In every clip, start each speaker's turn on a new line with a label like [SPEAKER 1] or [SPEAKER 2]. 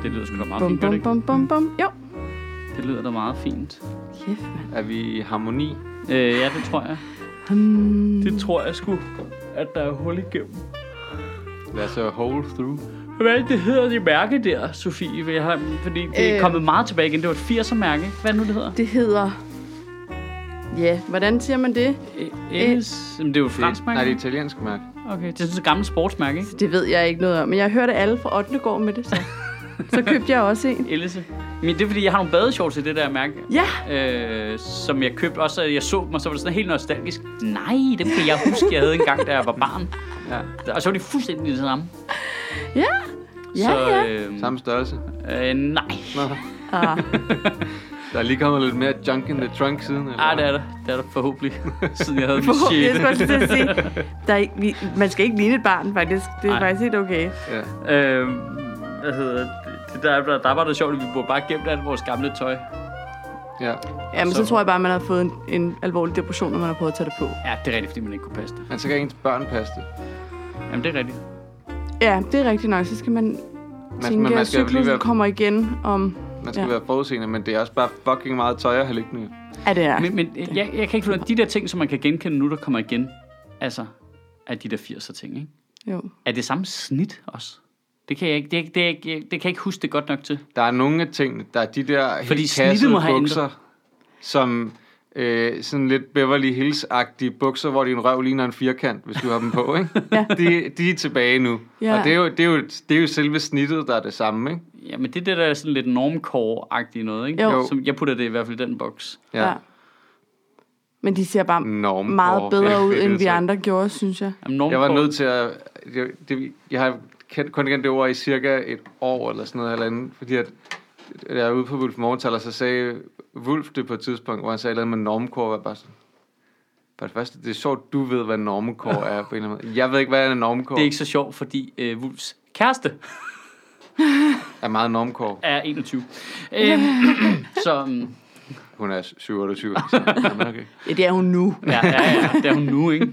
[SPEAKER 1] Meget
[SPEAKER 2] Bum,
[SPEAKER 1] fint, gør det
[SPEAKER 2] bum,
[SPEAKER 1] ikke?
[SPEAKER 2] bum, bum, bum. Jo.
[SPEAKER 1] Det lyder da meget fint.
[SPEAKER 2] Kæft, mand.
[SPEAKER 3] Er vi i harmoni?
[SPEAKER 1] Øh, ja, det tror jeg.
[SPEAKER 2] Hmm.
[SPEAKER 1] Det tror jeg sgu, at der er hul igennem.
[SPEAKER 3] Lad os øh, hole through.
[SPEAKER 1] Hvad er det, det hedder det mærke der, Sofie? Vi har- Fordi det er
[SPEAKER 2] Øh.
[SPEAKER 1] kommet meget tilbage igen. Det var et 80'er mærke. Hvad er nu det hedder?
[SPEAKER 2] Det hedder... Ja, hvordan siger man det?
[SPEAKER 1] Endes. Jamen, det er jo et fransk
[SPEAKER 3] Det, nej,
[SPEAKER 1] mærke.
[SPEAKER 3] det er italiensk mærke.
[SPEAKER 1] Okay, det er sådan et gammelt sportsmærke, ikke?
[SPEAKER 2] Det ved jeg ikke noget om, men jeg hørte alle fra 8. går med det, så, så købte jeg også en.
[SPEAKER 1] Ellise. Men det er fordi, jeg har nogle badeshorts i det der mærke,
[SPEAKER 2] Ja,
[SPEAKER 1] øh, som jeg købte også, og jeg så dem, og så var det sådan helt nostalgisk. Nej, det kan jeg huske, jeg havde engang, da jeg var barn. Ja. Og så var de fuldstændig det samme.
[SPEAKER 2] ja. Ja,
[SPEAKER 1] så,
[SPEAKER 2] ja.
[SPEAKER 1] Øh,
[SPEAKER 3] Samme størrelse.
[SPEAKER 1] øh, nej.
[SPEAKER 3] Nå.
[SPEAKER 2] Ah,
[SPEAKER 3] Der er lige kommet lidt mere junk in the trunk siden. Eller?
[SPEAKER 1] Ah, det er der. Det er der forhåbentlig, siden jeg havde min
[SPEAKER 2] forhåbentlig, jeg
[SPEAKER 1] sjette.
[SPEAKER 2] skulle også til at sige. Der er ikke, vi, man skal ikke ligne et barn, faktisk. Det er
[SPEAKER 1] Nej.
[SPEAKER 2] Ej. faktisk helt okay.
[SPEAKER 3] Ja.
[SPEAKER 1] Øh, hvad hedder det? det? Der, der, der var det sjovt, at vi burde bare gemt alt vores gamle tøj.
[SPEAKER 3] ja.
[SPEAKER 2] Jamen, så,
[SPEAKER 1] Så-
[SPEAKER 2] så tror jeg bare, man har fået en, en alvorlig depression, når man har prøvet at tage det på.
[SPEAKER 1] Ja, det er rigtigt, fordi man ikke kunne passe det.
[SPEAKER 3] Men så kan ens børn passe det.
[SPEAKER 1] Jamen, det er rigtigt.
[SPEAKER 2] Ja, det er rigtigt nok. Så skal man
[SPEAKER 3] Man,
[SPEAKER 2] tænke,
[SPEAKER 3] men
[SPEAKER 2] man,
[SPEAKER 3] man
[SPEAKER 2] at
[SPEAKER 3] skal, jo lige
[SPEAKER 2] cyklusen
[SPEAKER 3] være,
[SPEAKER 2] kommer igen om...
[SPEAKER 3] man skal
[SPEAKER 2] ja.
[SPEAKER 3] ja. være forudseende, men det er også bare fucking meget tøj at have liggende.
[SPEAKER 2] Ja, det er.
[SPEAKER 1] Men, men øh, jeg, jeg kan ikke finde ud af, de der ting, som man kan genkende nu, der kommer igen, altså, af de der 80'er ting, ikke?
[SPEAKER 2] Jo.
[SPEAKER 1] Er det samme snit også? Det kan jeg ikke, det, er- det, er ikke- det kan jeg ikke huske det godt nok til.
[SPEAKER 3] Der er nogle af tingene, der er de der
[SPEAKER 1] Fordi
[SPEAKER 3] helt
[SPEAKER 1] snittet
[SPEAKER 3] kassede
[SPEAKER 1] må have
[SPEAKER 3] bukser, som øh, sådan lidt Beverly Hills-agtige bukser, hvor din røv ligner en firkant, hvis du har dem på, ikke?
[SPEAKER 2] Ja.
[SPEAKER 3] de, de er tilbage nu.
[SPEAKER 2] Ja.
[SPEAKER 3] Og det er, jo, det, er jo, det er jo selve snittet, der er det samme, ikke?
[SPEAKER 1] Jamen, det er det der er sådan lidt normcore-agtigt noget, ikke?
[SPEAKER 2] Jo.
[SPEAKER 1] Som, jeg putter det i hvert fald i den boks.
[SPEAKER 2] Ja. ja. Men de ser bare
[SPEAKER 3] Norm
[SPEAKER 2] meget
[SPEAKER 3] for-
[SPEAKER 2] bedre ud, end vi
[SPEAKER 3] Ja.
[SPEAKER 2] andre gjorde, synes jeg.
[SPEAKER 1] Jamen, normcore,
[SPEAKER 3] altså. Jeg var nødt til at... Jeg, det, jeg har kendt, kun kendt det ord i cirka et år eller sådan noget eller andet, fordi at, at jeg er ude på Wolf Morgental, og så sagde Wolf det på et tidspunkt, hvor han sagde noget med normcore, var bare sådan, for det første, det er sjovt, du ved, hvad normcore er på en eller anden måde. Jeg ved ikke, hvad en normcore
[SPEAKER 1] Det
[SPEAKER 3] er.
[SPEAKER 1] er ikke så sjovt, fordi øh, Wulfs kæreste
[SPEAKER 3] er meget normcore.
[SPEAKER 1] er 21. Øhm, så, mm,
[SPEAKER 3] Hun er 27 så, jamen, okay.
[SPEAKER 2] Ja, det er hun nu.
[SPEAKER 1] ja, ja, ja, det er hun nu, ikke?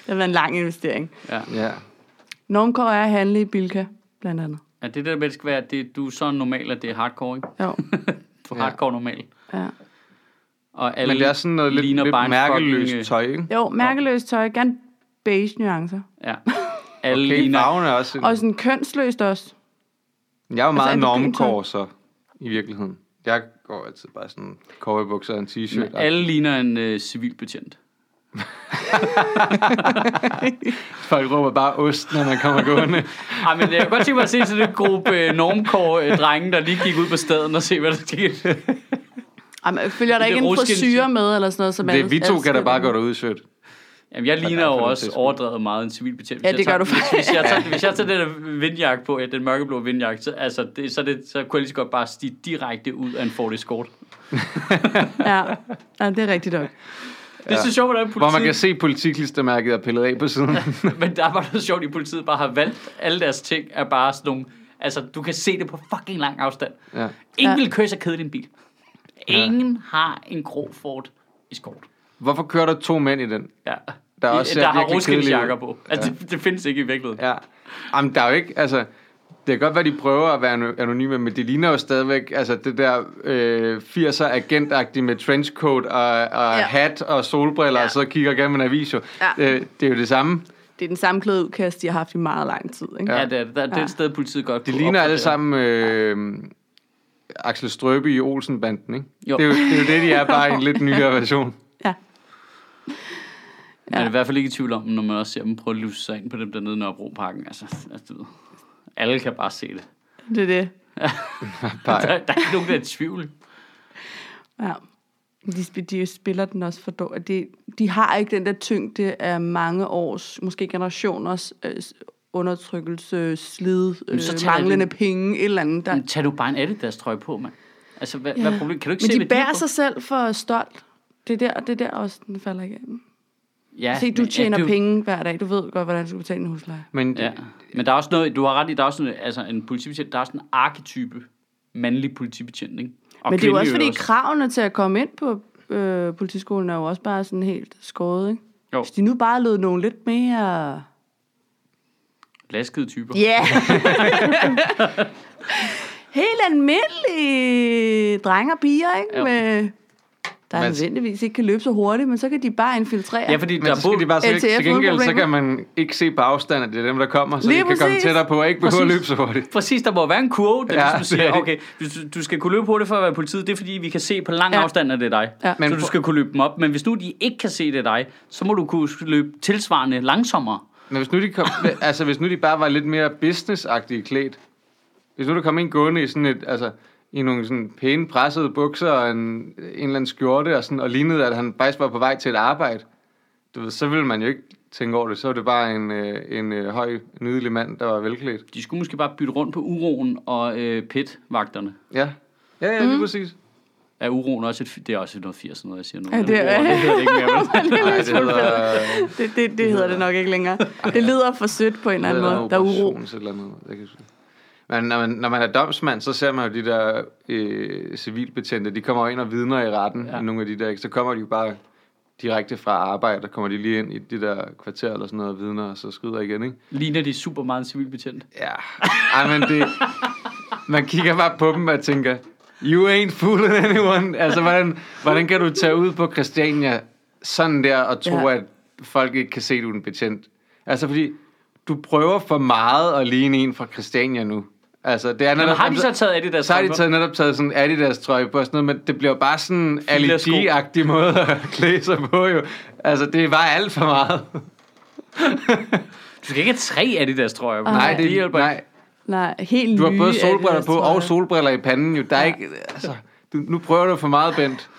[SPEAKER 2] Det har været en lang investering.
[SPEAKER 3] Ja.
[SPEAKER 2] Normcore er at handle i Bilka, blandt andet.
[SPEAKER 1] Ja, det der med, det skal være, at det, du er så normal, at det er hardcore, ikke?
[SPEAKER 2] Jo.
[SPEAKER 1] Du er
[SPEAKER 3] Ja.
[SPEAKER 1] hardcore normal.
[SPEAKER 2] Ja.
[SPEAKER 1] Og alle
[SPEAKER 3] Men det er sådan noget lidt,
[SPEAKER 1] ligner
[SPEAKER 3] lidt
[SPEAKER 1] bare en
[SPEAKER 3] mærkeløst
[SPEAKER 1] fucking, øh,
[SPEAKER 3] tøj, ikke?
[SPEAKER 2] Jo, mærkeløst tøj, gerne beige nuancer.
[SPEAKER 3] Mm.
[SPEAKER 1] Ja. Alle okay,
[SPEAKER 3] Okay,
[SPEAKER 1] ligner...
[SPEAKER 3] farven er også...
[SPEAKER 2] Og
[SPEAKER 3] En,
[SPEAKER 2] sådan kønsløst også.
[SPEAKER 3] jeg er jo meget
[SPEAKER 2] altså,
[SPEAKER 3] altså,
[SPEAKER 2] er det
[SPEAKER 3] normcore, så, i virkeligheden. Jeg går altid bare sådan cowboybukser og en t-shirt. og-
[SPEAKER 1] Alle ligner en øh, civilbetjent.
[SPEAKER 3] Folk råber bare ost, når man kommer gående.
[SPEAKER 1] Ej, men jeg kan godt tænke mig at se sådan en gruppe øh, normcore-drenge, der lige gik ud på staden og se, hvad der skete.
[SPEAKER 2] Ej, men følger der
[SPEAKER 1] Det er
[SPEAKER 2] ikke en
[SPEAKER 1] ruskende.
[SPEAKER 2] frisyre med, eller sådan noget? Som
[SPEAKER 3] det,
[SPEAKER 2] alle-
[SPEAKER 3] vi to
[SPEAKER 2] alle
[SPEAKER 3] kan da
[SPEAKER 2] skal
[SPEAKER 3] bare
[SPEAKER 2] være?
[SPEAKER 3] gå derud i sødt.
[SPEAKER 1] Jamen, jeg ligner
[SPEAKER 3] der er
[SPEAKER 1] jo
[SPEAKER 3] for nogle
[SPEAKER 1] også
[SPEAKER 3] tilskud.
[SPEAKER 1] overdrevet meget en civilbetjent.
[SPEAKER 2] Ja,
[SPEAKER 1] Hvis
[SPEAKER 2] det
[SPEAKER 1] jeg tager-
[SPEAKER 2] gør du faktisk.
[SPEAKER 1] Hvis, hvis, jeg tager, hvis jeg tager den der vindjakke på, ja, den mørkeblå vindjakke, så, altså, det, så, er det, så kunne jeg lige så godt bare stige direkte ud af en Ford Escort.
[SPEAKER 2] Ja. ja, det er rigtigt nok.
[SPEAKER 1] Det er så sjovt, hvordan
[SPEAKER 3] Hvor man kan
[SPEAKER 1] politiet...
[SPEAKER 3] se politiklistermærket er pillet af på siden.
[SPEAKER 1] Men der var noget sjovt, at politiet bare har valgt alle deres ting er bare sådan nogle... Altså, du kan se det på fucking lang afstand.
[SPEAKER 3] ja.
[SPEAKER 1] Ingen
[SPEAKER 2] Ja.
[SPEAKER 1] vil køre sig kede i din bil. Ingen har en grå Ford Escort.
[SPEAKER 3] Hvorfor kører der to mænd i den?
[SPEAKER 1] Ja.
[SPEAKER 3] Der er
[SPEAKER 1] I-
[SPEAKER 3] også ser
[SPEAKER 1] der har
[SPEAKER 3] virkelig
[SPEAKER 1] ruskende
[SPEAKER 3] kedelige ud.
[SPEAKER 1] jakker på. Altså, det, det, findes ikke i virkeligheden.
[SPEAKER 3] Ja. Jamen, der er jo ikke, altså... Det kan godt være, de prøver at være ano- anonyme, men det ligner jo stadigvæk altså det der øh, 80'er agentagtige med trenchcoat og, og
[SPEAKER 2] Ja.
[SPEAKER 3] ja. hat og solbriller,
[SPEAKER 2] Ja.
[SPEAKER 3] ja. og så kigger gennem en avis jo.
[SPEAKER 2] Ja.
[SPEAKER 3] Øh, det er jo det samme.
[SPEAKER 2] Det er den samme klædeudkast, de har haft i meget lang tid. Ikke?
[SPEAKER 1] Ja, det er, det. der, det er et sted, politiet godt
[SPEAKER 3] De
[SPEAKER 1] kunne
[SPEAKER 3] ligner alle
[SPEAKER 1] opgradere.
[SPEAKER 3] sammen øh, Axel Strøbe i Olsen-banden, ikke?
[SPEAKER 1] Jo.
[SPEAKER 3] Det, er jo, det er jo det, de er, bare i en lidt nyere version.
[SPEAKER 2] ja.
[SPEAKER 1] Man er i hvert fald ikke i tvivl om, når man også ser dem prøve at lusse sig ind på dem dernede i Nørrebroparken. Altså, altså, du ved, alle kan bare se det.
[SPEAKER 2] Det er det.
[SPEAKER 3] Bare,
[SPEAKER 1] Der, der er ikke nogen, der er i tvivl.
[SPEAKER 2] Ja. De, sp- de spiller den også for dårligt. De, de har ikke den der tyngde af mange års, måske generationers øh, s- undertrykkelse, slid, øh,
[SPEAKER 1] så tager jeg
[SPEAKER 2] manglende
[SPEAKER 1] den.
[SPEAKER 2] penge, et eller andet. Der.
[SPEAKER 1] Men tag nu bare en Adidas trøje på, mand. Altså, hvad, ja.
[SPEAKER 2] Ja.
[SPEAKER 1] hvad er problemet? Kan du ikke
[SPEAKER 2] Men
[SPEAKER 1] se,
[SPEAKER 2] de
[SPEAKER 1] hvad
[SPEAKER 2] bærer
[SPEAKER 1] har på?
[SPEAKER 2] sig selv for stolt. Det er der, det er der også, den falder igennem.
[SPEAKER 1] Ja,
[SPEAKER 2] Se, du
[SPEAKER 1] men-
[SPEAKER 2] tjener
[SPEAKER 1] ja,
[SPEAKER 2] ja,
[SPEAKER 1] du-
[SPEAKER 2] penge hver dag. Du ved godt, hvordan du skal betale en husleje.
[SPEAKER 3] men
[SPEAKER 1] Ja. Men der er også noget, du har ret i, der er også noget, altså en politibetjent, der er sådan en arketype mandlig politibetjent, ikke? Og
[SPEAKER 2] Men det er jo
[SPEAKER 1] kvindelig
[SPEAKER 2] også, fordi
[SPEAKER 1] øvrigt
[SPEAKER 2] kravene til at komme ind på øh, politiskolen er jo også bare sådan helt skåret, ikke?
[SPEAKER 1] Jo.
[SPEAKER 2] Hvis de nu bare lød nogle lidt mere...
[SPEAKER 1] Laskede typer.
[SPEAKER 2] Ja! Yeah. helt almindelige drenge og piger, ikke?
[SPEAKER 1] Jo.
[SPEAKER 2] Med, der
[SPEAKER 3] Men-
[SPEAKER 2] nødvendigvis ikke kan løbe så hurtigt, men så kan de bare infiltrere.
[SPEAKER 1] Ja, fordi
[SPEAKER 3] Men
[SPEAKER 1] der
[SPEAKER 3] så skal de
[SPEAKER 1] er
[SPEAKER 3] bare se,
[SPEAKER 2] LTF
[SPEAKER 3] til gengæld, så
[SPEAKER 2] uden
[SPEAKER 3] kan man ikke se på afstand, at det er dem, der kommer, så
[SPEAKER 2] Lige
[SPEAKER 3] de kan komme
[SPEAKER 2] præcis.
[SPEAKER 3] tættere på og ikke behøver at
[SPEAKER 1] Præcis.
[SPEAKER 3] løbe så hurtigt.
[SPEAKER 1] Præcis, der må være en kurve, der
[SPEAKER 3] Ja,
[SPEAKER 1] ja, ligesom
[SPEAKER 3] det er
[SPEAKER 1] siger,
[SPEAKER 3] det.
[SPEAKER 1] okay, du, du skal kunne løbe hurtigt for at være politiet, det er fordi, vi kan se på lang
[SPEAKER 2] Ja.
[SPEAKER 1] ja. afstand, at det er dig.
[SPEAKER 2] Ja.
[SPEAKER 1] Ja.
[SPEAKER 3] Men
[SPEAKER 1] Men så du
[SPEAKER 3] for-
[SPEAKER 1] skal kunne løbe dem op. Men hvis nu de ikke kan se, det er dig, så må du kunne løbe tilsvarende langsommere.
[SPEAKER 3] Men hvis nu de, kom, altså, hvis nu de bare var lidt mere businessagtige klædt, hvis nu der kom en gående i sådan et, altså, i nogle sådan pæne pressede bukser og en, en eller anden skjorte og, sådan, og lignede, at han faktisk var på vej til et arbejde, du ved, så ville man jo ikke tænke over det. Så var det bare en, øh, en øh, høj, nydelig mand, der var velklædt.
[SPEAKER 1] De skulle måske bare bytte rundt på uroen og øh, pit-vagterne.
[SPEAKER 3] Ja, ja, ja lige præcis.
[SPEAKER 1] Er uroen også et... fi- Det er også noget 80'er noget, jeg siger nu.
[SPEAKER 2] Ja, det er-
[SPEAKER 1] Uroen, det hedder det ikke mere, vel?
[SPEAKER 3] Nej, det hedder, øh,
[SPEAKER 2] Det, det, det hedder det nok ikke længere. Det lyder for sødt på en eller anden
[SPEAKER 3] Eller
[SPEAKER 2] måde. Der er uro.
[SPEAKER 3] operation, så et eller andet. Jeg kan ikke huske det. Men når man, når man er domsmand, så ser man jo de der øh, civilbetjente, de kommer jo ind og vidner i retten, ja.
[SPEAKER 1] Ja.
[SPEAKER 3] nogle af de der, ikke? så kommer de jo bare direkte fra arbejde, og kommer de lige ind i det der kvarter eller sådan noget og vidner, og så skyder igen, ikke?
[SPEAKER 1] Ligner de super meget en civilbetjent?
[SPEAKER 3] Ja. Ej, men det... Man kigger bare på dem og tænker, you ain't fooling anyone. Altså, hvordan, hvordan kan du tage ud på Christiania sådan der og tro,
[SPEAKER 2] Ja.
[SPEAKER 3] ja. at folk ikke kan se, du er en betjent? Altså, fordi du prøver for meget at ligne en fra Christiania nu. Altså, det er netop,
[SPEAKER 1] Jamen, har de så taget af det der
[SPEAKER 3] så har de
[SPEAKER 1] strømper?
[SPEAKER 3] taget, netop taget sådan Adidas trøje på og sådan noget, men det bliver jo bare sådan en
[SPEAKER 1] Filersko.
[SPEAKER 3] allergi-agtig måde at klæde sig på jo. Altså, det er bare alt for meget.
[SPEAKER 1] Du skal ikke have tre af det der trøjer.
[SPEAKER 3] Nej, det,
[SPEAKER 1] hjælper ikke.
[SPEAKER 3] nej,
[SPEAKER 2] Nej, helt
[SPEAKER 3] Du har
[SPEAKER 2] nye
[SPEAKER 3] både
[SPEAKER 2] er det,
[SPEAKER 3] solbriller
[SPEAKER 2] jeg
[SPEAKER 3] på
[SPEAKER 2] tror,
[SPEAKER 3] og
[SPEAKER 2] jeg.
[SPEAKER 3] solbriller i panden. Jo, der er ikke, altså, du, nu prøver du for meget, Bent.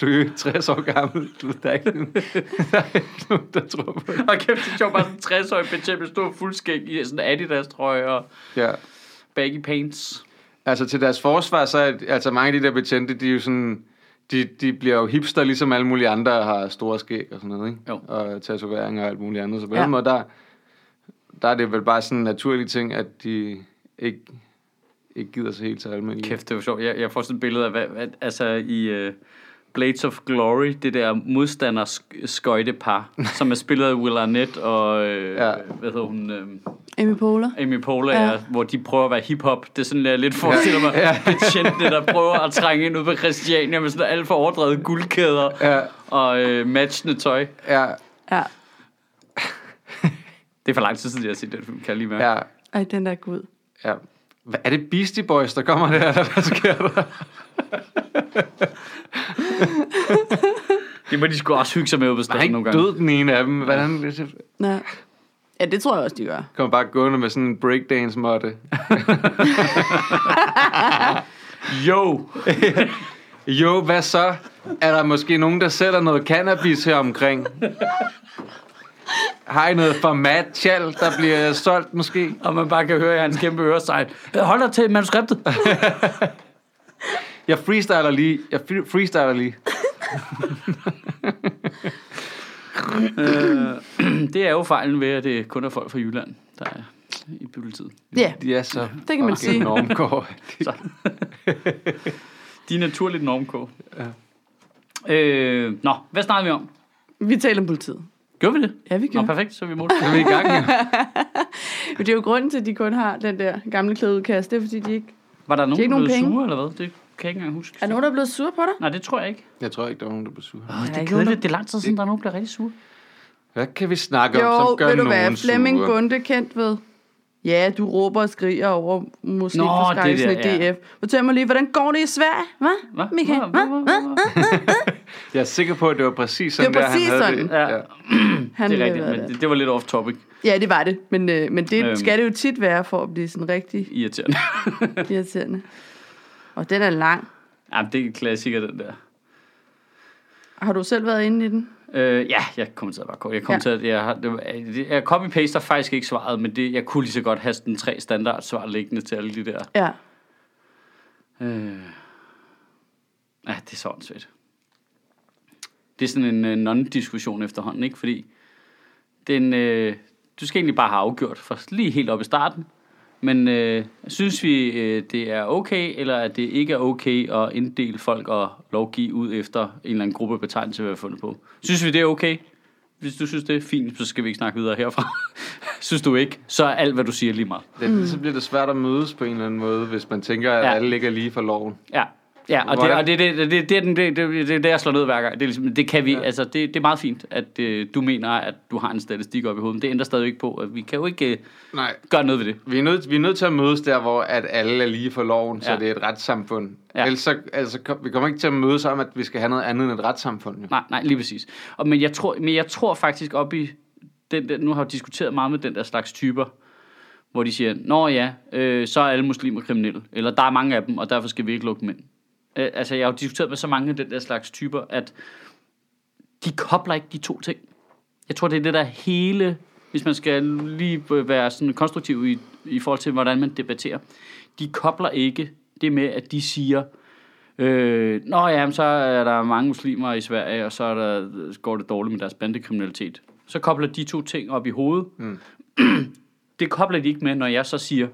[SPEAKER 3] Du er jo 60 år gammel. Du, der, er ikke, der er ikke nogen, der tror på det.
[SPEAKER 1] Og kæft, det er sjovt, bare sådan en 60-årig betjent med stor fuldskæg i sådan Adidas trøje og
[SPEAKER 3] Ja.
[SPEAKER 1] baggy pants.
[SPEAKER 3] Altså til deres forsvar, så er altså, mange af de der betjente, de er jo sådan... De, de bliver jo hipster, ligesom alle mulige andre har store skæg og sådan noget, ikke?
[SPEAKER 1] Jo.
[SPEAKER 3] Og tatoveringer og alt muligt andet. Så på
[SPEAKER 2] Ja.
[SPEAKER 3] ja. den måde, der, der er det vel bare sådan en naturlig ting, at de ikke, ikke gider sig helt til almindelige.
[SPEAKER 1] Kæft, det var sjovt. Jeg, jeg får sådan et billede af, hvad, hvad, altså i uh, Blades of Glory, det der modstanderskøjtepar, som er spillet af Will Arnett og, uh,
[SPEAKER 3] Ja.
[SPEAKER 1] ja. hvad hedder hun, uh,
[SPEAKER 2] Amy Poehler.
[SPEAKER 1] Amy Poehler,
[SPEAKER 2] Ja.
[SPEAKER 1] ja. hvor de prøver at være hiphop. Det er sådan, jeg lidt forestiller mig, ja. betjentene, der prøver at trænge ind ud på Christiania med sådan alt for overdrevet guldkæder
[SPEAKER 3] Ja,
[SPEAKER 1] og uh, matchende tøj.
[SPEAKER 3] ja,
[SPEAKER 2] Ja.
[SPEAKER 1] Det er for lang tid siden, jeg har set den film, kan jeg lige mærke.
[SPEAKER 3] ja.
[SPEAKER 2] Ej, den der gud.
[SPEAKER 3] Ja. Hva- Er det Beastie Boys, der kommer der, eller hvad sker der?
[SPEAKER 1] Det må de sgu også hygge sig med ude på
[SPEAKER 3] Han er
[SPEAKER 1] stedet nogle
[SPEAKER 3] ikke
[SPEAKER 1] gange.
[SPEAKER 3] død den ene af dem. Hvordan
[SPEAKER 2] Ja. ja, det tror jeg også, de gør.
[SPEAKER 3] kommer bare gående med sådan en breakdance-måtte?
[SPEAKER 1] Jo!
[SPEAKER 3] Jo, hvad så? Er der måske nogen, der sælger noget cannabis her omkring? Har I noget format tjal, der bliver solgt måske?
[SPEAKER 1] Og man bare kan høre i hans kæmpe øresegn. "Øh, Hold dig til manuskriptet.
[SPEAKER 3] Jeg freestyler lige. Jeg fre- freestyler lige.
[SPEAKER 1] Øh, det er jo fejlen ved, at det kun er folk fra Jylland, der er i bytteltid.
[SPEAKER 2] Ja,
[SPEAKER 3] De er så
[SPEAKER 2] Det kan man
[SPEAKER 3] fucking
[SPEAKER 2] sige.
[SPEAKER 3] normgårde.
[SPEAKER 1] Så. De er naturligt normkå. Ja. Øh, nå, hvad snakker vi om?
[SPEAKER 2] vi taler om politiet.
[SPEAKER 1] Gjorde vi det?
[SPEAKER 2] Ja, vi
[SPEAKER 1] Nå,
[SPEAKER 2] gjorde.
[SPEAKER 1] perfekt, så er vi imod.
[SPEAKER 3] Så er vi i gang. ja.
[SPEAKER 2] Men det er jo grunden til, at de kun har den der gamle klædeudkast. Det er, fordi de ikke...
[SPEAKER 1] Var der
[SPEAKER 2] Det er
[SPEAKER 1] nogen, der
[SPEAKER 2] ikke nogen
[SPEAKER 1] blev
[SPEAKER 2] penge.
[SPEAKER 1] sure, eller hvad? Det kan jeg ikke engang huske.
[SPEAKER 2] Er nogen, der er blevet sur på dig?
[SPEAKER 1] Nej, det tror jeg ikke.
[SPEAKER 3] Jeg tror ikke, der er nogen, der bliver sure.
[SPEAKER 1] Oh, det er
[SPEAKER 2] ikke
[SPEAKER 1] kedeligt. Det er lang tid siden, der er nogen, der bliver rigtig sure.
[SPEAKER 3] Hvad kan vi snakke om,
[SPEAKER 2] Jo,
[SPEAKER 3] som gør
[SPEAKER 2] ved du
[SPEAKER 3] nogen
[SPEAKER 2] hvad, Flemming
[SPEAKER 3] sure?
[SPEAKER 2] Bunde kendt ved. Ja, du råber og skriger over musikforskrækkelsen i
[SPEAKER 1] det der, ja.
[SPEAKER 2] DF. Fortæl mig lige, hvordan går det i Sverige? Hvad,
[SPEAKER 1] Hva?
[SPEAKER 2] Michael?
[SPEAKER 1] Hva?
[SPEAKER 2] Hva?
[SPEAKER 1] Hva? Hva? Hva?
[SPEAKER 3] Jeg er sikker på, at det var præcis sådan,
[SPEAKER 2] Det var præcis
[SPEAKER 3] der, han havde
[SPEAKER 2] sådan.
[SPEAKER 3] det.
[SPEAKER 1] Ja.
[SPEAKER 2] Han
[SPEAKER 1] Det er
[SPEAKER 2] ville
[SPEAKER 1] rigtigt,
[SPEAKER 2] være
[SPEAKER 1] men
[SPEAKER 2] det.
[SPEAKER 1] det, det var lidt off topic.
[SPEAKER 2] Ja, det var det. Men, øh, men det
[SPEAKER 1] Øhm.
[SPEAKER 2] skal det jo tit være, for at blive sådan rigtig
[SPEAKER 1] Irriterende.
[SPEAKER 2] irriterende. Og den er lang.
[SPEAKER 1] Jamen, det er en klassiker, den der.
[SPEAKER 2] Har du selv været inde i den?
[SPEAKER 1] Øh, ja, jeg kom til at bare kort. Jeg kom
[SPEAKER 2] Ja.
[SPEAKER 1] ja. til at, jeg, har- det var- det- jeg copy paster faktisk ikke svaret, men det, jeg kunne lige så godt have sådan tre standard svar liggende til alle de der.
[SPEAKER 2] Ja.
[SPEAKER 1] Øh. Ja, det er sådan svært. Det er sådan en øh, non-diskussion efterhånden, ikke? Fordi den, øh, du skal egentlig bare have afgjort for lige helt op i starten. Men øh, synes vi, øh, det er okay, eller at det ikke er okay at inddele folk og lovgive ud efter en eller anden gruppebetegnelse, vi har fundet på? Synes vi, det er okay? Hvis du synes, det er fint, så skal vi ikke snakke videre herfra. synes du ikke, så er alt, hvad du siger lige meget.
[SPEAKER 3] Det, mm. Så bliver det svært at mødes på en eller anden måde, hvis man tænker, at
[SPEAKER 1] Ja.
[SPEAKER 3] ja. alle ligger lige for loven.
[SPEAKER 1] Ja. Ja, og det,
[SPEAKER 3] Hvordan-
[SPEAKER 1] og det, det, det, det, det, er den- det, det, det, det, det jeg slår ned hver gang. Det, er ligesom, det kan vi, ja.
[SPEAKER 3] Ja.
[SPEAKER 1] altså, det, det er meget fint, at øh, du mener, at du har en statistik op i hovedet, men det ændrer stadig ikke på, at vi kan jo ikke øh,
[SPEAKER 3] Nej.
[SPEAKER 1] gøre noget ved det.
[SPEAKER 3] Vi er, nødt, vi er nødt til at mødes der, hvor at alle er lige for loven, ja.
[SPEAKER 1] Ja.
[SPEAKER 3] så det er et retssamfund.
[SPEAKER 1] Ja.
[SPEAKER 3] Ja. Ellers så, altså, kom, vi kommer ikke til at mødes om, at vi skal have noget andet end et retssamfund. Jo.
[SPEAKER 1] Nej, nej, lige præcis. Og, men, jeg tror, men jeg tror faktisk op i... Den der, nu har jeg jo diskuteret meget med den der slags typer, hvor de siger, Nå ja, øh, så er alle muslimer kriminelle. Eller der er mange af dem, og derfor skal vi ikke lukke dem ind. Øh, altså, jeg har jo diskuteret med så mange af den der slags typer, at de kobler ikke de to ting. Jeg tror, det er det der hele, hvis man skal lige være sådan konstruktiv i, i forhold til, hvordan man debatterer. De kobler ikke det med, at de siger, Øh, nå ja, men så er der mange muslimer i Sverige, og så er der, går det dårligt med deres bandekriminalitet. Så kobler de to ting op i hovedet. Mm. det kobler de ikke med, når jeg så siger,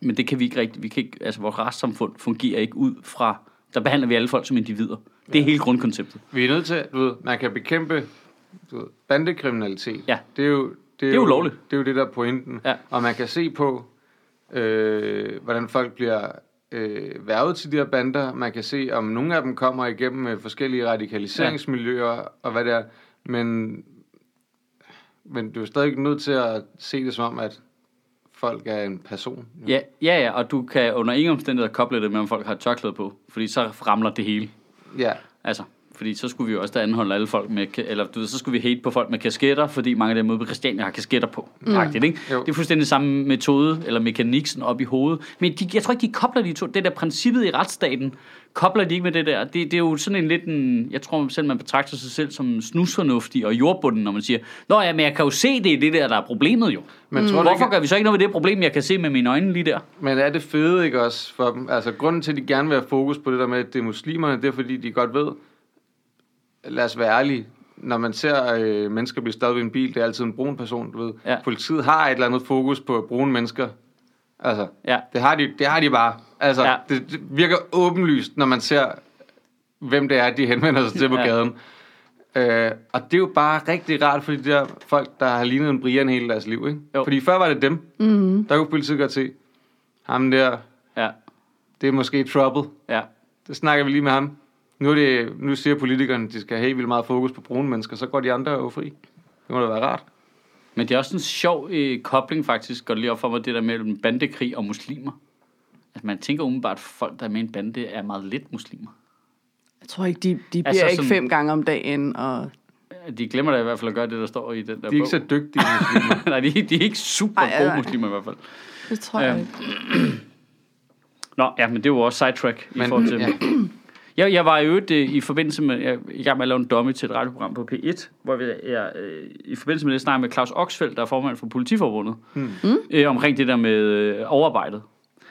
[SPEAKER 1] men det kan vi ikke rigtigt, vi kan ikke, altså vores retssamfund fungerer ikke ud fra, der behandler vi alle folk som individer. Det er hele grundkonceptet.
[SPEAKER 3] Vi er nødt til, du ved, man kan bekæmpe du ved, bandekriminalitet.
[SPEAKER 1] Ja.
[SPEAKER 3] Det er jo det
[SPEAKER 1] er jo lovligt.
[SPEAKER 3] Det er jo det, der er pointen.
[SPEAKER 1] Ja.
[SPEAKER 3] Og man kan se på, øh, hvordan folk bliver øh, værvet til de her bander. Man kan se, om nogle af dem kommer igennem med forskellige radikaliseringsmiljøer og hvad det er. Men, men du er stadig nødt til at se det som om, at folk er en person.
[SPEAKER 1] Ja, ja, ja, og du kan under ingen omstændigheder koble det med, om folk har et tørklæde på, fordi så ramler det hele.
[SPEAKER 3] Ja.
[SPEAKER 1] Altså, fordi så skulle vi jo også da anholde alle folk med, ka- eller du ved, så skulle vi hate på folk med kasketter, fordi mange af dem ude på Christiania har kasketter på. Mm. Agtigt, ikke?
[SPEAKER 3] Jo.
[SPEAKER 1] Det er fuldstændig samme metode, eller mekanik sådan op i hovedet. Men de, jeg tror ikke, de kobler de to. Det der princippet i retsstaten, kobler de ikke med det der. Det, det er jo sådan en lidt en, jeg tror selv, man betragter sig selv som snusfornuftig og jordbunden, når man siger, Nå ja, men jeg kan jo se, det er det der, der er problemet jo. Mm.
[SPEAKER 3] Men tror du
[SPEAKER 1] Hvorfor
[SPEAKER 3] ikke,
[SPEAKER 1] gør vi så ikke noget ved det problem, jeg kan se med mine øjne lige der?
[SPEAKER 3] Men er det fede ikke også for dem? Altså, grunden til, at de gerne vil have fokus på det der med, at det er muslimerne, det er, fordi de godt ved, lad os være ærlige, når man ser øh, mennesker blive stoppet i en bil, det er altid en brun person, du ved.
[SPEAKER 1] Ja.
[SPEAKER 3] Politiet har et eller andet fokus på brune mennesker. Altså,
[SPEAKER 1] Ja.
[SPEAKER 3] det, har de, det har de bare. Altså,
[SPEAKER 1] Ja.
[SPEAKER 3] ja. det, det virker åbenlyst, når man ser, hvem det er, de henvender sig til på
[SPEAKER 1] Ja.
[SPEAKER 3] gaden. Øh, og det er jo bare rigtig rart for de der folk, der har lignet en Brian hele deres liv, ikke?
[SPEAKER 1] Jo.
[SPEAKER 3] Fordi før var det dem. Mm-hmm. Der kunne politiet godt se, ham der,
[SPEAKER 1] Ja,
[SPEAKER 3] det er måske trouble.
[SPEAKER 1] ja.
[SPEAKER 3] Det snakker vi lige med ham. Nu, er det, nu siger politikerne, de skal have helt vildt meget fokus på brune mennesker, så går de andre jo fri. Det må da være rart.
[SPEAKER 1] Men det er også en sjov øh, kobling faktisk, går det lige op for mig, det der mellem bandekrig og muslimer. Altså man tænker umiddelbart, at folk, der er med i en bande, er meget lidt muslimer.
[SPEAKER 2] Jeg tror ikke, de, de bliver
[SPEAKER 1] Altså
[SPEAKER 2] altså, ikke
[SPEAKER 1] sådan-
[SPEAKER 2] fem gange om dagen. Og...
[SPEAKER 1] Øh, De glemmer da i hvert fald at gøre det, der står i den der
[SPEAKER 3] De er ikke
[SPEAKER 1] bog.
[SPEAKER 3] så dygtige muslimer.
[SPEAKER 1] Nej, de, de er ikke super
[SPEAKER 2] Ej, ej,
[SPEAKER 1] gode
[SPEAKER 2] ej.
[SPEAKER 1] muslimer i hvert fald.
[SPEAKER 2] Det tror jeg
[SPEAKER 1] Øhm,
[SPEAKER 2] ikke.
[SPEAKER 1] Nå, ja, men det var også sidetrack i
[SPEAKER 3] Men-
[SPEAKER 1] forhold til...
[SPEAKER 3] ja.
[SPEAKER 1] Jeg, jeg var i øvrigt øh, i forbindelse med... Jeg er i gang med at lave en domme til et radioprogram på P1, hvor jeg, jeg øh, i forbindelse med det snakker med Claus Oxfeldt, der er formand for Politiforbundet, hmm. øh, omkring det der med øh, overarbejdet.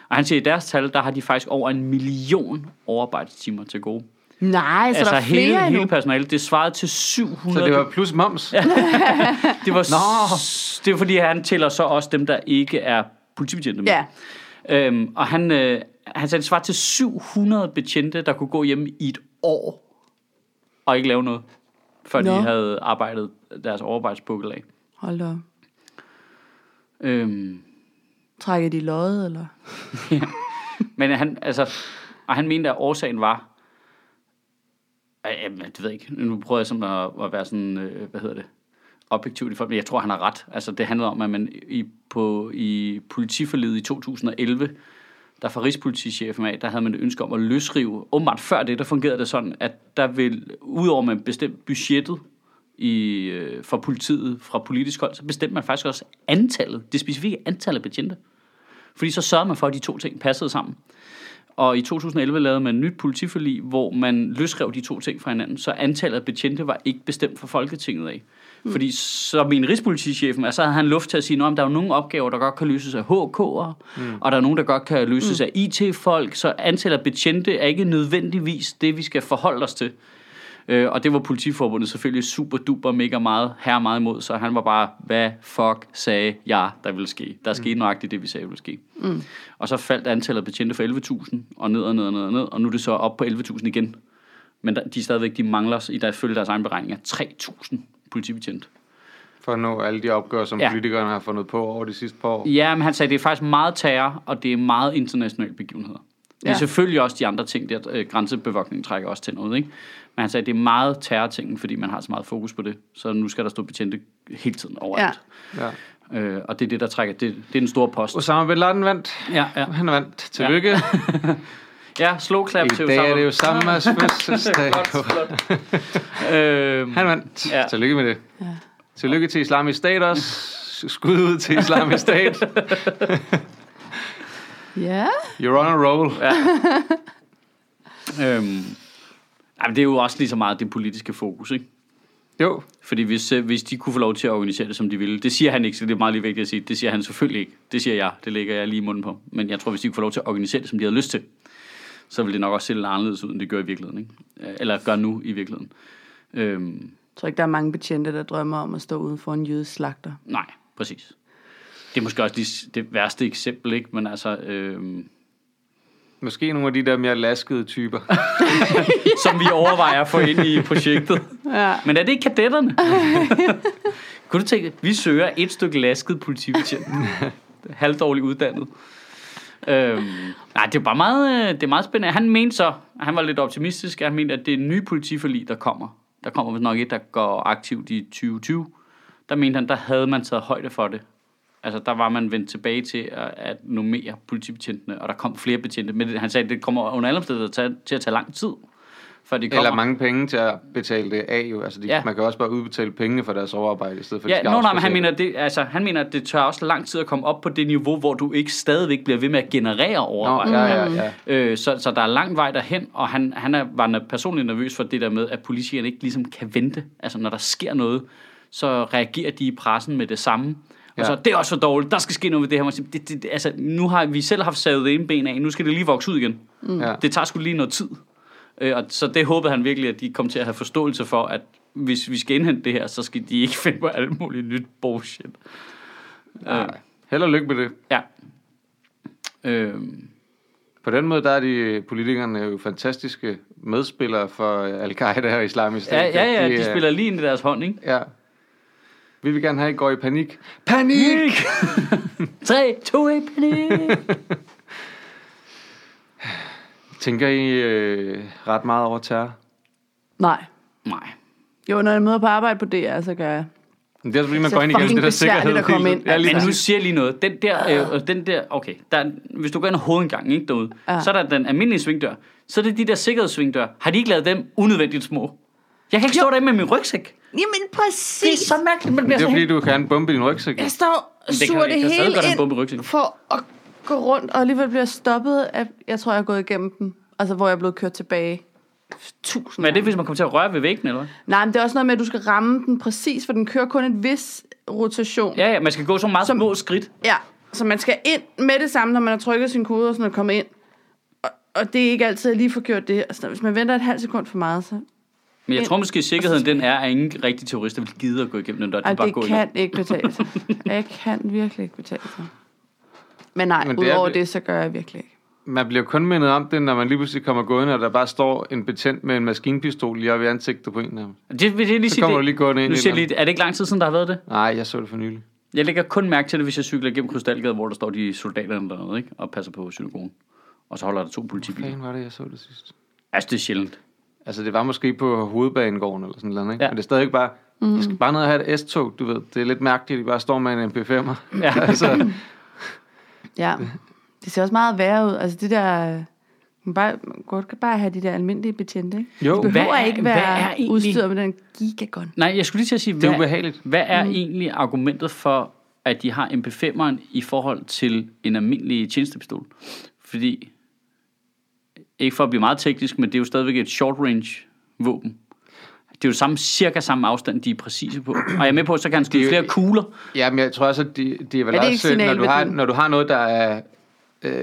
[SPEAKER 1] Og han siger, at i deres tal, der har de faktisk over en million overarbejdstimer til gode.
[SPEAKER 2] Nej, så altså,
[SPEAKER 1] altså
[SPEAKER 2] der er flere
[SPEAKER 1] hele,
[SPEAKER 2] endnu.
[SPEAKER 1] hele personalet, det svarede til
[SPEAKER 3] Så
[SPEAKER 1] 700.
[SPEAKER 3] det var plus moms. Ja.
[SPEAKER 1] det var,
[SPEAKER 3] Nå.
[SPEAKER 1] s- det var fordi, han tæller så også dem, der ikke er politibetjente med.
[SPEAKER 2] Ja,
[SPEAKER 1] Øhm, og han, øh, han sagde, det svarer til 700 betjente, der kunne gå hjem i et år og ikke lave noget, før
[SPEAKER 2] Nå.
[SPEAKER 1] de havde arbejdet deres overarbejdspukkel af.
[SPEAKER 2] hold da op.
[SPEAKER 1] Øhm,
[SPEAKER 2] Trækker de løjet, eller?
[SPEAKER 1] men han, altså, og han mente, at årsagen var, Ej, jamen, det ved jeg ikke, nu prøver jeg sådan at, at være sådan, øh, hvad hedder det, objektivt i forhold, men jeg tror, han har ret. Altså, det handlede om, at man i, på, i politiforledet i 2011, der fra Rigspolitichefen af, der havde man et ønske om at løsrive. Åbenbart før det, der fungerede det sådan, at der vil, udover man bestemt budgettet i, øh, for politiet fra politisk hold, så bestemte man faktisk også antallet, det specifikke antal af betjente. Fordi så sørgede man for, at de to ting passede sammen. Og i 2011 lavede man et nyt politiforlig, hvor man løsrev de to ting fra hinanden, så antallet af betjente var ikke bestemt fra Folketinget af. Fordi så min rigspolitichefen, altså havde han luft til at sige, at der er jo nogle opgaver, der godt kan løses af HK'er, mm. og der er nogle, der godt kan løses mm. af IT-folk, så antallet af betjente er ikke nødvendigvis det, vi skal forholde os til. Øh, og det var politiforbundet selvfølgelig super duper mega meget, her meget imod, så han var bare, hvad fuck sagde jeg, der ville ske? Der skete nøjagtigt det, vi sagde ville ske. Mm. Og så faldt antallet af betjente fra 11.000, og ned og ned og ned og ned, og nu er det så op på 11.000 igen. Men der, de er stadigvæk, de mangler, i der følge deres egen beregninger, 3.000 politibetjent.
[SPEAKER 3] For at nå alle de opgør, som
[SPEAKER 1] Ja.
[SPEAKER 3] ja. politikerne har fundet på over de sidste par år.
[SPEAKER 1] Ja, men han sagde, det er faktisk meget terror, og det er meget internationale begivenheder. Ja. Det
[SPEAKER 2] Ja.
[SPEAKER 1] er selvfølgelig også de andre ting, der øh, grænsebevogtningen trækker også til noget, ikke? Men han sagde, det er meget terrortingen, fordi man har så meget fokus på det. Så nu skal der stå betjente hele tiden overalt.
[SPEAKER 3] Ja.
[SPEAKER 1] Ja. Øh, og det er det, der trækker. Det, det er den store post.
[SPEAKER 3] Osama Bin Laden vandt.
[SPEAKER 1] Ja, ja.
[SPEAKER 3] Han vandt. Tillykke. Ja.
[SPEAKER 1] Ja, slow clap til
[SPEAKER 3] I dag er det
[SPEAKER 1] Osama.
[SPEAKER 3] jo Sammas fødselsdag.
[SPEAKER 1] Øhm,
[SPEAKER 3] Han vandt.
[SPEAKER 1] Ja.
[SPEAKER 3] Ja. Tillykke med det.
[SPEAKER 2] Ja.
[SPEAKER 3] Tillykke til Islamisk Stat også. Skud ud til Islamisk Stat.
[SPEAKER 2] Ja.
[SPEAKER 3] You're on a roll. Ja.
[SPEAKER 1] øhm, ej, men det er jo også lige så meget det politiske fokus, ikke?
[SPEAKER 3] Jo,
[SPEAKER 1] Fordi hvis, øh, hvis de kunne få lov til at organisere det, som de ville, det siger han ikke, så det er meget lige vigtigt at sige, det siger han selvfølgelig ikke. Det siger jeg, det lægger jeg lige i munden på. Men jeg tror, hvis de kunne få lov til at organisere det, som de havde lyst til, så ville det nok også se lidt anderledes ud, end det gør i virkeligheden. Ikke? Øh, Eller gør nu i virkeligheden. Øhm,
[SPEAKER 2] Jeg tror ikke, der er mange betjente, der drømmer om at stå uden for en jødisk slagter.
[SPEAKER 1] nej, præcis. Det er måske også lige s- det værste eksempel, ikke? Men altså, øhm,
[SPEAKER 3] måske nogle af de der mere laskede typer.
[SPEAKER 1] som vi overvejer at få ind i projektet.
[SPEAKER 2] Ja.
[SPEAKER 1] Men er det ikke kadetterne? Kunne du tænke, vi søger et stykke lasket politibetjent. Halvdårligt uddannet. Øhm, nej, det er bare meget, øh, det er meget spændende. Han mente så, han var lidt optimistisk, han mente, at det er nye politiforlig, der kommer. Der kommer vist nok et, der går aktivt i 2020. Der mente han, der havde man taget højde for det. Altså, der var man vendt tilbage til at, at normere politibetjentene, og der kom flere betjente. Men det- han sagde, at det kommer under alle omstændigheder til at- til at tage lang tid, før de kommer.
[SPEAKER 3] Eller mange penge til at betale det af. Jo. Altså, de,
[SPEAKER 1] Ja.
[SPEAKER 3] ja. Man kan også bare udbetale pengene for deres overarbejde, i stedet for at
[SPEAKER 1] Ja,
[SPEAKER 3] de skal
[SPEAKER 1] no, nej, men han
[SPEAKER 3] outsource
[SPEAKER 1] mener, det, altså, han mener, at det tør også lang tid at komme op på det niveau, hvor du ikke stadigvæk bliver ved med at generere overarbejde.
[SPEAKER 3] Nå, ja, ja, ja.
[SPEAKER 1] Øh, så, så der er lang vej derhen, og han, han er, var na- personligt nervøs for det der med, at politikerne ikke ligesom kan vente. Altså, når der sker noget, så reagerer de i pressen med det samme. Og
[SPEAKER 3] Ja.
[SPEAKER 1] så, det er også for dårligt, der skal ske noget ved det her. Man siger, Det, det, det, altså, nu har vi selv haft savet det ene ben af, nu skal det lige vokse ud igen.
[SPEAKER 3] det. Mm. Ja.
[SPEAKER 1] Det tager sgu lige noget tid. Øh, og så det håbede han virkelig, at de kom til at have forståelse for, at hvis vi skal indhente det her, så skal de ikke finde på alt muligt nyt bullshit. Øh,
[SPEAKER 3] Nej. Held og lykke med det.
[SPEAKER 1] ja. Øh,
[SPEAKER 3] På den måde, der er de politikerne jo fantastiske medspillere for Al-Qaida og islamisk
[SPEAKER 1] ja,
[SPEAKER 3] stat.
[SPEAKER 1] ja, ja,
[SPEAKER 3] er-
[SPEAKER 1] de spiller lige ind i deres hånd, ikke?
[SPEAKER 3] Ja. Vi vil gerne have, at I går i panik. Panik!
[SPEAKER 1] 3, 2, 1, panik!
[SPEAKER 3] Tænker I øh, ret meget over terror?
[SPEAKER 2] Nej.
[SPEAKER 1] Nej.
[SPEAKER 2] Jo, når jeg møder på arbejde på DR, så gør jeg.
[SPEAKER 3] Men det er altså, fordi, man
[SPEAKER 2] Så
[SPEAKER 3] går ind igennem
[SPEAKER 2] fucking
[SPEAKER 3] det der
[SPEAKER 2] besværligt
[SPEAKER 3] sikkerhed.
[SPEAKER 2] at komme
[SPEAKER 3] hele-
[SPEAKER 2] ind. altså.
[SPEAKER 3] Ja, lige
[SPEAKER 1] Men nu
[SPEAKER 3] præcis. Ah.
[SPEAKER 1] siger jeg lige noget. Den der, øh, og den der okay, der, er- hvis du går ind ad hovedindgangen ikke, derude,
[SPEAKER 2] Ja.
[SPEAKER 1] så er der den almindelige svingdør. Så er det de der sikkerhedssvingdør. Har de ikke lavet dem unødvendigt små? Jeg kan ikke stå derinde med min rygsæk.
[SPEAKER 2] Jamen
[SPEAKER 1] Det er
[SPEAKER 2] præcis.
[SPEAKER 1] så mærkeligt, man bliver
[SPEAKER 3] det
[SPEAKER 1] så
[SPEAKER 3] er fordi, du kan have en bombe i din rygsæk.
[SPEAKER 2] Jeg står og
[SPEAKER 1] det kan-
[SPEAKER 2] suger det,
[SPEAKER 1] jeg kan stadig
[SPEAKER 2] hele
[SPEAKER 1] godt have en
[SPEAKER 2] ind
[SPEAKER 1] bombe i rygsækken.
[SPEAKER 2] for at gå rundt, og alligevel bliver jeg stoppet. Af, jeg tror, jeg er gået igennem dem. Altså, hvor jeg er blevet kørt tilbage. Tusind
[SPEAKER 1] Men er det,
[SPEAKER 2] gange.
[SPEAKER 1] hvis man kommer til at røre ved væggen, eller hvad?
[SPEAKER 2] Nej, men det er også noget med, at du skal ramme den præcis, for den kører kun en vis rotation.
[SPEAKER 1] Ja, ja, man skal gå så meget små skridt.
[SPEAKER 2] Ja, så man skal ind med det samme, når man har trykket sin kode, og sådan at komme ind. Og, og det er ikke altid, at jeg lige får gjort det. Altså, hvis man venter et halvt sekund for meget, så...
[SPEAKER 1] Men jeg
[SPEAKER 2] Ja.
[SPEAKER 1] tror måske, sikkerheden
[SPEAKER 3] Altså-
[SPEAKER 1] den er, at ingen rigtig terrorister vil gide at gå igennem den der.
[SPEAKER 2] Ej,
[SPEAKER 1] de bare
[SPEAKER 2] det
[SPEAKER 1] går
[SPEAKER 2] kan ikke betale sig. Jeg kan virkelig ikke betale sig. Men nej, Men
[SPEAKER 3] Men det er
[SPEAKER 2] udover
[SPEAKER 3] vi-
[SPEAKER 2] det, så gør jeg virkelig ikke.
[SPEAKER 3] Man bliver kun mindet om det, når man lige pludselig kommer gående, og der bare står en betjent med en maskinpistol lige oppe i ansigtet på en af dem.
[SPEAKER 1] igennem. Det, vil jeg lige
[SPEAKER 3] Så
[SPEAKER 1] sige,
[SPEAKER 3] kommer
[SPEAKER 1] det,
[SPEAKER 3] du lige gående ind
[SPEAKER 1] nu
[SPEAKER 3] i
[SPEAKER 1] siger jeg
[SPEAKER 3] den.
[SPEAKER 1] lige, er det ikke lang tid siden, der har været det?
[SPEAKER 3] Nej, jeg så det for nylig.
[SPEAKER 1] Jeg lægger kun mærke til det, hvis jeg cykler gennem Krystalgade, hvor der står de soldaterne dernede, ikke? Og passer på synagogen. Og så holder der to politibiler.
[SPEAKER 3] Hvad var det, jeg så det sidst?
[SPEAKER 1] Altså, det er sjældent.
[SPEAKER 3] Altså, det var måske på hovedbanegården eller sådan noget, ikke?
[SPEAKER 1] Ja.
[SPEAKER 3] Ja. Men det er stadig bare, mm.
[SPEAKER 2] Mhm.
[SPEAKER 3] jeg skal bare ned og have et S-tog, du ved. Det er lidt mærkeligt, at de bare står med en MP5'er.
[SPEAKER 1] Ja.
[SPEAKER 3] altså,
[SPEAKER 2] Ja, det ser også meget værre ud. Altså, det der... Man, bare, man godt kan bare have de der almindelige betjente, ikke?
[SPEAKER 3] Jo,
[SPEAKER 2] de behøver
[SPEAKER 1] hvad er-
[SPEAKER 2] ikke
[SPEAKER 1] hvad
[SPEAKER 2] være
[SPEAKER 1] er egentlig-
[SPEAKER 2] udstyret med den gigagon.
[SPEAKER 1] Nej, jeg skulle lige til at sige,
[SPEAKER 3] det er
[SPEAKER 1] hvad,
[SPEAKER 3] ubehageligt.
[SPEAKER 1] hvad er
[SPEAKER 2] Mm.
[SPEAKER 1] egentlig argumentet for, at de har MP5'eren i forhold til en almindelig tjenestepistol? Fordi, ikke for at blive meget teknisk, men det er jo stadigvæk et short range våben. Det er jo samme, cirka samme afstand, de er præcise på. Og jeg er med på, så kan han
[SPEAKER 3] Det
[SPEAKER 1] skyde
[SPEAKER 3] er jo-
[SPEAKER 1] flere kugler.
[SPEAKER 3] Ja, men jeg tror også, at de, de er vel
[SPEAKER 2] Er det ikke
[SPEAKER 3] også, når du, har,
[SPEAKER 2] signalværdien?
[SPEAKER 3] når du har noget, der er øh,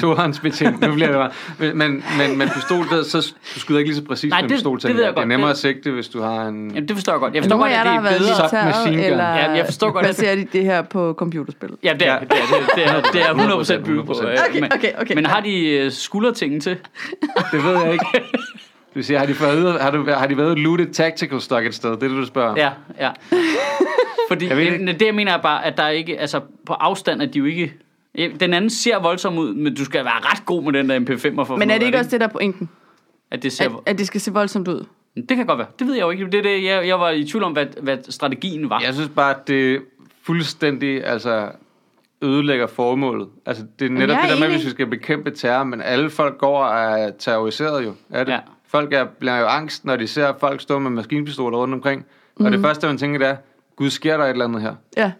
[SPEAKER 3] tohåndsbetjent, nu bliver det bare, men, men, men pistol, der, så du skyder ikke lige så præcis
[SPEAKER 1] Nej,
[SPEAKER 3] med en
[SPEAKER 1] det-
[SPEAKER 3] pistol,
[SPEAKER 1] det ved
[SPEAKER 3] tænker
[SPEAKER 1] jeg
[SPEAKER 3] jeg. det er
[SPEAKER 1] godt.
[SPEAKER 3] nemmere
[SPEAKER 1] Det-
[SPEAKER 3] at sigte, hvis du har en...
[SPEAKER 1] Jamen, det forstår jeg godt. Jeg forstår
[SPEAKER 2] Nogle
[SPEAKER 1] godt,
[SPEAKER 2] af jer,
[SPEAKER 1] at
[SPEAKER 2] der
[SPEAKER 1] det er
[SPEAKER 2] har været i
[SPEAKER 1] bedre.
[SPEAKER 2] militæret,
[SPEAKER 3] Submachine gun.
[SPEAKER 2] eller
[SPEAKER 1] Ja, jeg forstår godt, at-
[SPEAKER 2] baserer de det her på computerspil.
[SPEAKER 1] Ja, det er,
[SPEAKER 3] Ja.
[SPEAKER 1] det, er, det, er, det, er, det er 100% bygget på. øh,
[SPEAKER 2] Okay,
[SPEAKER 1] men,
[SPEAKER 2] okay, okay.
[SPEAKER 1] Men har de øh, skuldertingen til?
[SPEAKER 3] Det ved jeg ikke. vil sige, har de, fået, har, du, har de været looted tactical stock et sted? Det er det, du spørger om.
[SPEAKER 1] Ja, ja. Fordi
[SPEAKER 3] Jeg ved ikke.
[SPEAKER 1] jeg det, jeg mener er bare, at der er ikke, altså på afstand er de jo ikke... Ja, Den anden ser voldsom ud, men du skal være ret god med den der MP5'er for at finde
[SPEAKER 2] Men er
[SPEAKER 1] ud
[SPEAKER 2] det
[SPEAKER 1] af
[SPEAKER 2] ikke også det, der er pointen?
[SPEAKER 1] At det, ser,
[SPEAKER 2] At, at det skal se voldsomt ud?
[SPEAKER 1] det kan godt være. Det ved jeg jo ikke. Det er det, jeg, jeg var i tvivl om, hvad, hvad strategien var.
[SPEAKER 3] Jeg synes bare, at det fuldstændig altså, ødelægger formålet. Altså, det er netop
[SPEAKER 2] jeg
[SPEAKER 3] det
[SPEAKER 2] er
[SPEAKER 3] der med,
[SPEAKER 2] enig.
[SPEAKER 3] hvis vi skal bekæmpe terror, men alle folk går og er terroriseret jo. Er det?
[SPEAKER 1] Ja.
[SPEAKER 3] Ja. Folk er, bliver jo angst, når de ser folk stå med maskinpistoler rundt omkring. Og
[SPEAKER 2] Mhm.
[SPEAKER 3] det første, man tænker, det er, gud, sker der et eller andet her?
[SPEAKER 2] Ja.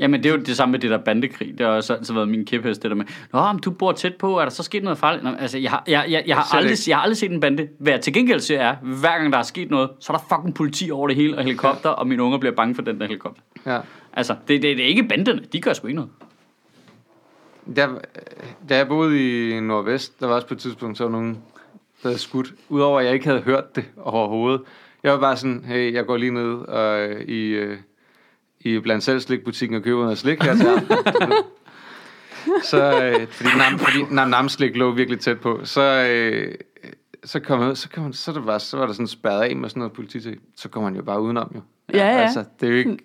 [SPEAKER 1] Jamen, det er jo det samme med det der bandekrig. Det har også altid været min kæphest, det der med, Nå, men du bor tæt på, er der så sket noget farligt? Nå, men altså, jeg har, jeg, jeg, jeg, har
[SPEAKER 3] Selv
[SPEAKER 1] aldrig,
[SPEAKER 3] ikke.
[SPEAKER 1] jeg har aldrig set en bande. Hvad jeg til gengæld ser er, hver gang der er sket noget, så er der fucking politi over det hele og helikopter, og mine unger bliver bange for den der helikopter.
[SPEAKER 3] Ja.
[SPEAKER 1] Altså, det, det, det er ikke banderne. De gør sgu ikke noget.
[SPEAKER 3] Da, da jeg boede i Nordvest, der var også på et tidspunkt så nogen, der havde skudt. Udover at jeg ikke havde hørt det overhovedet. Jeg var bare sådan, hey, jeg går lige ned og, øh, i, øh, i blandt selv slikbutikken og køber noget slik her til aften." Så, øh, fordi, nam, fordi nam, nam slik lå virkelig tæt på. Så, øh, så kom jeg ud, så, kom, så, det var, så var der sådan spærret af med sådan noget politi. Så kommer han jo bare udenom jo.
[SPEAKER 2] Ja, ja.
[SPEAKER 3] Altså, det er jo ikke...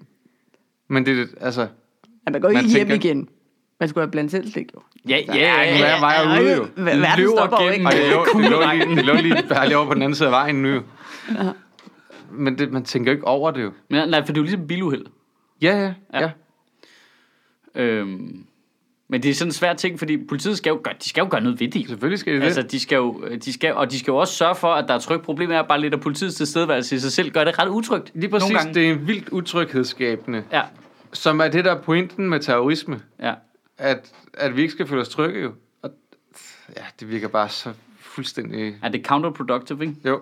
[SPEAKER 3] Men det er det- altså...
[SPEAKER 2] Ja, man går ikke
[SPEAKER 3] Man
[SPEAKER 2] hjem
[SPEAKER 3] tænker-
[SPEAKER 2] igen. Man skulle have blandt selv slik, jo.
[SPEAKER 1] Ja, ja, ja.
[SPEAKER 3] Ja,
[SPEAKER 1] ja.
[SPEAKER 3] hver vej er ude jo.
[SPEAKER 2] Verden stopper jo ikke.
[SPEAKER 3] Og det lå, det lå, lige,
[SPEAKER 1] Kugleregnen.
[SPEAKER 3] det lå lige bare lige over på den anden side af vejen nu. jo. Men det, man tænker jo ikke over det jo.
[SPEAKER 1] Men, nej, for det er jo ligesom biluheld.
[SPEAKER 3] Ja, ja, ja.
[SPEAKER 1] Ja. Øhm, men det er sådan en svær ting, fordi politiet skal jo gøre, de skal jo gøre noget ved det. jo.
[SPEAKER 3] Selvfølgelig skal det
[SPEAKER 1] Altså,
[SPEAKER 3] altså, det.
[SPEAKER 1] de skal jo, de skal, og de skal jo også sørge for, at der er trygt. Problemet er bare lidt, at politiets tilstedeværelse i sig selv gør det ret utrygt.
[SPEAKER 3] Lige præcis,
[SPEAKER 1] nogle gange.
[SPEAKER 3] det er en vildt utryghedsskabende,
[SPEAKER 1] Ja,
[SPEAKER 3] som er det, der er pointen med terrorisme.
[SPEAKER 1] ja.
[SPEAKER 3] At, at vi ikke skal føle os trygge jo. Og, ja, det virker bare så fuldstændig...
[SPEAKER 1] Er det counterproductive, ikke?
[SPEAKER 3] Jo.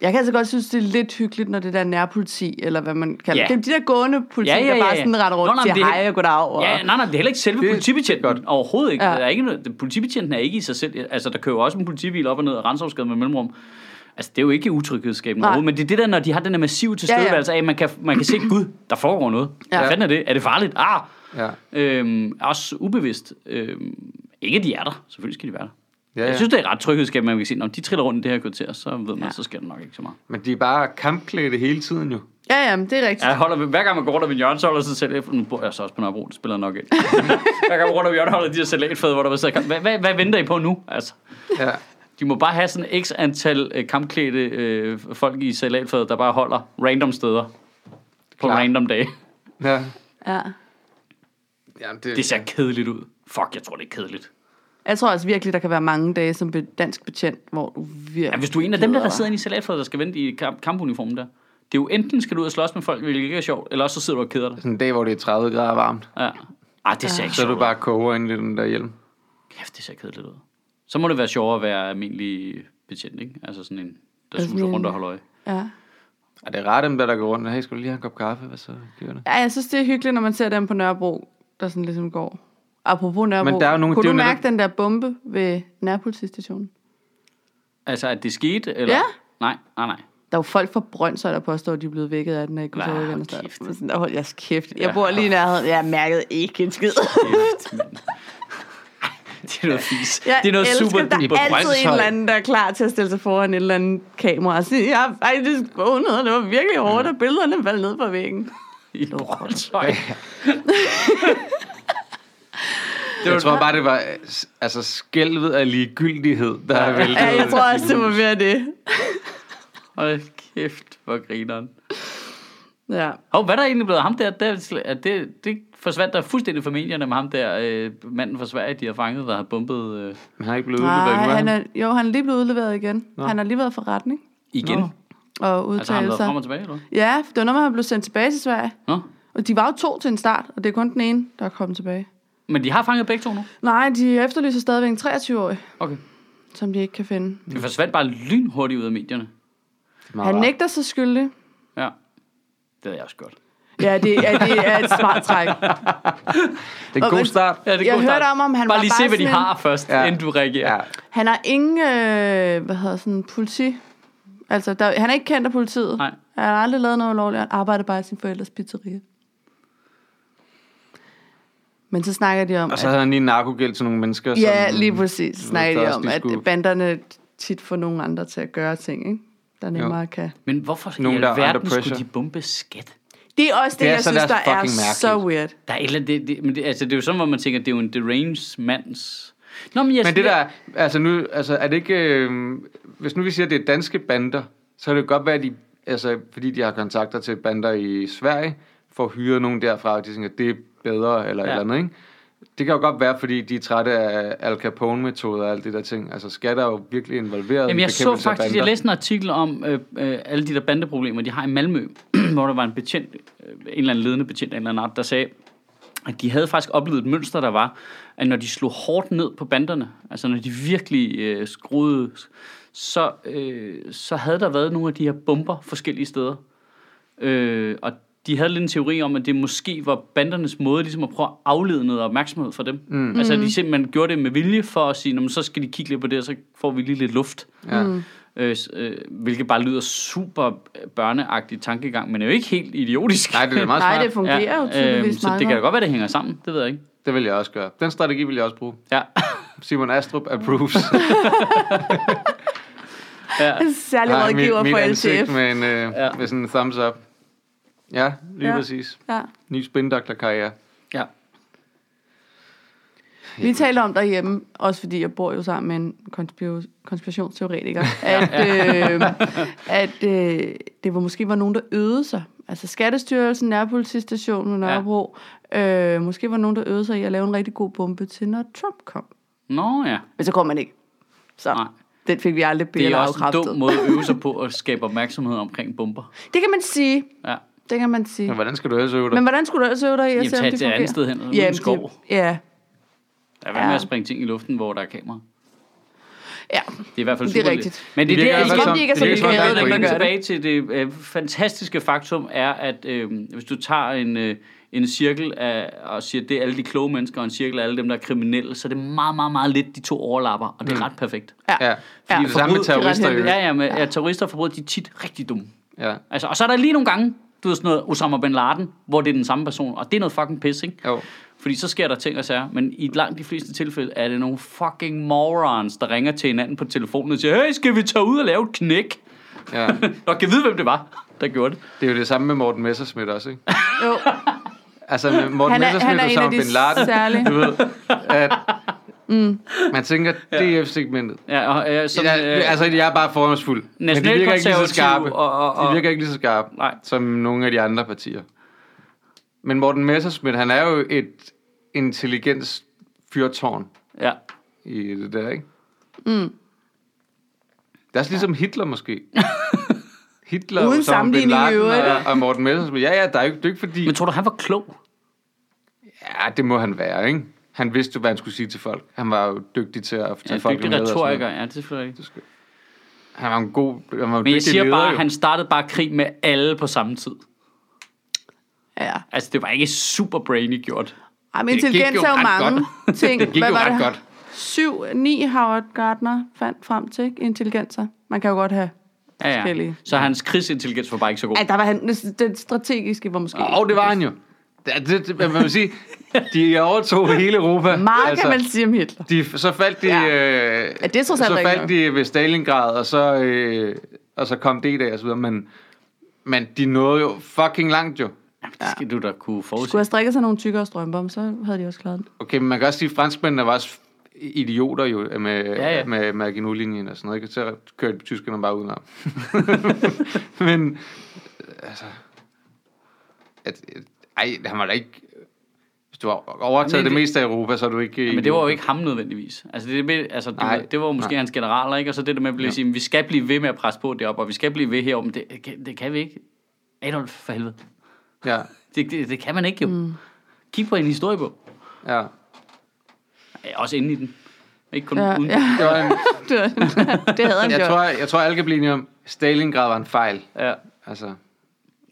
[SPEAKER 2] Jeg kan altså godt synes, det er lidt hyggeligt, når det der nærpoliti, eller hvad man kalder
[SPEAKER 1] Ja.
[SPEAKER 2] yeah. det. De der gående politi,
[SPEAKER 1] Ja,
[SPEAKER 2] ja,
[SPEAKER 1] ja,
[SPEAKER 2] ja, der
[SPEAKER 1] ja,
[SPEAKER 2] bare
[SPEAKER 1] ja.
[SPEAKER 2] sådan retter
[SPEAKER 1] Nå,
[SPEAKER 2] rundt
[SPEAKER 1] nej,
[SPEAKER 2] og
[SPEAKER 1] men det
[SPEAKER 2] siger
[SPEAKER 1] er
[SPEAKER 2] hej og goddag. Og...
[SPEAKER 1] Ja, nej, nej, det er heller ikke selve
[SPEAKER 3] Det er
[SPEAKER 1] politibetjenten.
[SPEAKER 3] godt.
[SPEAKER 1] Overhovedet ikke. Ja.
[SPEAKER 2] Ja.
[SPEAKER 1] Der er ikke noget, den- politibetjenten er ikke i sig selv. Altså, der kører jo også en politibil op og ned og renser med mellemrum. Altså, det er jo ikke utryghedsskabende
[SPEAKER 2] Nej.
[SPEAKER 1] overhovedet, men det er det der, når de har den der massive tilstedeværelse af, at man kan, man kan se, gud, der foregår noget. Ja.
[SPEAKER 2] Ja.
[SPEAKER 1] Hvad fanden er det? Er det farligt? Ah!
[SPEAKER 3] Ja.
[SPEAKER 1] Øhm, også ubevidst. Øhm, ikke, at de er der. Selvfølgelig skal de være der. Ja,
[SPEAKER 3] Ja,
[SPEAKER 1] ja. Jeg
[SPEAKER 3] ja.
[SPEAKER 1] synes, det er ret tryghedsskabende, at man kan se, når de triller rundt i det her kvarter, så ved man, ja.
[SPEAKER 2] Ja.
[SPEAKER 1] så sker der nok ikke så meget.
[SPEAKER 3] Men de er bare kampklædte hele tiden jo.
[SPEAKER 2] ja, ja, men det er rigtigt.
[SPEAKER 1] Jeg holder, ved- hver gang man går rundt om en hjørne, så holder sig selv efter. Nu bor jeg så også på Nørrebro, det spiller nok ikke. hver gang man går rundt om hjørnet, holder de her salatfad, hvor der var sådan, hvad, hvad, hvad venter I på nu? Altså,
[SPEAKER 3] Ja.
[SPEAKER 1] de må bare have sådan x antal øh, kampklædte øh, folk i salatfadet, der bare holder random steder. På
[SPEAKER 3] Klar.
[SPEAKER 1] random dage.
[SPEAKER 3] Ja.
[SPEAKER 2] Ja.
[SPEAKER 3] Jamen,
[SPEAKER 1] Det ser kedeligt ud. Fuck, jeg tror, det er kedeligt.
[SPEAKER 2] Jeg tror altså virkelig, der kan være mange dage som be- dansk betjent, hvor du virkelig...
[SPEAKER 1] Ja, hvis du er en af dem, der, der
[SPEAKER 2] keder
[SPEAKER 1] sidder inde i salatfadet, der skal vente i kamp- kampuniformen der. Det er jo enten skal du ud og slås med folk, hvilket ikke er sjovt, eller også så sidder du og keder dig.
[SPEAKER 3] Sådan en dag, hvor det er 30 grader varmt.
[SPEAKER 1] Ja. Ej, det ser ikke
[SPEAKER 3] Så er
[SPEAKER 1] sjovt
[SPEAKER 3] du bare koger ind i den der hjelm.
[SPEAKER 1] Kæft, det ser kedeligt ud. Så må det være sjovere at være almindelig betjent, ikke? Altså sådan en, der
[SPEAKER 2] Altså
[SPEAKER 1] suser
[SPEAKER 2] en-
[SPEAKER 1] rundt og holder øje.
[SPEAKER 2] dig. Ja.
[SPEAKER 3] Er det rart, dem der, der går rundt? Hey, skal du lige have en kop kaffe? Hvad så? Giver det?
[SPEAKER 2] Ja, jeg synes, det er hyggeligt, når man ser dem på Nørrebro, der sådan ligesom går. Apropos Nørrebro,
[SPEAKER 3] Men der er jo nogle-
[SPEAKER 2] kunne
[SPEAKER 3] det er
[SPEAKER 2] du
[SPEAKER 3] jo netop-
[SPEAKER 2] mærke den der bombe ved nærpolitistationen?
[SPEAKER 1] Altså, at det skete, eller?
[SPEAKER 2] Ja.
[SPEAKER 1] Nej, nej, nej.
[SPEAKER 2] Der er jo folk fra Brøndshøj, der påstår, at de er blevet vækket af den her kultur.
[SPEAKER 1] hold
[SPEAKER 2] Hold
[SPEAKER 1] kæft.
[SPEAKER 2] kæft. Der, hold jeres kæft. Jeg
[SPEAKER 1] Ja.
[SPEAKER 2] bor lige i nærheden. Jeg mærkede ikke en skid.
[SPEAKER 1] Kæft, mand. det er noget fis.
[SPEAKER 2] Jeg
[SPEAKER 1] det er noget
[SPEAKER 2] elsker,
[SPEAKER 1] super
[SPEAKER 2] der
[SPEAKER 1] duper
[SPEAKER 2] er altid en
[SPEAKER 1] Brøndshøj.
[SPEAKER 2] eller anden, der er klar til at stille sig foran et eller andet kamera og sige, jeg har faktisk vågnet, og det var virkelig hårdt, og billederne faldt ned fra væggen.
[SPEAKER 1] I Brøndshøj.
[SPEAKER 3] Det jeg tror bare, det var altså skælvet af ligegyldighed, der er væltet.
[SPEAKER 2] Ja, jeg tror også, det var mere det.
[SPEAKER 1] Hold kæft, hvor grineren.
[SPEAKER 2] Ja.
[SPEAKER 1] Hov, hvad er der egentlig blevet af ham der? der er det, det forsvandt der fuldstændig fra medierne med ham der, øh, manden fra Sverige, de har fanget, der har bumpet øh,
[SPEAKER 3] Men han er ikke blevet
[SPEAKER 2] Nej,
[SPEAKER 3] udleveret nu,
[SPEAKER 2] han
[SPEAKER 3] er...
[SPEAKER 2] er, jo, han er lige blevet udleveret igen. Nå. Han har lige været for retning
[SPEAKER 1] igen.
[SPEAKER 3] Nå.
[SPEAKER 2] og udtale
[SPEAKER 1] altså, har han været
[SPEAKER 2] sig.
[SPEAKER 1] frem og tilbage, eller hvad?
[SPEAKER 2] Ja, for det var noget med, at han blev sendt tilbage til Sverige.
[SPEAKER 1] Nå?
[SPEAKER 2] Og de var jo to til en start, og det er kun den ene, der er kommet tilbage.
[SPEAKER 1] Men de har fanget begge to nu?
[SPEAKER 2] Nej, de efterlyser stadigvæk en 23-årig,
[SPEAKER 1] Okay.
[SPEAKER 2] som de ikke kan finde.
[SPEAKER 1] Det forsvandt bare lynhurtigt ud af medierne.
[SPEAKER 3] han,
[SPEAKER 2] Han nægter sig skyldig.
[SPEAKER 1] Ja. Det havde jeg også godt.
[SPEAKER 2] Ja, det, ja, det er et smart træk.
[SPEAKER 3] Det er en god start.
[SPEAKER 1] Ja, det er
[SPEAKER 2] Jeg
[SPEAKER 1] god start.
[SPEAKER 2] hørte om, om han
[SPEAKER 1] bare
[SPEAKER 2] var
[SPEAKER 1] lige se,
[SPEAKER 2] bare
[SPEAKER 1] hvad de
[SPEAKER 2] sådan en-
[SPEAKER 1] har først, ja.
[SPEAKER 3] Ja.
[SPEAKER 1] inden du reagerer.
[SPEAKER 3] Ja.
[SPEAKER 1] Ja.
[SPEAKER 2] Han har ingen, øh, hvad hedder sådan, politi... Altså, der, han er ikke kendt af politiet.
[SPEAKER 1] Nej.
[SPEAKER 2] Han har aldrig lavet noget ulovligt. Han arbejder bare i sin forældres pizzeria. Men så snakker de om...
[SPEAKER 3] Og så havde han lige narkogæld til nogle mennesker.
[SPEAKER 2] Ja,
[SPEAKER 3] som,
[SPEAKER 2] lige præcis.
[SPEAKER 3] ved,
[SPEAKER 2] Snakker de
[SPEAKER 3] der også
[SPEAKER 2] om,
[SPEAKER 3] lige
[SPEAKER 2] at
[SPEAKER 3] skulle-
[SPEAKER 2] banderne tit få nogle andre til at gøre ting, ikke? der nemmere kan.
[SPEAKER 1] Men hvorfor
[SPEAKER 3] Nogen,
[SPEAKER 1] Nogen, i
[SPEAKER 3] der er under
[SPEAKER 1] alverden skulle
[SPEAKER 3] pressure.
[SPEAKER 1] de bombe skat?
[SPEAKER 2] Det er også det,
[SPEAKER 3] Det
[SPEAKER 2] det
[SPEAKER 3] er
[SPEAKER 2] er
[SPEAKER 3] så
[SPEAKER 2] jeg synes,
[SPEAKER 3] deres
[SPEAKER 2] der er
[SPEAKER 3] fucking mærkeligt.
[SPEAKER 2] så weird.
[SPEAKER 1] Der er et eller andet, det, det, men det, altså, det er jo sådan, hvor man tænker, det er jo en deranged mands... Nå, men, jeg,
[SPEAKER 3] Men det der, altså nu, altså er det ikke, øh, hvis nu vi siger, at det er danske bander, så kan det jo godt være, at de, altså fordi de har kontakter til bander i Sverige, får hyret nogen derfra, og de tænker, at det er bedre, eller ja.
[SPEAKER 1] Ja.
[SPEAKER 3] eller andet, ikke? Det kan jo godt være, fordi de er trætte af Al Capone-metoder og alle de der ting. Altså skat er jo virkelig involveret
[SPEAKER 1] Jamen,
[SPEAKER 3] i
[SPEAKER 1] jeg så
[SPEAKER 3] bekæmpelse af
[SPEAKER 1] faktisk,
[SPEAKER 3] bander.
[SPEAKER 1] jeg læste en artikel om øh, øh, alle de der bandeproblemer, de har i Malmø, hvor der var en betjent, øh, en eller anden ledende betjent af en eller anden art, der sagde, at de havde faktisk oplevet et mønster, der var, at når de slog hårdt ned på banderne, altså når de virkelig øh, skruede, så, øh, så havde der været nogle af de her bomber forskellige steder. Øh, og de havde lidt en teori om, at det måske var bandernes måde ligesom at prøve at aflede noget opmærksomhed fra dem. Mm. Altså at de simpelthen gjorde det med vilje for at sige, "Nå, men så skal de kigge lidt på det, og så får vi lige lidt luft.
[SPEAKER 3] Ja.
[SPEAKER 2] Mm.
[SPEAKER 1] Øh, s- øh, hvilket bare lyder super børneagtig tankegang, men er jo ikke helt idiotisk. øh,
[SPEAKER 3] Nej, det er meget
[SPEAKER 2] Nej, det
[SPEAKER 3] smart.
[SPEAKER 2] fungerer ja, jo tydeligvis øhm,
[SPEAKER 1] så
[SPEAKER 2] meget
[SPEAKER 1] det kan da
[SPEAKER 2] godt.
[SPEAKER 1] godt være, det hænger sammen. Det ved jeg ikke.
[SPEAKER 3] Det vil jeg også gøre. Den strategi vil jeg også bruge.
[SPEAKER 1] Ja.
[SPEAKER 3] Simon Astrup approves.
[SPEAKER 2] Særlig
[SPEAKER 3] Har
[SPEAKER 2] rådgiver
[SPEAKER 3] mit
[SPEAKER 2] for
[SPEAKER 3] ansigt
[SPEAKER 2] LTF.
[SPEAKER 3] med, en, øh, ja.
[SPEAKER 1] Ja.
[SPEAKER 3] med sådan en thumbs up. Ja, lige ja.
[SPEAKER 2] Ja.
[SPEAKER 3] præcis.
[SPEAKER 2] Ja.
[SPEAKER 3] Ny spindokterkarriere.
[SPEAKER 1] ja.
[SPEAKER 2] Vi taler om derhjemme, også fordi jeg bor jo sammen med en konspiro- konspirationsteoretiker, at, øh, at øh, det var måske var nogen, der øvede sig. Altså Skattestyrelsen, nærpolitistationen i Nørrebro, ja. øh, måske var nogen, der øvede sig i at lave en rigtig god bombe til, når Trump kom.
[SPEAKER 1] Nå ja.
[SPEAKER 2] Men så kom man ikke. Så
[SPEAKER 1] Nej.
[SPEAKER 2] den fik vi aldrig
[SPEAKER 1] Det er
[SPEAKER 2] billeder
[SPEAKER 1] også en dum
[SPEAKER 2] afkræftet.
[SPEAKER 1] måde at øve sig på at skabe opmærksomhed omkring bomber.
[SPEAKER 2] Det kan man sige.
[SPEAKER 1] Ja.
[SPEAKER 2] Det kan man sige.
[SPEAKER 3] Men hvordan skal du ellers øve dig?
[SPEAKER 2] Men hvordan skulle du ellers øve dig i at
[SPEAKER 1] Jamen,
[SPEAKER 2] se, om
[SPEAKER 1] tag
[SPEAKER 2] det
[SPEAKER 1] til et
[SPEAKER 2] fungerer?
[SPEAKER 1] andet sted hen, ud i en
[SPEAKER 2] Jamen,
[SPEAKER 1] skov.
[SPEAKER 2] Det, ja,
[SPEAKER 1] Der er ja. med
[SPEAKER 2] Ja.
[SPEAKER 1] at springe ting i luften, hvor der er kamera.
[SPEAKER 2] ja.
[SPEAKER 1] Det er i hvert fald
[SPEAKER 2] Det er
[SPEAKER 1] super
[SPEAKER 2] rigtigt.
[SPEAKER 1] lidt. Men det,
[SPEAKER 3] Det
[SPEAKER 1] det,
[SPEAKER 3] virker
[SPEAKER 1] er
[SPEAKER 3] i hvert
[SPEAKER 1] det, det,
[SPEAKER 3] fald som-
[SPEAKER 1] det,
[SPEAKER 2] de ikke er så
[SPEAKER 1] det, det,
[SPEAKER 2] ligeglade,
[SPEAKER 1] det,
[SPEAKER 2] hvem
[SPEAKER 1] det,
[SPEAKER 2] der
[SPEAKER 1] det,
[SPEAKER 2] gør
[SPEAKER 1] tilbage til det øh, fantastiske faktum er, at øh, hvis du tager en, øh, en cirkel af, og siger, at det er alle de kloge mennesker, og en cirkel af alle dem, der er kriminelle, så er det meget, meget, meget lidt, de to overlapper, og Mm. det er ret perfekt.
[SPEAKER 3] Ja.
[SPEAKER 2] Ja.
[SPEAKER 3] Det er det samme med
[SPEAKER 1] Forbryd-
[SPEAKER 3] terrorister.
[SPEAKER 2] Det er ret
[SPEAKER 3] jo.
[SPEAKER 1] Ja, ja, men ja. terrorister og forbrydere, de er tit rigtig dumme.
[SPEAKER 3] Ja.
[SPEAKER 1] Altså, og så er der lige nogle gange, du ved sådan noget Osama Bin Laden, hvor det er den samme person, og det er noget fucking pis, ikke?
[SPEAKER 3] Jo.
[SPEAKER 1] Fordi så sker der ting og sager, men i langt de fleste tilfælde er det nogle fucking morons, der ringer til hinanden på telefonen og siger, hey, skal vi tage ud og lave et knæk?
[SPEAKER 3] ja.
[SPEAKER 1] Og kan vide, hvem det var, der gjorde det.
[SPEAKER 3] Det er jo det samme med Morten Messerschmidt også, ikke?
[SPEAKER 2] Jo.
[SPEAKER 3] Altså med Morten
[SPEAKER 2] Han er- han
[SPEAKER 3] Messerschmidt
[SPEAKER 2] er
[SPEAKER 3] og
[SPEAKER 2] en
[SPEAKER 3] Osama
[SPEAKER 2] af de særlige.
[SPEAKER 3] Bin Laden,
[SPEAKER 2] Mm.
[SPEAKER 3] du ved, at man tænker, DF-segmentet.
[SPEAKER 1] Ja, og, øh, som,
[SPEAKER 3] Ja,
[SPEAKER 1] øh,
[SPEAKER 3] altså, jeg er bare fordomsfuld. Men de virker ikke lige så
[SPEAKER 1] nationalkonservative
[SPEAKER 3] skarpe.
[SPEAKER 1] og- og- og-
[SPEAKER 3] De virker ikke lige så skarpe,
[SPEAKER 1] Nej.
[SPEAKER 3] som nogle af de andre partier. Men Morten Messerschmidt, han er jo et intelligens fyrtårn
[SPEAKER 1] ja.
[SPEAKER 3] i det der, ikke? Mm. Det er også ligesom Hitler måske. Hitler,
[SPEAKER 2] Uden
[SPEAKER 3] Osama Bin
[SPEAKER 2] sammenligning i
[SPEAKER 3] Laden
[SPEAKER 2] øvrigt.
[SPEAKER 3] og, og Morten Messerschmidt. Ja, ja, der er jo det er ikke fordi...
[SPEAKER 1] Men tror du, han var klog?
[SPEAKER 3] Ja, det må han være, ikke? Han vidste jo, hvad han skulle sige til folk. Han var jo dygtig til at
[SPEAKER 1] Ja,
[SPEAKER 3] fortælle folk,
[SPEAKER 1] dygtig
[SPEAKER 3] hvad han havde og sådan noget.
[SPEAKER 1] retoriker, ja, det er selvfølgelig rigtigt.
[SPEAKER 3] Han var en god... Han var en
[SPEAKER 1] Men jeg
[SPEAKER 3] dygtig
[SPEAKER 1] siger
[SPEAKER 3] leder,
[SPEAKER 1] bare,
[SPEAKER 3] jo.
[SPEAKER 1] at han startede bare krig med alle på samme tid.
[SPEAKER 2] ja.
[SPEAKER 1] Altså, det var ikke super brainy gjort.
[SPEAKER 2] Ej, men
[SPEAKER 3] Det gik
[SPEAKER 2] intelligens
[SPEAKER 3] jo
[SPEAKER 2] er jo
[SPEAKER 3] ret
[SPEAKER 2] mange ting.
[SPEAKER 3] Det gik jo ret godt.
[SPEAKER 2] 7, 9 Howard Gardner fandt frem til ikke? intelligenser. Man kan jo godt have
[SPEAKER 1] Ja, ja.
[SPEAKER 2] forskellige.
[SPEAKER 1] Så hans krigsintelligens var bare ikke så god.
[SPEAKER 2] Ja, der var han, den strategiske var måske...
[SPEAKER 3] Og det var han jo. Det, det, det, man vil sige, de overtog hele Europa.
[SPEAKER 2] Meget altså, kan man sige om Hitler.
[SPEAKER 3] de, så faldt de,
[SPEAKER 2] Ja.
[SPEAKER 3] ja. øh,
[SPEAKER 2] Ja, det er trods alt
[SPEAKER 3] så
[SPEAKER 2] ikke
[SPEAKER 3] faldt
[SPEAKER 2] nok.
[SPEAKER 3] de ved Stalingrad, og så, øh, og så kom det der og så videre. Men, men de nåede jo fucking langt jo.
[SPEAKER 1] Jamen, det skal du da kunne forudse.
[SPEAKER 2] Skulle have strikket sig nogle tykkere strømper, om, så havde de også klaret den.
[SPEAKER 3] Okay, men man kan også sige, at franskmændene var også idioter jo med, ja,
[SPEAKER 1] Ja,
[SPEAKER 3] ja.
[SPEAKER 1] ja.
[SPEAKER 3] med Maginot-linjen og sådan noget. Ikke? Så kørte tyskerne bare udenom. men, altså... At, at, ej, han var da ikke... Hvis du har overtaget
[SPEAKER 1] Men
[SPEAKER 3] det,
[SPEAKER 1] det-
[SPEAKER 3] det meste af Europa, så er du ikke...
[SPEAKER 1] Men det var jo ikke ham nødvendigvis. Altså, det, med, altså, det,
[SPEAKER 3] Nej.
[SPEAKER 1] var- det var jo måske
[SPEAKER 3] Nej.
[SPEAKER 1] nej. hans generaler, ikke? Og så det der med at blive sige, vi skal blive ved med at presse på deroppe, og vi skal blive ved heroppe, men det, kan- det kan vi ikke. Adolf, for helvede.
[SPEAKER 3] Ja,
[SPEAKER 1] Det, det, det kan man ikke jo. Mm. Kig på en historiebog.
[SPEAKER 3] ja.
[SPEAKER 1] Ja, Også inde i den. Ikke kun ja,
[SPEAKER 2] Ja,
[SPEAKER 1] uden.
[SPEAKER 2] ja.
[SPEAKER 1] Ja.
[SPEAKER 3] Det var en,
[SPEAKER 2] Det, var- det havde han
[SPEAKER 3] jeg,
[SPEAKER 2] gjort.
[SPEAKER 3] tror, jeg, jeg tror, alle kan blive enige om, Stalingrad var en fejl.
[SPEAKER 1] ja.
[SPEAKER 3] Altså,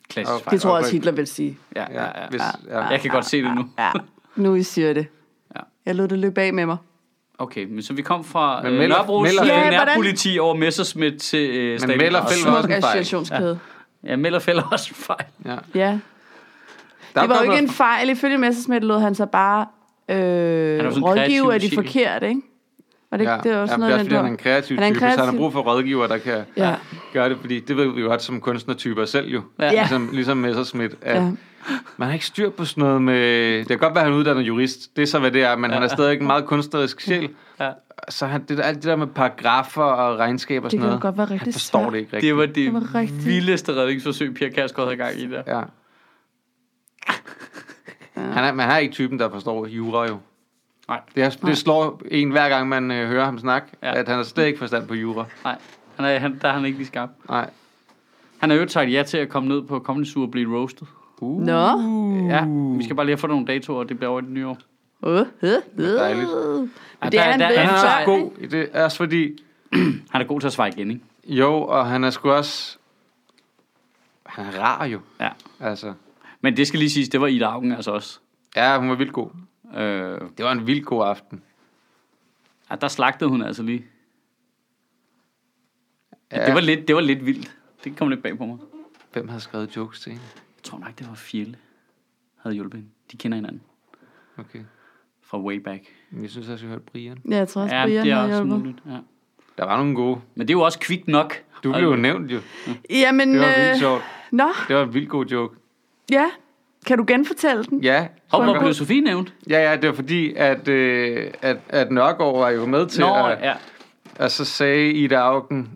[SPEAKER 1] Klassisk
[SPEAKER 3] Og-
[SPEAKER 1] okay.
[SPEAKER 2] det
[SPEAKER 1] fejl.
[SPEAKER 2] tror jeg også, Hitler vil sige.
[SPEAKER 1] Ja,
[SPEAKER 3] ja,
[SPEAKER 1] ja, ja.
[SPEAKER 3] Hvis, ja.
[SPEAKER 1] Jeg kan godt se det nu.
[SPEAKER 2] Ja, nu I siger det.
[SPEAKER 1] Ja.
[SPEAKER 2] Jeg lod det løbe af med mig.
[SPEAKER 1] Okay, men så vi kom fra
[SPEAKER 3] Men
[SPEAKER 1] øh,
[SPEAKER 3] Meld-
[SPEAKER 1] Nørrebros
[SPEAKER 3] Meld-
[SPEAKER 1] øh,
[SPEAKER 2] Ja, hvordan-
[SPEAKER 1] nærpoliti over Messersmith til øh, Stalingrad.
[SPEAKER 3] Mellerfeld var- også
[SPEAKER 2] Smuk
[SPEAKER 3] en fejl.
[SPEAKER 2] associationskæde.
[SPEAKER 1] Ja, Mellerfeld er også en fejl.
[SPEAKER 3] ja.
[SPEAKER 2] Ja.
[SPEAKER 3] Der
[SPEAKER 2] Det var jo
[SPEAKER 3] kom
[SPEAKER 2] ikke en
[SPEAKER 3] noget-
[SPEAKER 2] fejl. Ifølge Messersmith lod han sig bare øh,
[SPEAKER 1] var sådan en
[SPEAKER 2] rådgive af
[SPEAKER 1] kreativ
[SPEAKER 2] de
[SPEAKER 1] sjæl.
[SPEAKER 2] forkerte, ikke? Var det ikke det er også noget,
[SPEAKER 3] det er, fordi
[SPEAKER 2] den
[SPEAKER 3] han er en kreativ
[SPEAKER 2] Han er en
[SPEAKER 3] type, så han har
[SPEAKER 2] kreativ-
[SPEAKER 3] brug for rådgiver, der kan
[SPEAKER 2] Ja.
[SPEAKER 3] gøre det, fordi det ved vi jo godt som kunstnertyper selv jo,
[SPEAKER 1] Ja.
[SPEAKER 3] ligesom, ligesom Messerschmidt, at
[SPEAKER 2] Ja.
[SPEAKER 3] man har ikke styr på sådan noget med... Det kan godt være, at han er uddannet jurist, det er så, hvad det er, men han er stadig en meget kunstnerisk sjæl.
[SPEAKER 1] Ja.
[SPEAKER 3] Så han, det, der- alt det der med paragrafer og regnskaber og
[SPEAKER 2] Det
[SPEAKER 3] sådan
[SPEAKER 2] kan jo
[SPEAKER 3] noget,
[SPEAKER 2] godt være rigtig
[SPEAKER 3] han forstår
[SPEAKER 2] svært.
[SPEAKER 3] det ikke rigtigt.
[SPEAKER 1] Det var det,
[SPEAKER 2] Det var rigtigt.
[SPEAKER 1] vildeste redningsforsøg, Pia Kærsgaard havde gang i der.
[SPEAKER 3] Ja. Han er, man er ikke typen, der forstår jura jo.
[SPEAKER 1] Nej.
[SPEAKER 3] Det, er,
[SPEAKER 2] Nej.
[SPEAKER 3] det slår en hver gang, man øh, hører ham snakke,
[SPEAKER 1] Ja.
[SPEAKER 3] ja. at han har slet ikke forstand på jura.
[SPEAKER 1] Nej, han er, han, der er han ikke lige skarp.
[SPEAKER 3] Nej.
[SPEAKER 1] Han har jo sagt ja til at komme ned på Comedy Zoo og blive roasted.
[SPEAKER 3] Uh.
[SPEAKER 2] Nå.
[SPEAKER 1] Ja, vi skal bare lige have fået nogle datoer, og det bliver over i det nye år.
[SPEAKER 2] Uh, uh, uh.
[SPEAKER 3] Dejligt.
[SPEAKER 2] Men det er
[SPEAKER 1] der-
[SPEAKER 2] han
[SPEAKER 1] der-
[SPEAKER 2] ved.
[SPEAKER 1] han
[SPEAKER 3] Han er
[SPEAKER 1] så-
[SPEAKER 3] så god i det, også fordi...
[SPEAKER 1] Han er god til at svare igen, ikke?
[SPEAKER 3] Jo, og han er sgu også... Han er rar jo,
[SPEAKER 1] Ja.
[SPEAKER 3] altså.
[SPEAKER 1] Men det skal lige siges, det var Ida Augen altså også.
[SPEAKER 3] Ja, hun var vildt god.
[SPEAKER 1] Øh,
[SPEAKER 3] Det var en vild god aften.
[SPEAKER 1] ja, der slagtede hun altså lige. Ja.
[SPEAKER 3] Ja.
[SPEAKER 1] Det, var lidt, det var lidt vildt. Det kom lidt bag på mig.
[SPEAKER 3] Hvem havde skrevet jokes til hende?
[SPEAKER 1] Jeg tror nok, det var Fjelle, havde hjulpet hende. De kender hinanden
[SPEAKER 3] Okay.
[SPEAKER 1] fra way back.
[SPEAKER 3] Men Jeg synes også, jeg hørte Brian.
[SPEAKER 2] Ja, jeg tror også, Brian
[SPEAKER 1] det er
[SPEAKER 2] har
[SPEAKER 1] også
[SPEAKER 2] hjulpet.
[SPEAKER 1] muligt. Ja.
[SPEAKER 3] Der var nogle gode.
[SPEAKER 1] Men det er jo også kvikt nok.
[SPEAKER 3] Du blev jo nævnt jo.
[SPEAKER 2] Jamen,
[SPEAKER 3] Det var vildt
[SPEAKER 2] øh,
[SPEAKER 3] sjovt.
[SPEAKER 2] nå,
[SPEAKER 3] Det var en vildt god joke.
[SPEAKER 2] ja. Kan du genfortælle den?
[SPEAKER 3] Ja,
[SPEAKER 1] Og hvor
[SPEAKER 3] sådan-
[SPEAKER 1] blev Sofie nævnt?
[SPEAKER 3] ja, ja, det var fordi, at, øh, at, at Nørgaard var jo med til
[SPEAKER 1] Nå,
[SPEAKER 3] at,
[SPEAKER 1] ja.
[SPEAKER 3] Og så sagde Ida Augen,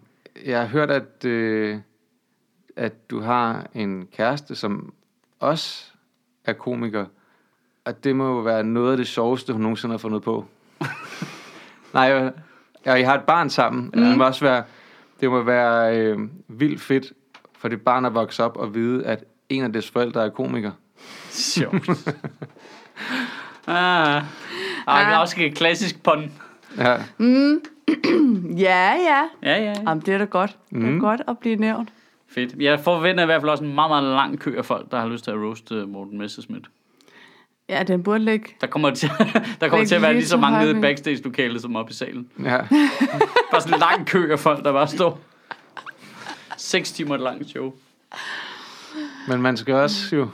[SPEAKER 3] jeg har hørt, at, øh, at du har en kæreste, som også er komiker. Og det må jo være noget af det sjoveste, hun nogensinde har fundet på. Nej, øh, ja, I har et barn sammen. Mm. Det må også være, det må være øh, vildt fedt for det barn at vokse op og vide, at en af dets forældre er komiker.
[SPEAKER 1] Sjovt. ah. Ah, det er også et klassisk pun.
[SPEAKER 3] Ja.
[SPEAKER 2] Mm. Ja, ja.
[SPEAKER 1] Ja, ja, ja.
[SPEAKER 2] Jamen, det er da godt. Det er
[SPEAKER 3] Mm.
[SPEAKER 2] godt at blive nævnt.
[SPEAKER 1] Fedt. Jeg forventer i hvert fald også en meget, meget lang kø af folk, der har lyst til at roaste øh, Morten Messerschmidt.
[SPEAKER 2] Ja, den burde ligge.
[SPEAKER 1] Der kommer til, der kommer
[SPEAKER 2] Læg
[SPEAKER 1] til at være
[SPEAKER 2] lige
[SPEAKER 1] lige så
[SPEAKER 2] til
[SPEAKER 1] mange nede i
[SPEAKER 2] højre.
[SPEAKER 1] backstage-lokalet som oppe i salen.
[SPEAKER 3] ja.
[SPEAKER 1] Bare sådan en lang kø af folk, der bare står. 6 timer lang show.
[SPEAKER 3] Men man skal også jo...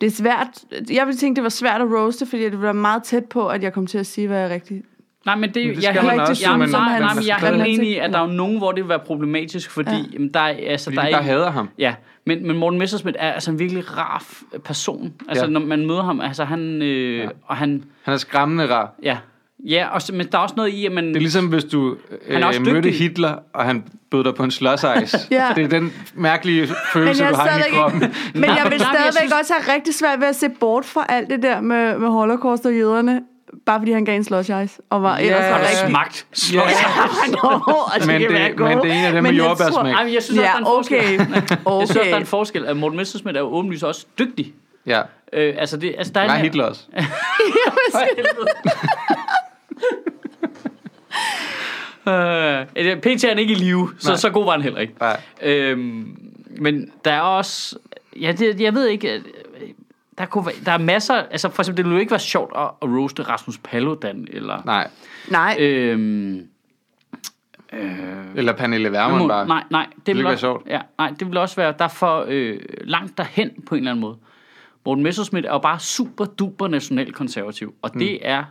[SPEAKER 2] Det er svært. Jeg ville tænke, det var svært at roaste, fordi det ville være meget tæt på, at jeg kom til at sige, hvad jeg er rigtigt.
[SPEAKER 1] Nej, men det,
[SPEAKER 3] det
[SPEAKER 1] jeg,
[SPEAKER 3] skal
[SPEAKER 1] er
[SPEAKER 2] man
[SPEAKER 1] helt-
[SPEAKER 2] også,
[SPEAKER 1] jamen,
[SPEAKER 2] men-
[SPEAKER 1] nej,
[SPEAKER 2] men
[SPEAKER 1] nej,
[SPEAKER 2] man
[SPEAKER 1] men jeg er
[SPEAKER 2] skal-
[SPEAKER 1] helt enig i, at der er jo nogen, hvor det vil være problematisk, fordi ja. jamen, der, er, altså,
[SPEAKER 3] Fordi
[SPEAKER 1] der, er
[SPEAKER 3] vi bare
[SPEAKER 1] ikke,
[SPEAKER 3] hader ham.
[SPEAKER 1] Ja, men, men Morten Messerschmidt er altså en virkelig rar f- person. Altså, ja.
[SPEAKER 3] Ja.
[SPEAKER 1] når man møder ham, altså han... Øh, ja. Og han
[SPEAKER 3] Han er skræmmende rar.
[SPEAKER 1] ja. ja, og, så- men der er også noget i, at man...
[SPEAKER 3] Det er ligesom, hvis du øh,
[SPEAKER 1] Han er også
[SPEAKER 3] mødte
[SPEAKER 1] dygtig.
[SPEAKER 3] Hitler, og han bød dig på en slåsejs.
[SPEAKER 2] Ja.
[SPEAKER 3] Det er den mærkelige følelse,
[SPEAKER 2] jeg
[SPEAKER 3] du
[SPEAKER 2] er
[SPEAKER 3] har inde i
[SPEAKER 2] stadigvæk
[SPEAKER 3] kroppen.
[SPEAKER 2] Men jeg vil
[SPEAKER 1] Nej, men jeg
[SPEAKER 2] stadigvæk
[SPEAKER 1] synes-
[SPEAKER 2] også have rigtig svært ved at se bort fra alt det der med, med holocaust og jøderne, bare fordi han gav en slush og var ellers
[SPEAKER 3] Ja.
[SPEAKER 2] var rigtig.
[SPEAKER 1] smagt.
[SPEAKER 3] Ja,
[SPEAKER 2] Nå,
[SPEAKER 1] altså,
[SPEAKER 2] og det
[SPEAKER 3] Men
[SPEAKER 2] kan
[SPEAKER 3] det-
[SPEAKER 2] være
[SPEAKER 3] men
[SPEAKER 2] gode.
[SPEAKER 3] det er en af dem
[SPEAKER 2] Men
[SPEAKER 3] med
[SPEAKER 2] jeg tror-
[SPEAKER 3] jordbærsmag.
[SPEAKER 1] Ej, men jeg synes
[SPEAKER 2] Ja,
[SPEAKER 1] også, der er en forskel.
[SPEAKER 2] okay.
[SPEAKER 1] Jeg synes også, der er en
[SPEAKER 2] okay.
[SPEAKER 1] forskel. At Morten Messerschmidt er jo åbenlyst også dygtig.
[SPEAKER 3] ja.
[SPEAKER 1] Øh, altså, det, altså, der
[SPEAKER 3] Der
[SPEAKER 1] er
[SPEAKER 3] er
[SPEAKER 1] en-
[SPEAKER 3] Hitler også.
[SPEAKER 1] Øh, øh, PT er han ikke i live, så,
[SPEAKER 3] Nej.
[SPEAKER 1] så god var han heller ikke.
[SPEAKER 3] Nej.
[SPEAKER 1] Øhm, men der er også... Ja, det, jeg ved ikke... at- Der, kunne, være- der er masser... Altså, for eksempel, det ville jo ikke være sjovt at, at roaste Rasmus Paludan, eller...
[SPEAKER 3] Nej.
[SPEAKER 2] Nej,
[SPEAKER 1] Øhm, øh,
[SPEAKER 3] Eller Pernille Vermund bare.
[SPEAKER 1] Nej, nej. Det,
[SPEAKER 3] ville
[SPEAKER 1] vil
[SPEAKER 3] være
[SPEAKER 1] også,
[SPEAKER 3] sjovt.
[SPEAKER 1] Ja, nej, det vil også være derfor øh, langt derhen på en eller anden måde. Morten Messerschmidt er jo bare super duper national konservativ, og det
[SPEAKER 3] Mm.
[SPEAKER 1] er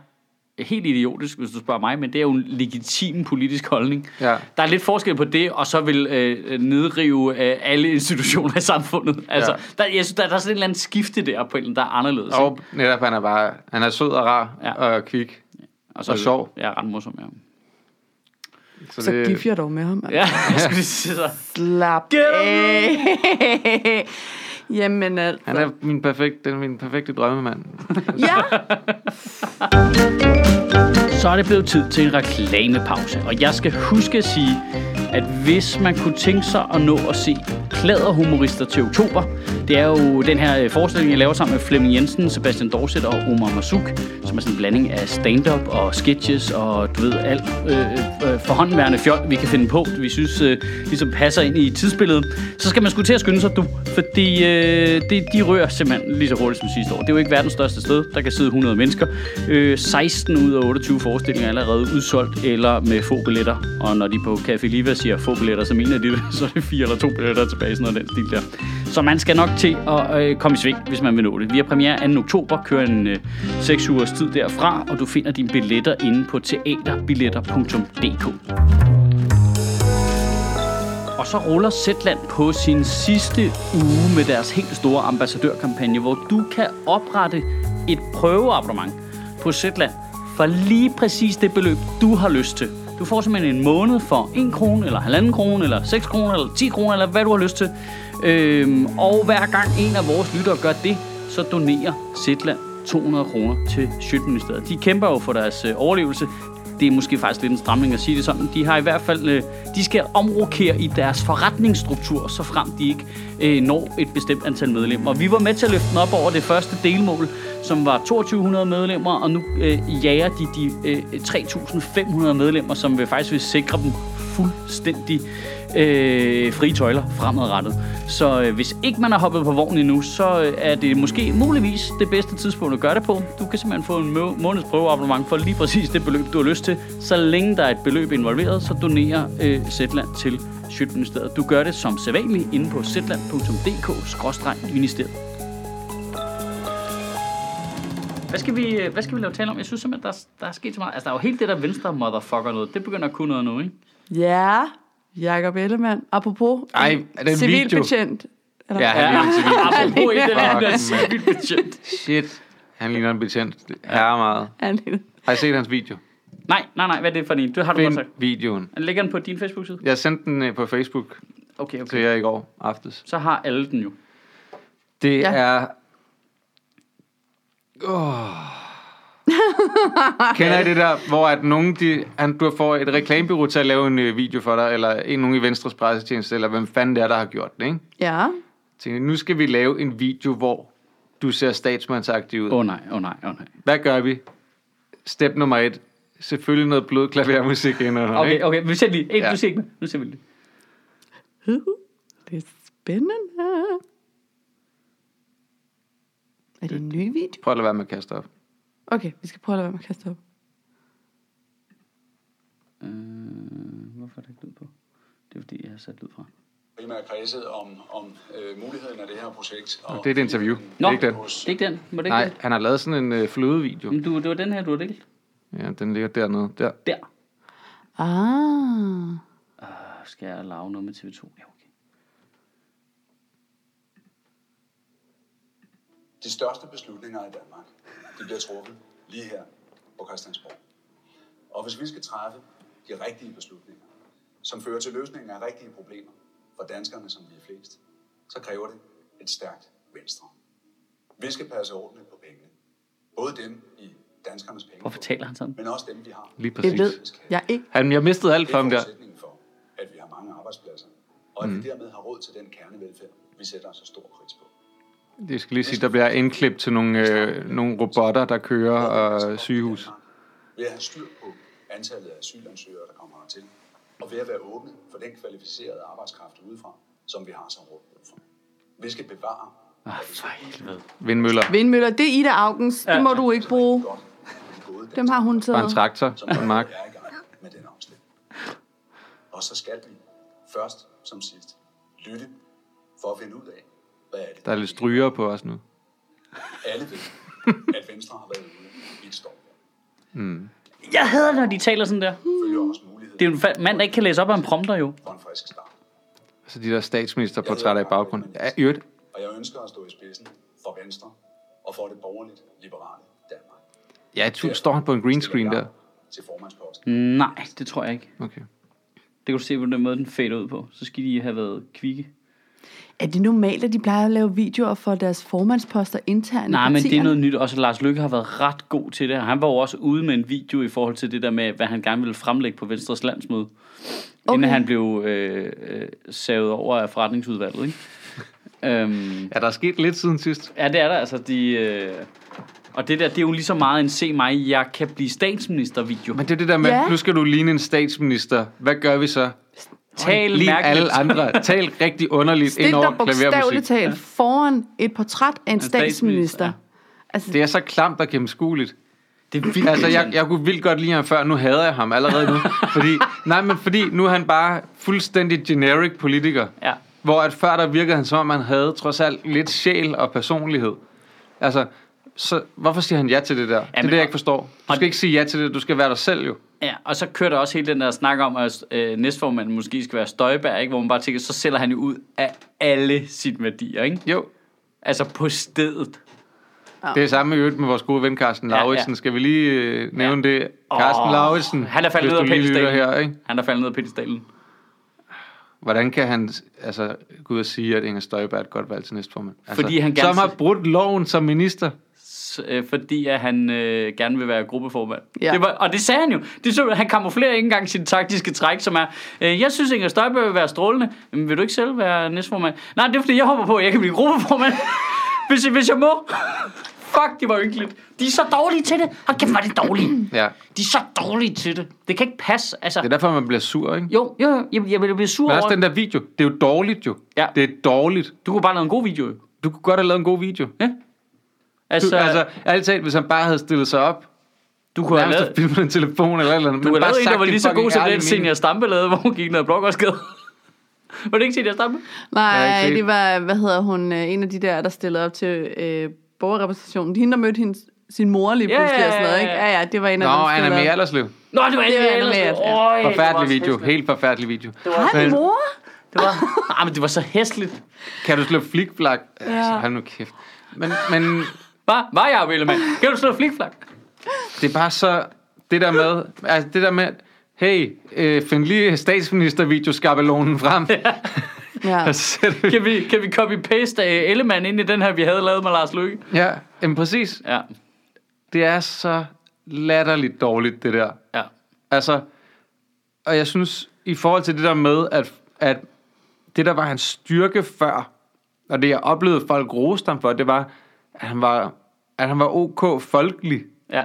[SPEAKER 1] helt idiotisk, hvis du spørger mig, men det er jo en legitim politisk holdning.
[SPEAKER 3] Ja.
[SPEAKER 1] Der er lidt forskel på det, og så vil øh, nedrive øh, alle institutioner i samfundet. Altså,
[SPEAKER 3] Ja.
[SPEAKER 1] der, jeg synes, der, der er sådan et eller andet skifte der på en, eller anden, der er anderledes. ikke?
[SPEAKER 3] Og netop, han er bare... Han er sød og rar
[SPEAKER 1] Ja.
[SPEAKER 3] og kvik. og sjov.
[SPEAKER 1] Ja, ret morsom, ja.
[SPEAKER 2] så
[SPEAKER 3] øh,
[SPEAKER 2] gift jeg dog med ham. altså.
[SPEAKER 1] Ja, jeg skulle lige sige så.
[SPEAKER 2] Slap
[SPEAKER 1] Get him.
[SPEAKER 2] af. Jamen altså.
[SPEAKER 3] Han er min perfekte, den er min perfekte drømmemand.
[SPEAKER 2] Ja,
[SPEAKER 1] Så er det blevet tid til en reklamepause, og jeg skal huske at sige, at hvis man kunne tænke sig at nå at se Pladerhumorister til oktober, det er jo den her øh, forestilling, jeg laver sammen med Flemming Jensen, Sebastian Dorset og Omar Masuk, som er sådan en blanding af stand-up og sketches og du ved, alt øh, øh, forhåndværende fjol, vi kan finde på, vi synes øh, ligesom passer ind i tidsbilledet. Så skal man skulle til at skynde sig, du, fordi øh, det, de rører simpelthen lige så hurtigt som sidste år. Det er jo ikke verdens største sted, der kan sidde 100 mennesker. Øh, 16 ud af 28 forestillinger er allerede udsolgt eller med få billetter. Og når de på Café Liva siger få billetter, så mener de, det, så er det fire eller to billetter tilbage. tilbage, sådan noget af den stil der. Så man skal nok til at øh, komme i sving, hvis man vil nå det. Vi har premiere 2. oktober, kører en øh, 6 ugers tid derfra, og du finder dine billetter inde på teaterbilletter.dk. Og så ruller Zetland på sin sidste uge med deres helt store ambassadørkampagne, hvor du kan oprette et prøveabonnement på Zetland for lige præcis det beløb, du har lyst til. Du får simpelthen en måned for 1 krone, eller 1,5 krone, eller 6 kroner, eller 10 kroner, eller hvad du har lyst til. Øhm, og hver gang en af vores lyttere gør det, så donerer Zetland 200 kroner til Sjøtministeriet. De kæmper jo for deres øh, overlevelse det er måske faktisk lidt en stramning at sige det sådan. De har i hvert fald, øh, de skal omrokere i deres forretningsstruktur, så frem de ikke øh, når et bestemt antal medlemmer. Vi var med til at løfte den op over det første delmål, som var 2200 medlemmer, og nu øh, jager de de øh, 3500 medlemmer, som vil faktisk vil sikre dem fuldstændig øh, frie tøjler fremadrettet. Så øh, hvis ikke man har hoppet på vognen endnu, så øh, er det måske muligvis det bedste tidspunkt at gøre det på. Du kan simpelthen få en må- måneds prøveabonnement for lige præcis det beløb, du har lyst til. Så længe der er et beløb involveret, så donerer øh, Zetland til Sjøtministeriet. Du gør det som sædvanligt inde på zetland.dk-ministeriet. Hvad skal, vi, øh, hvad skal vi lave tale om? Jeg synes simpelthen, der, er- der er sket så meget. Altså, der er jo helt det der venstre motherfucker noget. Det begynder at kunne noget nu, ikke?
[SPEAKER 2] Ja, Jakob Ellemann. Apropos
[SPEAKER 3] Ej,
[SPEAKER 2] en
[SPEAKER 3] er det en
[SPEAKER 2] civilbetjent. Eller,
[SPEAKER 3] Ja, han
[SPEAKER 1] Ja,
[SPEAKER 3] ligner en civilbetjent.
[SPEAKER 1] apropos en af den
[SPEAKER 3] Fuck,
[SPEAKER 1] der
[SPEAKER 3] mand.
[SPEAKER 1] civilbetjent.
[SPEAKER 3] Shit, han ligner en betjent. Det er meget.
[SPEAKER 2] han er-
[SPEAKER 3] Har I set hans video?
[SPEAKER 1] Nej, nej, nej, hvad er det for en? Du har du godt
[SPEAKER 3] Find
[SPEAKER 1] sagt.
[SPEAKER 3] videoen.
[SPEAKER 1] Lægger den på din Facebook-side?
[SPEAKER 3] Jeg sendte den øh, på Facebook
[SPEAKER 1] Okay,
[SPEAKER 3] til
[SPEAKER 1] okay.
[SPEAKER 3] jer i går aftes.
[SPEAKER 1] Så har alle den jo.
[SPEAKER 3] Det
[SPEAKER 2] Ja.
[SPEAKER 3] ja. er... Oh. Kender I det der, hvor at nogen, de, han, du får et reklamebureau til at lave en øh, video for dig, eller en nogen i Venstres pressetjeneste, eller hvem fanden det er, der har gjort det, ikke?
[SPEAKER 2] ja.
[SPEAKER 3] Tænker, nu skal vi lave en video, hvor du ser statsmandsagtig ud.
[SPEAKER 1] Åh oh, nej, åh oh, nej, åh oh, nej.
[SPEAKER 3] Hvad gør vi? Step nummer et. Selvfølgelig noget blød klavermusik indenunder,
[SPEAKER 1] Okay,
[SPEAKER 3] ikke?
[SPEAKER 1] okay, vi ser lige. Hey,
[SPEAKER 3] Ja.
[SPEAKER 1] du ser ikke med. Nu ser vi lige.
[SPEAKER 2] Det er spændende. Er det en ny video?
[SPEAKER 3] Prøv at lade være med at kaste op.
[SPEAKER 2] Okay, vi skal prøve at lade være med at kaste op.
[SPEAKER 1] Øh, hvorfor er der ikke lyd på? Det er fordi, jeg har sat lyd fra.
[SPEAKER 4] primært kredset om, om øh, muligheden af det her projekt. Og
[SPEAKER 3] Det er et interview. det
[SPEAKER 1] Nå,
[SPEAKER 3] er ikke den.
[SPEAKER 1] det er ikke den. Var det ikke
[SPEAKER 3] Nej,
[SPEAKER 1] den?
[SPEAKER 3] han har lavet sådan en øh, flødevideo.
[SPEAKER 1] Men du, det var den her, du har delt.
[SPEAKER 3] Ja, den ligger dernede. Der.
[SPEAKER 1] Der.
[SPEAKER 2] Ah.
[SPEAKER 1] Øh, skal jeg lave noget med TV2? Ja, okay.
[SPEAKER 4] De største beslutninger i Danmark, de bliver truffet lige her på Christiansborg. Og hvis vi skal træffe de rigtige beslutninger, som fører til løsningen af rigtige problemer for danskerne, som vi er flest, så kræver det et stærkt venstre. Vi skal passe ordentligt på pengene. Både dem i danskernes penge,
[SPEAKER 1] Hvorfor taler han sådan?
[SPEAKER 4] men også dem, vi har.
[SPEAKER 3] Lige
[SPEAKER 2] Det
[SPEAKER 3] præcis.
[SPEAKER 2] ved jeg ikke.
[SPEAKER 3] Han, jeg mistede alt
[SPEAKER 4] Det
[SPEAKER 3] for
[SPEAKER 4] er
[SPEAKER 3] ham der. Mhm.
[SPEAKER 4] forudsætningen for, at vi har mange arbejdspladser, og at mm. vi dermed har råd til den kernevelfærd, vi sætter så stor pris på.
[SPEAKER 3] Jeg skal lige sige, der bliver indklip til nogle, øh, nogle robotter, der kører og øh, sygehus.
[SPEAKER 4] Ved at have styr på antallet af asylansøgere, der kommer hertil, og ved at være åbne for den kvalificerede arbejdskraft udefra, som vi har så hårdt brug for. Vi skal bevare
[SPEAKER 1] Ah, for helvede.
[SPEAKER 3] Vindmøller.
[SPEAKER 2] Vindmøller, det er Ida Augens. Det må du ikke bruge.
[SPEAKER 4] godt de gode
[SPEAKER 2] Dem har hun
[SPEAKER 3] Bare en
[SPEAKER 2] taget.
[SPEAKER 3] traktor
[SPEAKER 4] som
[SPEAKER 3] på en mark.
[SPEAKER 4] er i gang med den omstilling. Og så skal vi først som sidst lytte for at finde ud af, hvad er det,
[SPEAKER 3] Der er lidt stryger på os nu.
[SPEAKER 4] alle ved, at Venstre har været ude i et storm.
[SPEAKER 1] Jeg hader, når de taler sådan der.
[SPEAKER 4] Følger også muligheden
[SPEAKER 1] Det er jo en fa- mand, der ikke kan læse op af en prompter, jo.
[SPEAKER 4] for en frisk start.
[SPEAKER 3] Så de der statsministerportrætter i baggrunden. Ja, i øvrigt.
[SPEAKER 4] Og jeg ønsker at stå i spidsen for Venstre og for det borgerligt liberale Danmark.
[SPEAKER 3] Ja, tu- står han på en green screen der?
[SPEAKER 4] Til formandsposten.
[SPEAKER 1] Nej, det tror jeg ikke.
[SPEAKER 3] Okay.
[SPEAKER 1] Det kan du se på den måde, den fader ud på. Så skal de have været kvikke.
[SPEAKER 2] Er det normalt, at de plejer at lave videoer for deres formandsposter internt i
[SPEAKER 1] Nej, men det er
[SPEAKER 2] partierne?
[SPEAKER 1] noget nyt. Også Lars Lykke har været ret god til det. Han var jo også ude med en video i forhold til det der med, hvad han gerne ville fremlægge på Venstres landsmøde. Okay. Inden han blev øh, øh, savet over af forretningsudvalget. Ikke? øhm,
[SPEAKER 3] Ja, der er sket lidt siden sidst.
[SPEAKER 1] ja, det er der. Altså, de, øh, og det der, det er jo lige så meget en se mig, jeg kan blive statsminister video.
[SPEAKER 3] Men det er det der med,
[SPEAKER 2] Ja.
[SPEAKER 3] nu skal du ligne en statsminister. Hvad gør vi så?
[SPEAKER 1] Tal
[SPEAKER 3] Lige
[SPEAKER 1] mærkeligt.
[SPEAKER 3] alle andre. Tal rigtig underligt ind
[SPEAKER 2] Stil
[SPEAKER 3] over
[SPEAKER 2] dig bogstaveligt
[SPEAKER 3] klavermusik.
[SPEAKER 2] talt foran et portræt af en
[SPEAKER 1] statsminister.
[SPEAKER 2] statsminister. Altså,
[SPEAKER 3] Det er så klamt og gennemskueligt.
[SPEAKER 1] Det er vildt.
[SPEAKER 3] Altså, jeg, jeg kunne vildt godt lide ham før, nu hader jeg ham allerede nu. fordi, nej, men fordi nu er han bare fuldstændig generic politiker.
[SPEAKER 1] Ja.
[SPEAKER 3] Hvor at før der virkede han som om, man havde trods alt lidt sjæl og personlighed. Altså, så, hvorfor siger han ja til det der? Jamen, det er
[SPEAKER 1] Jamen,
[SPEAKER 3] det, jeg
[SPEAKER 1] og-
[SPEAKER 3] ikke forstår. Du
[SPEAKER 1] og-
[SPEAKER 3] skal ikke sige ja til det, du skal være dig selv jo.
[SPEAKER 1] Ja, og så kører der også hele den der snak om, at øh, næstformanden måske skal være Støjberg, ikke? hvor man bare tænker, så sælger han jo ud af alle sine værdier, ikke?
[SPEAKER 3] Jo,
[SPEAKER 1] Altså på stedet.
[SPEAKER 3] det er samme i øvrigt med vores gode ven Carsten
[SPEAKER 1] Ja, ja.
[SPEAKER 3] Lauritsen. Skal vi lige øh, nævne det?
[SPEAKER 1] Åh,
[SPEAKER 3] Carsten Lauritsen,
[SPEAKER 1] han er faldet
[SPEAKER 3] hvis
[SPEAKER 1] ned
[SPEAKER 3] du
[SPEAKER 1] af
[SPEAKER 3] lige lytter
[SPEAKER 1] pedestalen.
[SPEAKER 3] her, ikke?
[SPEAKER 1] Han er faldet ned af pedestalen.
[SPEAKER 3] Hvordan kan han altså, gå ud og sige, at Inger Støjberg er et godt valg til næstformand? Altså,
[SPEAKER 1] Fordi han gerne-
[SPEAKER 3] Som har brudt loven som minister.
[SPEAKER 1] S- øh, fordi at han øh, gerne vil være gruppeformand.
[SPEAKER 2] Ja.
[SPEAKER 1] Ja. Det var, og det sagde han jo. Det så, han kamuflerer ikke engang sine taktiske træk, som er, øh, jeg synes Inger Støjberg vil være strålende, men vil du ikke selv være næstformand? Nej, det er fordi, jeg håber på, at jeg kan blive gruppeformand, hvis, jeg- hvis jeg må. Fuck, det var ynkeligt. De er så dårlige til det. Hold kæft, var det dårlige.
[SPEAKER 3] Ja.
[SPEAKER 1] De er så dårlige til det. Det kan ikke passe. Altså,
[SPEAKER 3] Det er derfor, man bliver sur, ikke?
[SPEAKER 1] jo, jo, jo, jeg, jeg vil blive sur
[SPEAKER 3] Men også
[SPEAKER 1] over...
[SPEAKER 3] den der video. Det er jo dårligt jo.
[SPEAKER 1] Ja.
[SPEAKER 3] Det er dårligt.
[SPEAKER 1] Du kunne bare lave en god video. jo.
[SPEAKER 3] Du kunne godt have lavet en god video.
[SPEAKER 1] Ja.
[SPEAKER 3] Du,
[SPEAKER 1] Altså,
[SPEAKER 3] så, altså, ærligt talt, hvis han bare havde stillet sig op,
[SPEAKER 1] du kunne have
[SPEAKER 3] nærmest
[SPEAKER 1] lavet...
[SPEAKER 3] og filmet en telefon eller et eller andet.
[SPEAKER 1] Du
[SPEAKER 3] men
[SPEAKER 1] har
[SPEAKER 3] bare
[SPEAKER 1] lavet en, der
[SPEAKER 3] sagt
[SPEAKER 1] var
[SPEAKER 3] din
[SPEAKER 1] lige så god
[SPEAKER 3] fucking
[SPEAKER 1] som den
[SPEAKER 3] ærlige mening.
[SPEAKER 1] senior Stampe lavede, hvor hun gik ned ad blokkerskade. var det ikke senior Stampe?
[SPEAKER 3] Jeg har
[SPEAKER 2] Nej,
[SPEAKER 3] ikke set
[SPEAKER 2] det var, hvad hedder hun, øh, en af de der, der stillede op til øh, borgerrepræsentationen. Hende, der mødte hendes, sin mor lige
[SPEAKER 1] Ja,
[SPEAKER 2] pludselig
[SPEAKER 1] ja,
[SPEAKER 2] og sådan noget,
[SPEAKER 1] ja,
[SPEAKER 2] ikke?
[SPEAKER 1] ja.
[SPEAKER 2] Ja, ja, det var en af dem,
[SPEAKER 3] Nå,
[SPEAKER 2] der
[SPEAKER 3] Anna
[SPEAKER 2] stillede
[SPEAKER 3] Mia
[SPEAKER 2] op.
[SPEAKER 3] Allerslev.
[SPEAKER 1] Nå, det var Anna
[SPEAKER 2] Det var Anna
[SPEAKER 1] Mia.
[SPEAKER 2] Mia, ja.
[SPEAKER 1] Øj, det var
[SPEAKER 3] Forfærdelig
[SPEAKER 1] også
[SPEAKER 3] video.
[SPEAKER 1] hæsligt.
[SPEAKER 3] Helt forfærdelig video.
[SPEAKER 2] Har din mor?
[SPEAKER 1] Det var, ah, men det var så hæsligt.
[SPEAKER 3] Kan du slå flikflak? Altså,
[SPEAKER 2] Ja.
[SPEAKER 3] hold nu kæft. Men, men
[SPEAKER 1] Var, var jeg Ellemann? Kan du slå flikflak?
[SPEAKER 3] det er bare så... Det der med... Altså, det der med... Hey, øh, find lige statsminister-videoskabelonen frem. Ja.
[SPEAKER 2] Ja.
[SPEAKER 3] Og så sætter vi-
[SPEAKER 1] Kan vi, kan vi copy-paste af Ellemann ind i den her, vi havde lavet med Lars Løkke?
[SPEAKER 3] ja, jamen præcis.
[SPEAKER 1] Ja,
[SPEAKER 3] Det er så latterligt dårligt, det der.
[SPEAKER 1] ja.
[SPEAKER 3] Altså, og jeg synes, i forhold til det der med, at, at det der var hans styrke før, og det jeg oplevede folk roste ham for, det var, at han var, at han var ok folkelig.
[SPEAKER 1] Ja,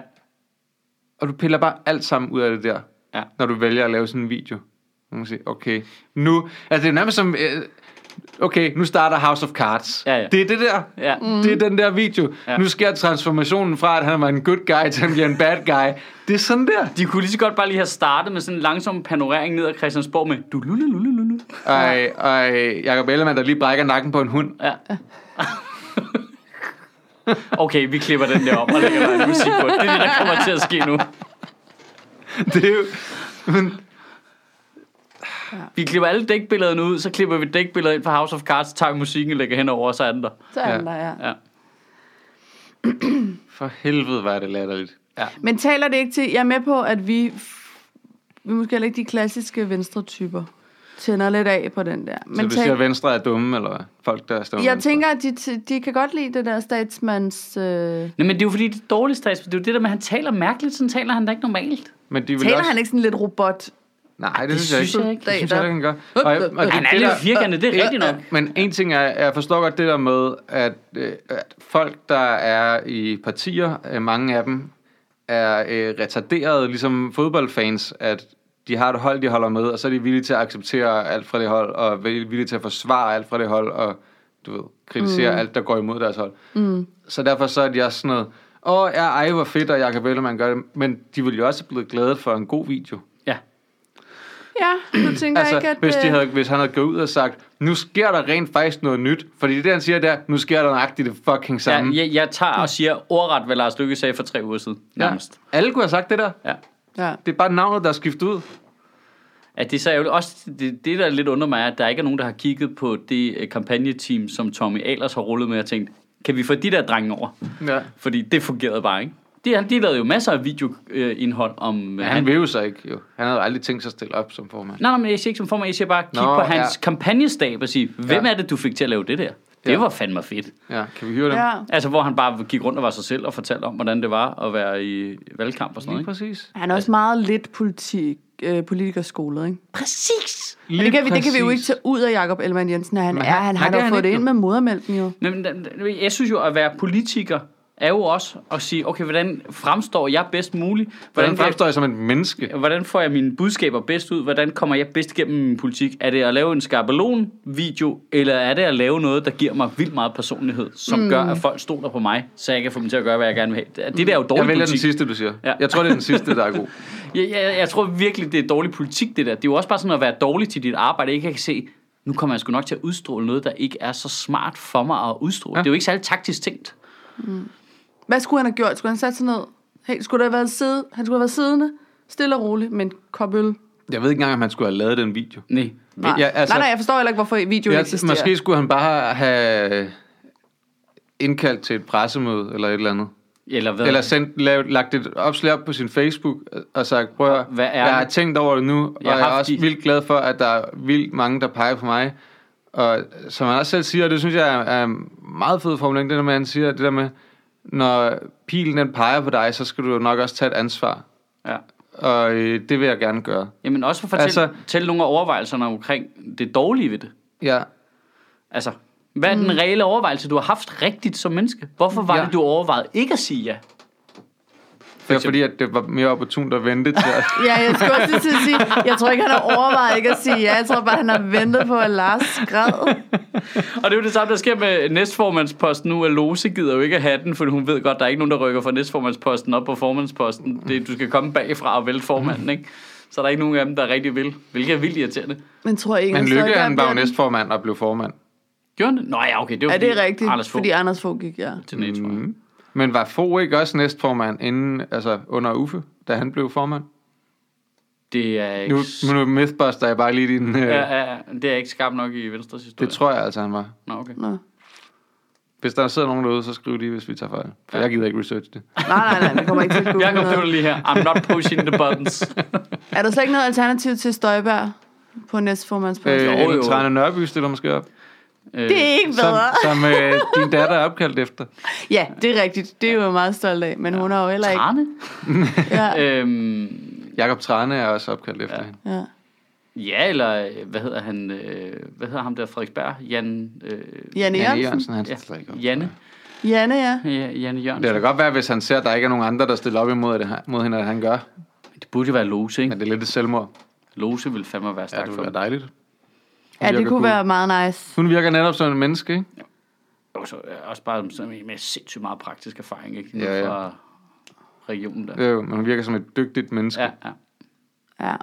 [SPEAKER 3] Og du piller bare alt sammen ud af det der,
[SPEAKER 1] Ja.
[SPEAKER 3] når du vælger at lave sådan en video. Man kan sige, okay, nu... Altså, det er nærmest som... øh, Okay, nu starter House of Cards.
[SPEAKER 1] Ja, ja.
[SPEAKER 3] Det er det der.
[SPEAKER 1] Ja.
[SPEAKER 3] Mm. Det er den der video.
[SPEAKER 1] Ja.
[SPEAKER 3] Nu sker transformationen fra, at han var en good guy til, at han bliver en bad guy. Det er sådan der.
[SPEAKER 1] de kunne lige så godt bare lige have startet med sådan en langsom panorering ned ad Christiansborg med du lulu lulu lulu.
[SPEAKER 3] Og, og Jacob Ellemann, der lige brækker nakken på en hund.
[SPEAKER 1] Ja. Okay, vi klipper den der op og lægger noget musik på. Det er det, der kommer til at ske nu.
[SPEAKER 3] Det er jo... Men,
[SPEAKER 1] Vi klipper alle dækbillederne ud, så klipper vi dækbilledet ind fra House of Cards, tager musikken og lægger hen over, og så er den der.
[SPEAKER 2] Så er
[SPEAKER 3] Ja.
[SPEAKER 2] den der, ja.
[SPEAKER 1] Ja.
[SPEAKER 3] for helvede, var det latterligt.
[SPEAKER 2] Men taler det ikke til, jeg er med på, at vi, vi er måske heller ikke de klassiske venstretyper tænder lidt af på den der. Men
[SPEAKER 3] Men så du
[SPEAKER 2] tal-
[SPEAKER 3] siger, at venstre er dumme, eller hvad? folk, der stemmer
[SPEAKER 2] jeg
[SPEAKER 3] venstre?
[SPEAKER 2] tænker, at de, de kan godt lide det der statsmands... Øh... Taler
[SPEAKER 1] Nej, men det er jo fordi, det er dårligt stats, det er jo det der med, at han taler mærkeligt, sådan taler han da ikke normalt.
[SPEAKER 3] Men de vil
[SPEAKER 2] også...
[SPEAKER 3] også...
[SPEAKER 2] han ikke sådan lidt robot?
[SPEAKER 3] Nej, det,
[SPEAKER 1] det
[SPEAKER 3] synes jeg
[SPEAKER 1] synes
[SPEAKER 3] ikke.
[SPEAKER 1] jeg ikke.
[SPEAKER 3] Det synes jeg, ikke, han gør.
[SPEAKER 2] Øh,
[SPEAKER 3] Og,
[SPEAKER 2] øh,
[SPEAKER 3] og det,
[SPEAKER 1] Han er
[SPEAKER 3] det
[SPEAKER 1] lidt
[SPEAKER 3] der-
[SPEAKER 1] firkantet, det er rigtigt nok.
[SPEAKER 3] Men en ting er, jeg forstår godt det der med, at, øh, at folk, der er i partier, øh, mange af dem, er øh, retarderede, ligesom fodboldfans, at de har et hold, de holder med, og så er de villige til at acceptere alt fra det hold, og villige til at forsvare alt fra det hold, og du ved, kritisere mm. alt, der går imod deres hold. Mm. Så derfor så er de også sådan noget, åh, ja, ej, hvor fedt, og Jacob Ellemann gør det, men de ville jo også blive glade for en god video.
[SPEAKER 1] Ja.
[SPEAKER 2] Ja, nu tænker
[SPEAKER 3] Altså,
[SPEAKER 2] jeg ikke, at...
[SPEAKER 3] hvis, de
[SPEAKER 2] øh,
[SPEAKER 3] havde, hvis han havde gået ud og sagt, nu sker der rent faktisk noget nyt. Fordi det, der, han siger der, nu sker der nøjagtigt det fucking samme.
[SPEAKER 1] Jeg, jeg, jeg tager og siger ordret, hvad Lars Lykke sagde for tre uger siden, nærmest.
[SPEAKER 3] Alle kunne have sagt det der.
[SPEAKER 1] Ja.
[SPEAKER 2] Ja.
[SPEAKER 3] Det er bare navnet, der er skiftet ud.
[SPEAKER 1] At det er så ærgerligt. Også det, det, der lidt under mig, er, at der ikke er nogen, der har kigget på det øh, kampagneteam, som Tommy Alers har rullet med og tænkt, kan vi få de der drenge over?
[SPEAKER 3] Ja.
[SPEAKER 1] Fordi det fungerede bare ikke. De, han- de lavede jo masser af videoindhold om... øh,
[SPEAKER 3] Men han vil jo så ikke, jo. Han havde aldrig tænkt sig at stille op som formand.
[SPEAKER 1] Nej, nej, men jeg siger ikke som formand. Jeg siger bare, kig
[SPEAKER 3] Nå,
[SPEAKER 1] på hans
[SPEAKER 3] ja.
[SPEAKER 1] ja. kampagnestab og sige, hvem
[SPEAKER 3] Ja.
[SPEAKER 1] ja. er det, du fik til at lave det der? Det
[SPEAKER 3] Ja.
[SPEAKER 1] ja. var fandme fedt.
[SPEAKER 3] Ja, kan vi høre dem?
[SPEAKER 2] ja.
[SPEAKER 1] Altså, hvor han bare gik rundt og var sig selv og fortalte om, hvordan det var at være i valgkamp og sådan
[SPEAKER 3] Lige
[SPEAKER 1] noget. Ikke?
[SPEAKER 3] præcis.
[SPEAKER 2] Han er også meget lidt politik, øh, politikerskolet, ikke?
[SPEAKER 1] Præcis!
[SPEAKER 2] Men det kan, vi, det kan vi jo ikke tage ud af Jakob Ellemann Jensen, at han
[SPEAKER 3] Men
[SPEAKER 2] er. Han
[SPEAKER 3] han- nej,
[SPEAKER 2] har
[SPEAKER 3] det er
[SPEAKER 2] da
[SPEAKER 3] han
[SPEAKER 2] fået det
[SPEAKER 3] ikke
[SPEAKER 2] ind
[SPEAKER 3] nu.
[SPEAKER 2] med modermælken jo.
[SPEAKER 1] Nej, men den- den- Jeg synes jo, at være politiker er jo også at sige, okay, hvordan fremstår jeg bedst muligt?
[SPEAKER 3] Hvordan
[SPEAKER 1] kan jeg-
[SPEAKER 3] fremstår jeg som et menneske?
[SPEAKER 1] hvordan får jeg mine budskaber bedst ud? Hvordan kommer jeg bedst igennem min politik? Er det at lave en skabelon-video, eller er det at lave noget, der giver mig vildt meget personlighed, som mm. gør, at folk stoler på mig, så jeg kan få dem til at gøre, hvad jeg gerne vil have? Det, det der er jo
[SPEAKER 3] Jeg
[SPEAKER 1] dårlig
[SPEAKER 3] vælger den
[SPEAKER 1] politik.
[SPEAKER 3] sidste, du siger.
[SPEAKER 1] Ja.
[SPEAKER 3] Jeg tror, det er den sidste, der er god.
[SPEAKER 1] Jeg, jeg, jeg tror virkelig, det er dårlig politik, det der. Det er jo også bare sådan at være dårlig til dit arbejde. Ikke at se, nu kommer jeg sgu nok til at udstråle noget, der ikke er så smart for mig at udstråle. Ja.
[SPEAKER 3] Ja.
[SPEAKER 1] Det er jo ikke særlig taktisk tænkt.
[SPEAKER 2] Hvad skulle han have gjort? Skulle han sat sig ned? Hey, skulle der have været sidde? Han skulle have været siddende, stille og roligt, med en kop øl.
[SPEAKER 3] Jeg ved ikke engang, om han skulle have lavet den video.
[SPEAKER 1] Nej.
[SPEAKER 2] Nej.
[SPEAKER 3] Ja,
[SPEAKER 2] Ja,
[SPEAKER 3] altså-
[SPEAKER 2] altså, nej, nej, jeg forstår heller ikke, hvorfor videoen ja,
[SPEAKER 3] Ja,
[SPEAKER 2] eksisterer.
[SPEAKER 3] måske skulle han bare have indkaldt til et pressemøde eller et eller andet.
[SPEAKER 1] Eller hvad?
[SPEAKER 3] Eller sendt, lavet, lagt et opslag op på sin Facebook øh, og sagt, prøv at,
[SPEAKER 1] Hvad er
[SPEAKER 3] jeg har
[SPEAKER 1] det?"
[SPEAKER 3] tænkt over det nu, og
[SPEAKER 1] Jeg har
[SPEAKER 3] jeg, jeg er
[SPEAKER 1] haft
[SPEAKER 3] også
[SPEAKER 1] de-
[SPEAKER 3] vildt glad for, at der er vildt mange, der peger på mig. Og som han også selv siger, og det synes jeg er, er meget fed formulering, det der med, at han siger, det der med, når pilen den peger på dig, så skal du nok også tage et ansvar.
[SPEAKER 1] ja.
[SPEAKER 3] Og øh, det vil jeg gerne gøre.
[SPEAKER 1] Jamen også for fortælle
[SPEAKER 3] Altså-
[SPEAKER 1] altså, tælle nogle af overvejelserne omkring det dårlige ved det.
[SPEAKER 3] Ja,
[SPEAKER 1] Altså, hvad er den reelle overvejelse, du har haft rigtigt som menneske? Hvorfor var
[SPEAKER 3] Mm. Ja.
[SPEAKER 1] ja. det, du overvejede ikke at sige ja?
[SPEAKER 3] det var fordi, at det var mere opportunt at vente til at...
[SPEAKER 2] Ja, jeg skulle også lige til at sige, jeg tror ikke, han har overvejet ikke at sige ja. Jeg tror bare, han har ventet på, at Lars skred.
[SPEAKER 1] Og det er jo det samme, der sker med næstformandsposten nu, at Lose gider jo ikke at have den, for hun ved godt, der er ikke nogen, der rykker fra næstformandsposten op på formandsposten. Det, er, du skal komme bagfra og vælge
[SPEAKER 2] Mm.
[SPEAKER 1] formanden, ikke? Så der er ikke nogen af dem, der rigtig vil, hvilket er vildt irriterende.
[SPEAKER 2] Men tror jeg ikke,
[SPEAKER 3] Men
[SPEAKER 2] han
[SPEAKER 3] Lykke,
[SPEAKER 2] så,
[SPEAKER 3] han var
[SPEAKER 2] bliver
[SPEAKER 3] jo
[SPEAKER 2] den-
[SPEAKER 3] næstformand og blev formand.
[SPEAKER 1] Gjorde han det? Nå ja, okay, det var
[SPEAKER 2] Er det
[SPEAKER 1] fordi
[SPEAKER 2] rigtigt?
[SPEAKER 1] Anders Fogh
[SPEAKER 2] Fordi Anders Fogh gik, ja.
[SPEAKER 1] til det, tror jeg.
[SPEAKER 3] Mm. Men var Fogh ikke også næstformand inden, altså under Uffe, da han blev formand?
[SPEAKER 1] Det er ikke...
[SPEAKER 3] Nu, nu mythbuster jeg bare lige din... Øh,
[SPEAKER 1] Ja, ja, ja, det er ikke skarpt nok i Venstres historie.
[SPEAKER 3] Det tror jeg altså, han var.
[SPEAKER 1] Nå, okay.
[SPEAKER 2] Nå.
[SPEAKER 3] Hvis der sidder nogen derude, så skriv lige, hvis vi tager fejl. For
[SPEAKER 1] Ja.
[SPEAKER 3] jeg gider ikke research det.
[SPEAKER 2] Nej, nej, nej, det kommer ikke til at gå.
[SPEAKER 1] Jeg computer lige her. I'm not pushing the buttons.
[SPEAKER 2] Er der slet ikke noget alternativ til Støjberg på næstformandsposten?
[SPEAKER 1] jo,
[SPEAKER 3] Øh,
[SPEAKER 1] jo.
[SPEAKER 3] en Trane Nørby stiller måske op,
[SPEAKER 1] Øh,
[SPEAKER 2] Det er ikke
[SPEAKER 3] som,
[SPEAKER 2] bedre.
[SPEAKER 3] som øh, din datter er opkaldt efter.
[SPEAKER 2] Ja, det er rigtigt. Det er jo meget stolt af, men hun har jo heller ikke...
[SPEAKER 1] Trane?
[SPEAKER 2] Ja,
[SPEAKER 1] Øhm,
[SPEAKER 3] Jakob Trane er også opkaldt efter ja. hende.
[SPEAKER 2] ja.
[SPEAKER 1] ja, eller øh, hvad hedder han? Øh, hvad hedder ham der Frederiksberg? Jan, øh,
[SPEAKER 2] Janne
[SPEAKER 3] Janne
[SPEAKER 2] Jørgensen.
[SPEAKER 3] Jørgensen, han
[SPEAKER 1] ja,
[SPEAKER 3] stiller ikke op.
[SPEAKER 1] Janne.
[SPEAKER 2] Janne, ja.
[SPEAKER 1] Ja, Janne Jørgensen.
[SPEAKER 3] Det kan da godt være, hvis han ser, at der ikke er nogen andre, der stiller op imod det, her- mod hende, at han gør.
[SPEAKER 1] Det burde jo være Lose, ikke?
[SPEAKER 3] Men det er lidt et selvmord.
[SPEAKER 1] Lose vil fandme være
[SPEAKER 3] Ja,
[SPEAKER 1] stærk
[SPEAKER 3] det
[SPEAKER 1] for
[SPEAKER 3] ville
[SPEAKER 1] mig.
[SPEAKER 3] være dejligt.
[SPEAKER 2] Ja, det
[SPEAKER 3] virker
[SPEAKER 2] kunne
[SPEAKER 3] cool.
[SPEAKER 2] være meget nice.
[SPEAKER 3] Hun virker netop som en menneske, ikke?
[SPEAKER 1] Og så øh, også bare sådan en med sindssygt meget praktisk erfaring, ikke?
[SPEAKER 3] Ja,
[SPEAKER 1] Ja,
[SPEAKER 3] ja.
[SPEAKER 1] ja. Fra regionen der.
[SPEAKER 3] Jo, Øh, men hun virker som et dygtigt menneske.
[SPEAKER 1] Ja, ja.
[SPEAKER 2] Ja.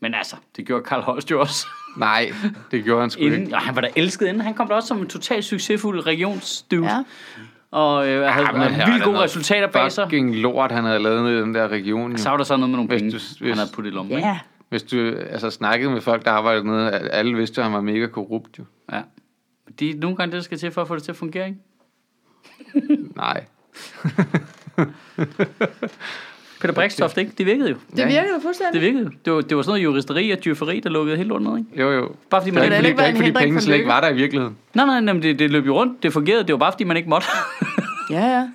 [SPEAKER 1] Men altså, det gjorde Karl Holst jo også.
[SPEAKER 3] Nej, det gjorde han sgu ikke.
[SPEAKER 1] Inden, og han var da elsket inden. Han kom da også som en totalt succesfuld regionsdude.
[SPEAKER 2] Ja.
[SPEAKER 1] Ja. Og øh, havde,
[SPEAKER 3] men her er
[SPEAKER 1] havde vildt
[SPEAKER 3] der
[SPEAKER 1] gode
[SPEAKER 3] noget
[SPEAKER 1] resultater bag sig.
[SPEAKER 3] Fucking lort, han havde lavet ned i den der region. Jo.
[SPEAKER 1] Så var der så noget med nogle
[SPEAKER 3] Hvis
[SPEAKER 1] penge,
[SPEAKER 3] du- hvis-
[SPEAKER 1] han havde puttet i lommen. ikke?
[SPEAKER 2] Ja.
[SPEAKER 3] Hvis du altså, snakkede med folk, der arbejdede nede, al- alle vidste, at han var mega korrupt. Jo.
[SPEAKER 1] Ja. Men Det er nogle gange det, der skal til for at få det til at fungere, ikke?
[SPEAKER 3] Nej.
[SPEAKER 1] Peter Brikstoft, ikke? Det virkede jo.
[SPEAKER 2] Det
[SPEAKER 3] Ja.
[SPEAKER 2] virker da fuldstændig.
[SPEAKER 1] Det virkede jo. Det var, det var sådan noget juristeri og dyrferi, der lukkede helt lort ned, ikke?
[SPEAKER 3] Jo, jo.
[SPEAKER 1] Bare fordi
[SPEAKER 3] Det
[SPEAKER 1] man
[SPEAKER 3] er
[SPEAKER 1] ikke...
[SPEAKER 3] ikke,
[SPEAKER 2] heller
[SPEAKER 3] fordi,
[SPEAKER 2] ikke
[SPEAKER 3] det er
[SPEAKER 2] været
[SPEAKER 3] ikke,
[SPEAKER 2] en
[SPEAKER 3] fordi
[SPEAKER 2] hindring
[SPEAKER 3] pengene
[SPEAKER 2] for
[SPEAKER 3] slet ikke
[SPEAKER 2] lykke.
[SPEAKER 3] var der i virkeligheden.
[SPEAKER 1] Nej, nej, nej, men det, det løb jo rundt. Det fungerede. Det var bare fordi, man ikke måtte.
[SPEAKER 2] Ja, ja.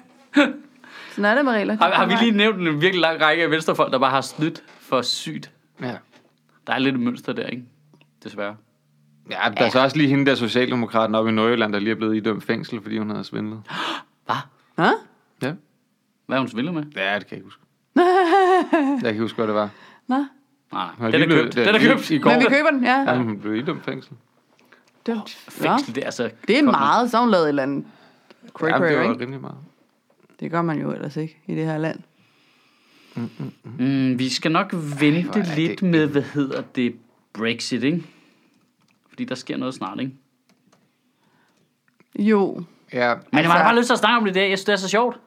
[SPEAKER 2] Sådan er det med regler.
[SPEAKER 1] har, har, vi lige nævnt en virkelig lang række af venstrefolk, der bare har snydt for sygt?
[SPEAKER 3] Ja.
[SPEAKER 1] Der er lidt et mønster der, ikke? Desværre.
[SPEAKER 3] Ja, der er så også lige hende der socialdemokraten oppe i Nordjylland, der lige er blevet idømt fængsel, fordi hun havde svindlet.
[SPEAKER 1] Hvad?
[SPEAKER 2] Hå?
[SPEAKER 3] Ja,
[SPEAKER 1] Hvad er hun svindlet med?
[SPEAKER 3] ja det kan jeg ikke huske. jeg kan ikke huske, hvad det var.
[SPEAKER 2] Nå.
[SPEAKER 1] Nej,
[SPEAKER 3] Har
[SPEAKER 1] nej.
[SPEAKER 3] lige
[SPEAKER 1] Den er
[SPEAKER 3] blevet-
[SPEAKER 1] købt.
[SPEAKER 3] det
[SPEAKER 1] Den
[SPEAKER 3] er
[SPEAKER 1] er
[SPEAKER 3] lige
[SPEAKER 1] købt.
[SPEAKER 3] i går.
[SPEAKER 2] Men vi køber den, ja.
[SPEAKER 3] Ja. Hun blev idømt fængsel.
[SPEAKER 2] Det, var- ja.
[SPEAKER 1] Fængsel, det er altså...
[SPEAKER 2] det er
[SPEAKER 1] godt nok.
[SPEAKER 2] meget, så har hun lavet et eller andet. Cray
[SPEAKER 3] Ja, det
[SPEAKER 2] cray,
[SPEAKER 3] var
[SPEAKER 2] ikke?
[SPEAKER 3] rimelig meget.
[SPEAKER 2] Det gør man jo ellers ikke i det her land.
[SPEAKER 1] Mm, vi skal nok vente
[SPEAKER 3] hvor er det
[SPEAKER 1] Ej, lidt med, hvad hedder det, Brexit, ikke? Fordi der sker noget snart, ikke?
[SPEAKER 2] Jo.
[SPEAKER 3] Ja,
[SPEAKER 1] Men jeg
[SPEAKER 2] Altså-
[SPEAKER 1] har bare lyst til at snakke om det der. Jeg synes, det er så sjovt.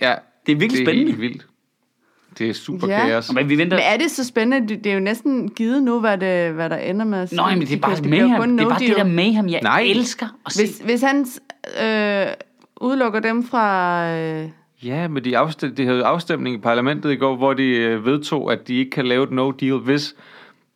[SPEAKER 3] ja.
[SPEAKER 1] Det er virkelig
[SPEAKER 3] det er
[SPEAKER 1] spændende.
[SPEAKER 3] Helt vildt. Det er super
[SPEAKER 2] Ja.
[SPEAKER 3] kaos.
[SPEAKER 1] Men vi venter...
[SPEAKER 2] Men altså, er det så spændende? Det, det er jo næsten givet nu, hvad, det, hvad der ender med. at ske.
[SPEAKER 1] Nå, men det
[SPEAKER 2] De
[SPEAKER 1] er bare
[SPEAKER 2] kan- bliver jo
[SPEAKER 1] mayhem.
[SPEAKER 2] kun
[SPEAKER 1] Det er
[SPEAKER 2] no
[SPEAKER 1] bare det
[SPEAKER 2] deal.
[SPEAKER 1] der mayhem, jeg
[SPEAKER 3] Nej.
[SPEAKER 1] Nej. elsker at se.
[SPEAKER 2] Hvis, hvis han øh, udelukker dem fra... Øh,
[SPEAKER 3] Ja, men de, afstem- de havde afstemning i parlamentet i går, hvor de øh, vedtog, at de ikke kan lave et no-deal, hvis,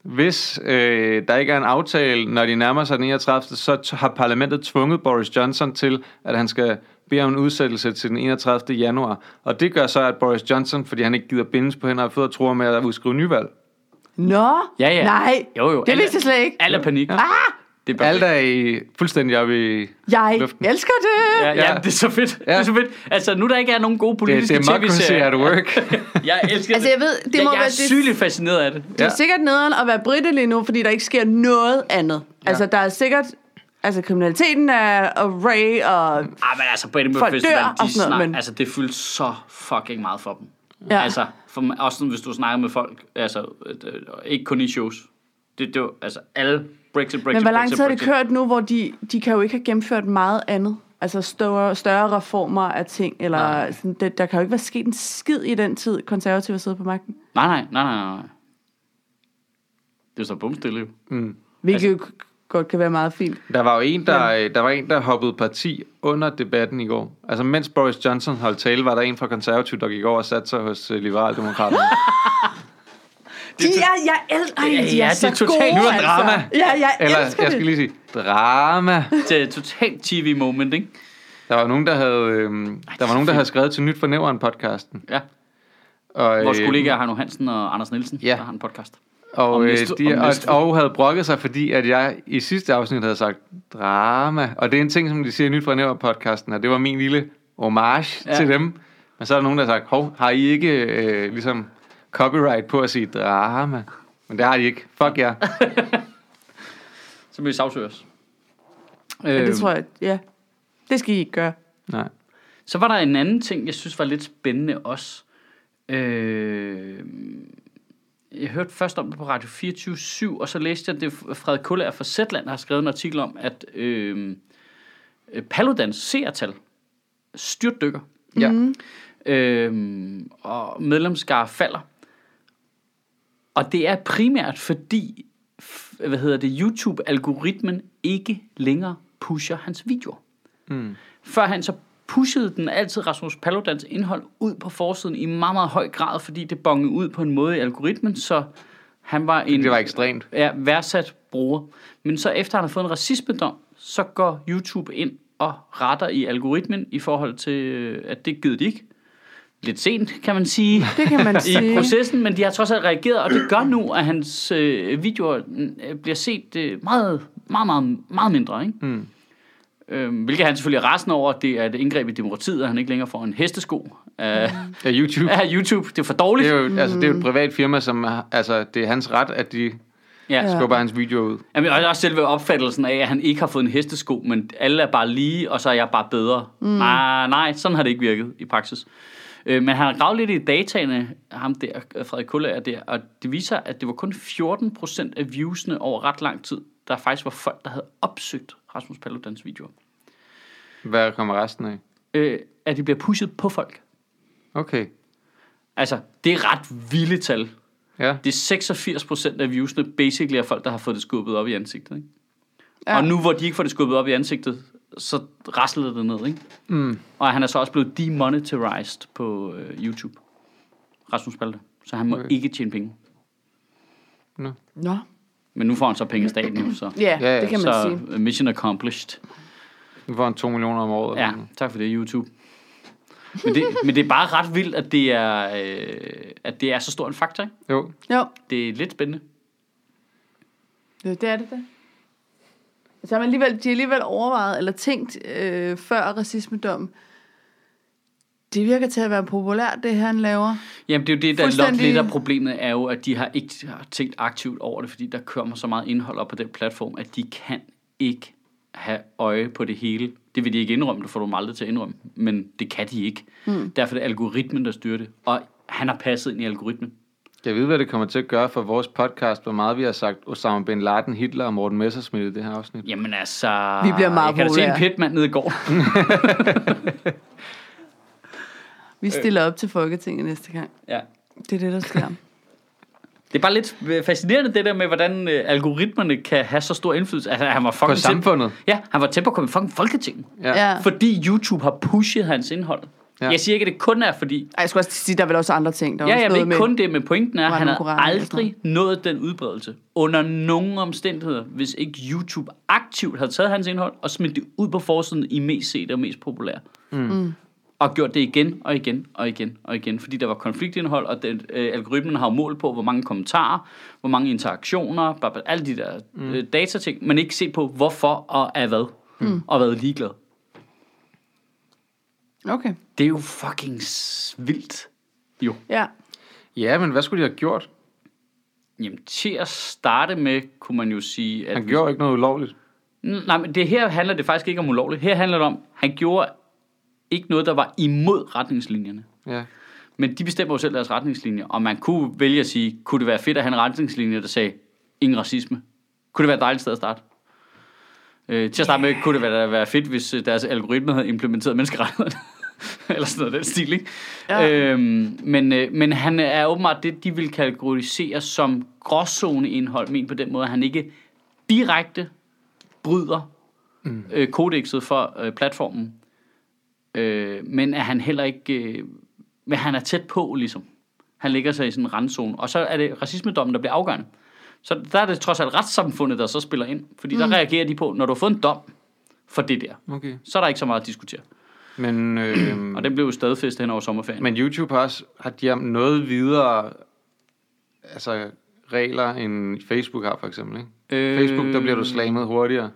[SPEAKER 3] hvis øh, der ikke er en aftale, når de nærmer sig den 31., så t- har parlamentet tvunget Boris Johnson til, at han skal bede om en udsættelse til den 31. januar. Og det gør så, at Boris Johnson, fordi han ikke gider bindes på hænder og fødder, tror med at udskrive nyvalg.
[SPEAKER 2] Nå,
[SPEAKER 1] Ja, ja.
[SPEAKER 2] nej.
[SPEAKER 1] Jo, jo.
[SPEAKER 2] Det
[SPEAKER 1] Alle-
[SPEAKER 2] vidste jeg slet ikke.
[SPEAKER 1] Alle er panik. Ah! Det er bare
[SPEAKER 3] Alt er i, fuldstændig oppe i...
[SPEAKER 2] Jeg
[SPEAKER 3] Luften.
[SPEAKER 2] elsker det.
[SPEAKER 1] Ja,
[SPEAKER 3] Ja.
[SPEAKER 1] ja, det er så fedt. Ja. Det er så fedt. Altså, nu der ikke er nogen gode
[SPEAKER 3] Det
[SPEAKER 1] politiske
[SPEAKER 3] er democracy
[SPEAKER 1] tv-serier.
[SPEAKER 3] at work.
[SPEAKER 1] Jeg elsker
[SPEAKER 2] Altså, jeg ved, det
[SPEAKER 1] jeg,
[SPEAKER 2] må
[SPEAKER 1] jeg
[SPEAKER 2] være
[SPEAKER 1] er
[SPEAKER 2] det-
[SPEAKER 1] sygeligt fascineret af det.
[SPEAKER 2] Det
[SPEAKER 3] Ja.
[SPEAKER 2] er sikkert nederen at være britte lige nu, fordi der ikke sker noget andet. Ja. Altså, der er sikkert... Altså, kriminaliteten er array, og...
[SPEAKER 1] Ah, men altså, på Edinburgh
[SPEAKER 2] Folk
[SPEAKER 1] Festival,
[SPEAKER 2] dør og
[SPEAKER 1] de
[SPEAKER 2] sådan noget,
[SPEAKER 1] snak,
[SPEAKER 2] men-
[SPEAKER 1] altså, det fyldte så fucking meget for dem.
[SPEAKER 2] Ja.
[SPEAKER 1] Altså, for, mig- også sådan, hvis du snakker med folk, altså, øh, øh, ikke kun i shows. Det Det, det var, altså alle Brexit, Brexit,
[SPEAKER 2] Men hvor lang
[SPEAKER 1] Brexit,
[SPEAKER 2] tid har det
[SPEAKER 1] Brexit.
[SPEAKER 2] kørt nu, hvor de, de kan jo ikke have gennemført meget andet? Altså større, større reformer af ting, eller
[SPEAKER 1] Nej.
[SPEAKER 2] sådan, det, der kan jo ikke være sket en skid i den tid, konservative har siddet på magten.
[SPEAKER 1] Nej, nej, nej, nej, nej. Det er så bumstille jo.
[SPEAKER 2] Hvilket altså, jo k- godt kan være meget fint.
[SPEAKER 3] Der var jo en, der, øh, der, var en, der hoppede parti under debatten i går. Altså, mens Boris Johnson holdt tale, var der en fra konservativ, der gik over og satte sig hos øh, Liberaldemokraterne.
[SPEAKER 2] De er, jeg el- Ej, de er
[SPEAKER 1] Ja,
[SPEAKER 2] så
[SPEAKER 1] det er totalt-
[SPEAKER 2] gode,
[SPEAKER 3] Nu er
[SPEAKER 2] altså.
[SPEAKER 3] drama.
[SPEAKER 2] Ja, jeg
[SPEAKER 3] Eller,
[SPEAKER 2] elsker
[SPEAKER 3] jeg
[SPEAKER 2] det.
[SPEAKER 3] skal lige sige, drama.
[SPEAKER 1] Det er et totalt tv-moment, ikke?
[SPEAKER 3] Der var nogen, der havde, øhm, der var nogen, der havde skrevet til Nyt for Nævren-podcasten.
[SPEAKER 1] Ja.
[SPEAKER 3] Og, øh,
[SPEAKER 1] Vores kollegaer Hanno Hansen og Anders Nielsen,
[SPEAKER 3] Ja.
[SPEAKER 1] der har en podcast.
[SPEAKER 3] og,
[SPEAKER 1] om
[SPEAKER 3] øh,
[SPEAKER 1] næste-
[SPEAKER 3] de,
[SPEAKER 1] om
[SPEAKER 3] og,
[SPEAKER 1] næste-
[SPEAKER 3] og havde brokket sig, fordi at jeg i sidste afsnit havde sagt drama. Og det er en ting, som de siger i Nyt fra Nævren-podcasten, og det var min lille homage
[SPEAKER 1] Ja.
[SPEAKER 3] ja. til dem. Men så er der nogen, der har sagt, hov, har I ikke øh, ligesom copyright på at sige drama? Men det har de ikke. Fuck jer.
[SPEAKER 1] Så vil vi sagsøges.
[SPEAKER 2] Ja,
[SPEAKER 1] Øhm,
[SPEAKER 2] det tror jeg, ja. Det skal I ikke gøre.
[SPEAKER 3] Nej.
[SPEAKER 1] Så var der en anden ting, jeg synes var lidt spændende også. Øh, jeg hørte først om det på Radio 24 og så læste jeg, det Frederik Kuller fra Zetland har skrevet en artikel om, at øh, Paludans seertal styrtdykker,
[SPEAKER 3] Ja.
[SPEAKER 1] Mm. øh, og medlemskar falder. Og det er primært fordi, f- hvad hedder det, YouTube-algoritmen ikke længere pusher hans videoer.
[SPEAKER 3] Mm.
[SPEAKER 1] Før han så pushede den altid Rasmus Paludans indhold ud på forsiden i meget, meget høj grad, fordi det bongede ud på en måde i algoritmen, så han var en
[SPEAKER 3] Det var ekstremt.
[SPEAKER 1] er værdsat bruger. Men så efter han har fået en racismedom, så går YouTube ind og retter i algoritmen i forhold til, øh, at det gider de ikke. Lidt sent, kan man sige,
[SPEAKER 2] Det kan man
[SPEAKER 1] i
[SPEAKER 2] sige.
[SPEAKER 1] processen, men de har trods alt reageret, og det gør nu, at hans øh, videoer øh, bliver set øh, meget, meget, meget, meget mindre. Ikke?
[SPEAKER 3] Mm.
[SPEAKER 1] Øhm, hvilket han selvfølgelig er rasende over, det er et indgreb i demokratiet, at han ikke længere får en hestesko af,
[SPEAKER 3] Ja, YouTube.
[SPEAKER 1] af YouTube. Det er for dårligt.
[SPEAKER 3] Mm. Det er jo, altså, det er jo et privat firma, som har- altså, det er hans ret, at de
[SPEAKER 1] Ja.
[SPEAKER 2] Ja.
[SPEAKER 3] skubber hans videoer ud.
[SPEAKER 1] Jamen, og også selve opfattelsen af, at han ikke har fået en hestesko, men alle er bare lige, og så er jeg bare bedre. Mm. Nej, nej, sådan har det ikke virket i praksis. Øh, men han har gravet lidt i dataene, ham der, øh, Frederik Kullager der, og det viser, at det var kun 14 procent af viewsene over ret lang tid, der faktisk var folk, der havde opsøgt Rasmus Paludans videoer.
[SPEAKER 3] Hvad kommer resten af?
[SPEAKER 1] Øh, at de bliver pushet på folk.
[SPEAKER 3] Okay.
[SPEAKER 1] Altså, det er ret vilde tal.
[SPEAKER 3] Ja.
[SPEAKER 1] Det er 86 procent af viewsene basically er folk, der har fået det skubbet op i ansigtet. Ikke? Ja.
[SPEAKER 2] Ja.
[SPEAKER 1] Og nu hvor de ikke får det skubbet op i ansigtet, så raslede det ned. Ikke?
[SPEAKER 3] Mm.
[SPEAKER 1] Og han er så også blevet demonetized på øh, YouTube. Rasmus Paludan. Så han må
[SPEAKER 3] Okay.
[SPEAKER 1] ikke tjene penge.
[SPEAKER 2] Nå,
[SPEAKER 1] Men nu får han så penge af staten jo, så,
[SPEAKER 2] ja,
[SPEAKER 3] Ja, ja,
[SPEAKER 2] det kan man
[SPEAKER 1] så
[SPEAKER 2] sige.
[SPEAKER 1] øh, mission accomplished.
[SPEAKER 3] Nu får han 2 millioner om året.
[SPEAKER 1] Ja, tak for det YouTube. Men det, men det er bare ret vildt, at det er, øh, at det er så stor en faktor. Ikke?
[SPEAKER 3] Jo.
[SPEAKER 2] Jo,
[SPEAKER 1] Det er lidt spændende.
[SPEAKER 2] det det er det da. Så har man alligevel, de har alligevel overvejet, eller tænkt øh, før racismedommen, det virker til at være populært, det her, han laver.
[SPEAKER 1] Jamen det er jo det, der er nok
[SPEAKER 2] Fuldstændig.
[SPEAKER 1] lidt af problemet, er jo, at de har ikke tænkt aktivt over det, fordi der kommer så meget indhold op på den platform, at de kan ikke have øje på det hele. Det vil de ikke indrømme, det får du dem aldrig til at indrømme, men det kan de ikke.
[SPEAKER 2] Hmm.
[SPEAKER 1] Mm. Derfor er det algoritmen, der styrer det, og han har passet ind i algoritmen.
[SPEAKER 3] Jeg ved, hvad det kommer til at gøre for vores podcast, hvor meget vi har sagt Osama Bin Laden, Hitler og Morten Messerschmidt i det her afsnit.
[SPEAKER 1] Jamen altså...
[SPEAKER 2] Vi bliver meget
[SPEAKER 1] Jeg kan da se en
[SPEAKER 2] populære.
[SPEAKER 1] pitmand nede i går.
[SPEAKER 2] Vi stiller op til Folketinget næste gang.
[SPEAKER 1] ja.
[SPEAKER 2] Det er det, der sker.
[SPEAKER 1] Det er bare lidt øh, fascinerende det der med, hvordan øh, algoritmerne kan have så stor indflydelse. Altså, han var
[SPEAKER 3] På
[SPEAKER 1] fucking tæt-
[SPEAKER 3] samfundet.
[SPEAKER 1] Ja, han var tæt på at komme i fucking Folketinget.
[SPEAKER 3] Ja.
[SPEAKER 2] ja.
[SPEAKER 1] Fordi YouTube har pushet hans indhold. Ja.
[SPEAKER 3] Ja.
[SPEAKER 1] Jeg siger ikke, at det kun er fordi...
[SPEAKER 2] Ej, jeg skulle også sige, der er vel også andre ting. Der er
[SPEAKER 1] Ja,
[SPEAKER 2] også
[SPEAKER 1] jeg ved
[SPEAKER 2] noget
[SPEAKER 1] ikke kun det, men pointen er, at
[SPEAKER 2] Var
[SPEAKER 1] han
[SPEAKER 2] nogle
[SPEAKER 1] har
[SPEAKER 2] koraner eller sådan
[SPEAKER 1] aldrig nået den udbredelse. Under nogen omstændigheder, hvis ikke YouTube aktivt havde taget hans indhold og smidt det ud på forsiden i mest set og mest populære.
[SPEAKER 2] Mm.
[SPEAKER 1] Og gjort det igen og igen og igen og igen, fordi der var konfliktindhold, og den, øh, algoritmen har jo mål på, hvor mange kommentarer, hvor mange interaktioner, bla, bla, alle de der øh, datating, men ikke se på, hvorfor og af hvad, mm. og været ligeglad.
[SPEAKER 2] Okay,
[SPEAKER 1] Det er jo fucking s- vildt. Jo.
[SPEAKER 2] ja.
[SPEAKER 3] ja, men hvad skulle de have gjort?
[SPEAKER 1] Jamen, til at starte med, kunne man jo sige, at...
[SPEAKER 3] Han gjorde ikke noget ulovligt.
[SPEAKER 1] N- Nej, men det her handler det faktisk ikke om ulovligt. Her handler det om, at han gjorde ikke noget, der var imod retningslinjerne.
[SPEAKER 3] Ja.
[SPEAKER 1] Men de bestemmer jo selv deres retningslinjer, og man kunne vælge at sige, kunne det være fedt at have en retningslinje, der sagde, ingen racisme. Kunne det være et dejligt sted at starte? Øh, til at starte med kunne det være, være fedt, hvis øh, deres algoritme havde implementeret menneskerettighederne. Eller sådan noget af den stil, ikke?
[SPEAKER 2] Ja.
[SPEAKER 1] Øhm, men, øh, men han er åbenbart det, de vil kategorisere som gråzoneindhold, men på den måde, at han ikke direkte bryder mm. øh, kodexet for øh, platformen, øh, men at han heller ikke... Øh, men han er tæt på, ligesom. Han ligger sig i sådan en randzone. Og så er det racismedommen, der bliver afgørende. Så der er det trods alt retssamfundet, der så spiller ind. Fordi mm. der reagerer de på, når du har fået en dom for det der,
[SPEAKER 3] Okay.
[SPEAKER 1] så er der ikke så meget at diskutere.
[SPEAKER 3] Men, øh,
[SPEAKER 1] Og den blev jo stadfæstet hen over sommerferien. Men,
[SPEAKER 3] men YouTube har også, har de har noget videre altså, regler, end Facebook har for eksempel, ikke?
[SPEAKER 1] Øh.
[SPEAKER 3] Øh... Facebook, der bliver du slammet hurtigere.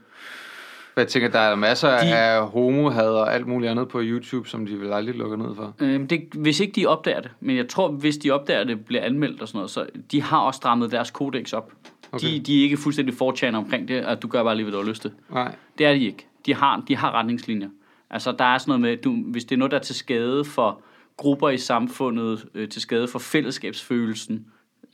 [SPEAKER 3] For jeg tænker, der er masser
[SPEAKER 1] De-
[SPEAKER 3] de... af homohad og alt muligt andet på YouTube, som de vil aldrig lukke ned for.
[SPEAKER 1] øh, det, hvis ikke de opdager det, men jeg tror, hvis de opdager det, bliver anmeldt og sådan noget, så de har også strammet deres kodex op. Okay.
[SPEAKER 3] Okay.
[SPEAKER 1] De, de er ikke fuldstændig fortjener omkring det, at du gør bare lige, hvad du har lyst til.
[SPEAKER 3] Nej.
[SPEAKER 1] Det er de ikke. De har, de har retningslinjer. Altså, der er sådan noget med, at du, hvis det er noget, der er til skade for grupper i samfundet, øh, til skade for fællesskabsfølelsen,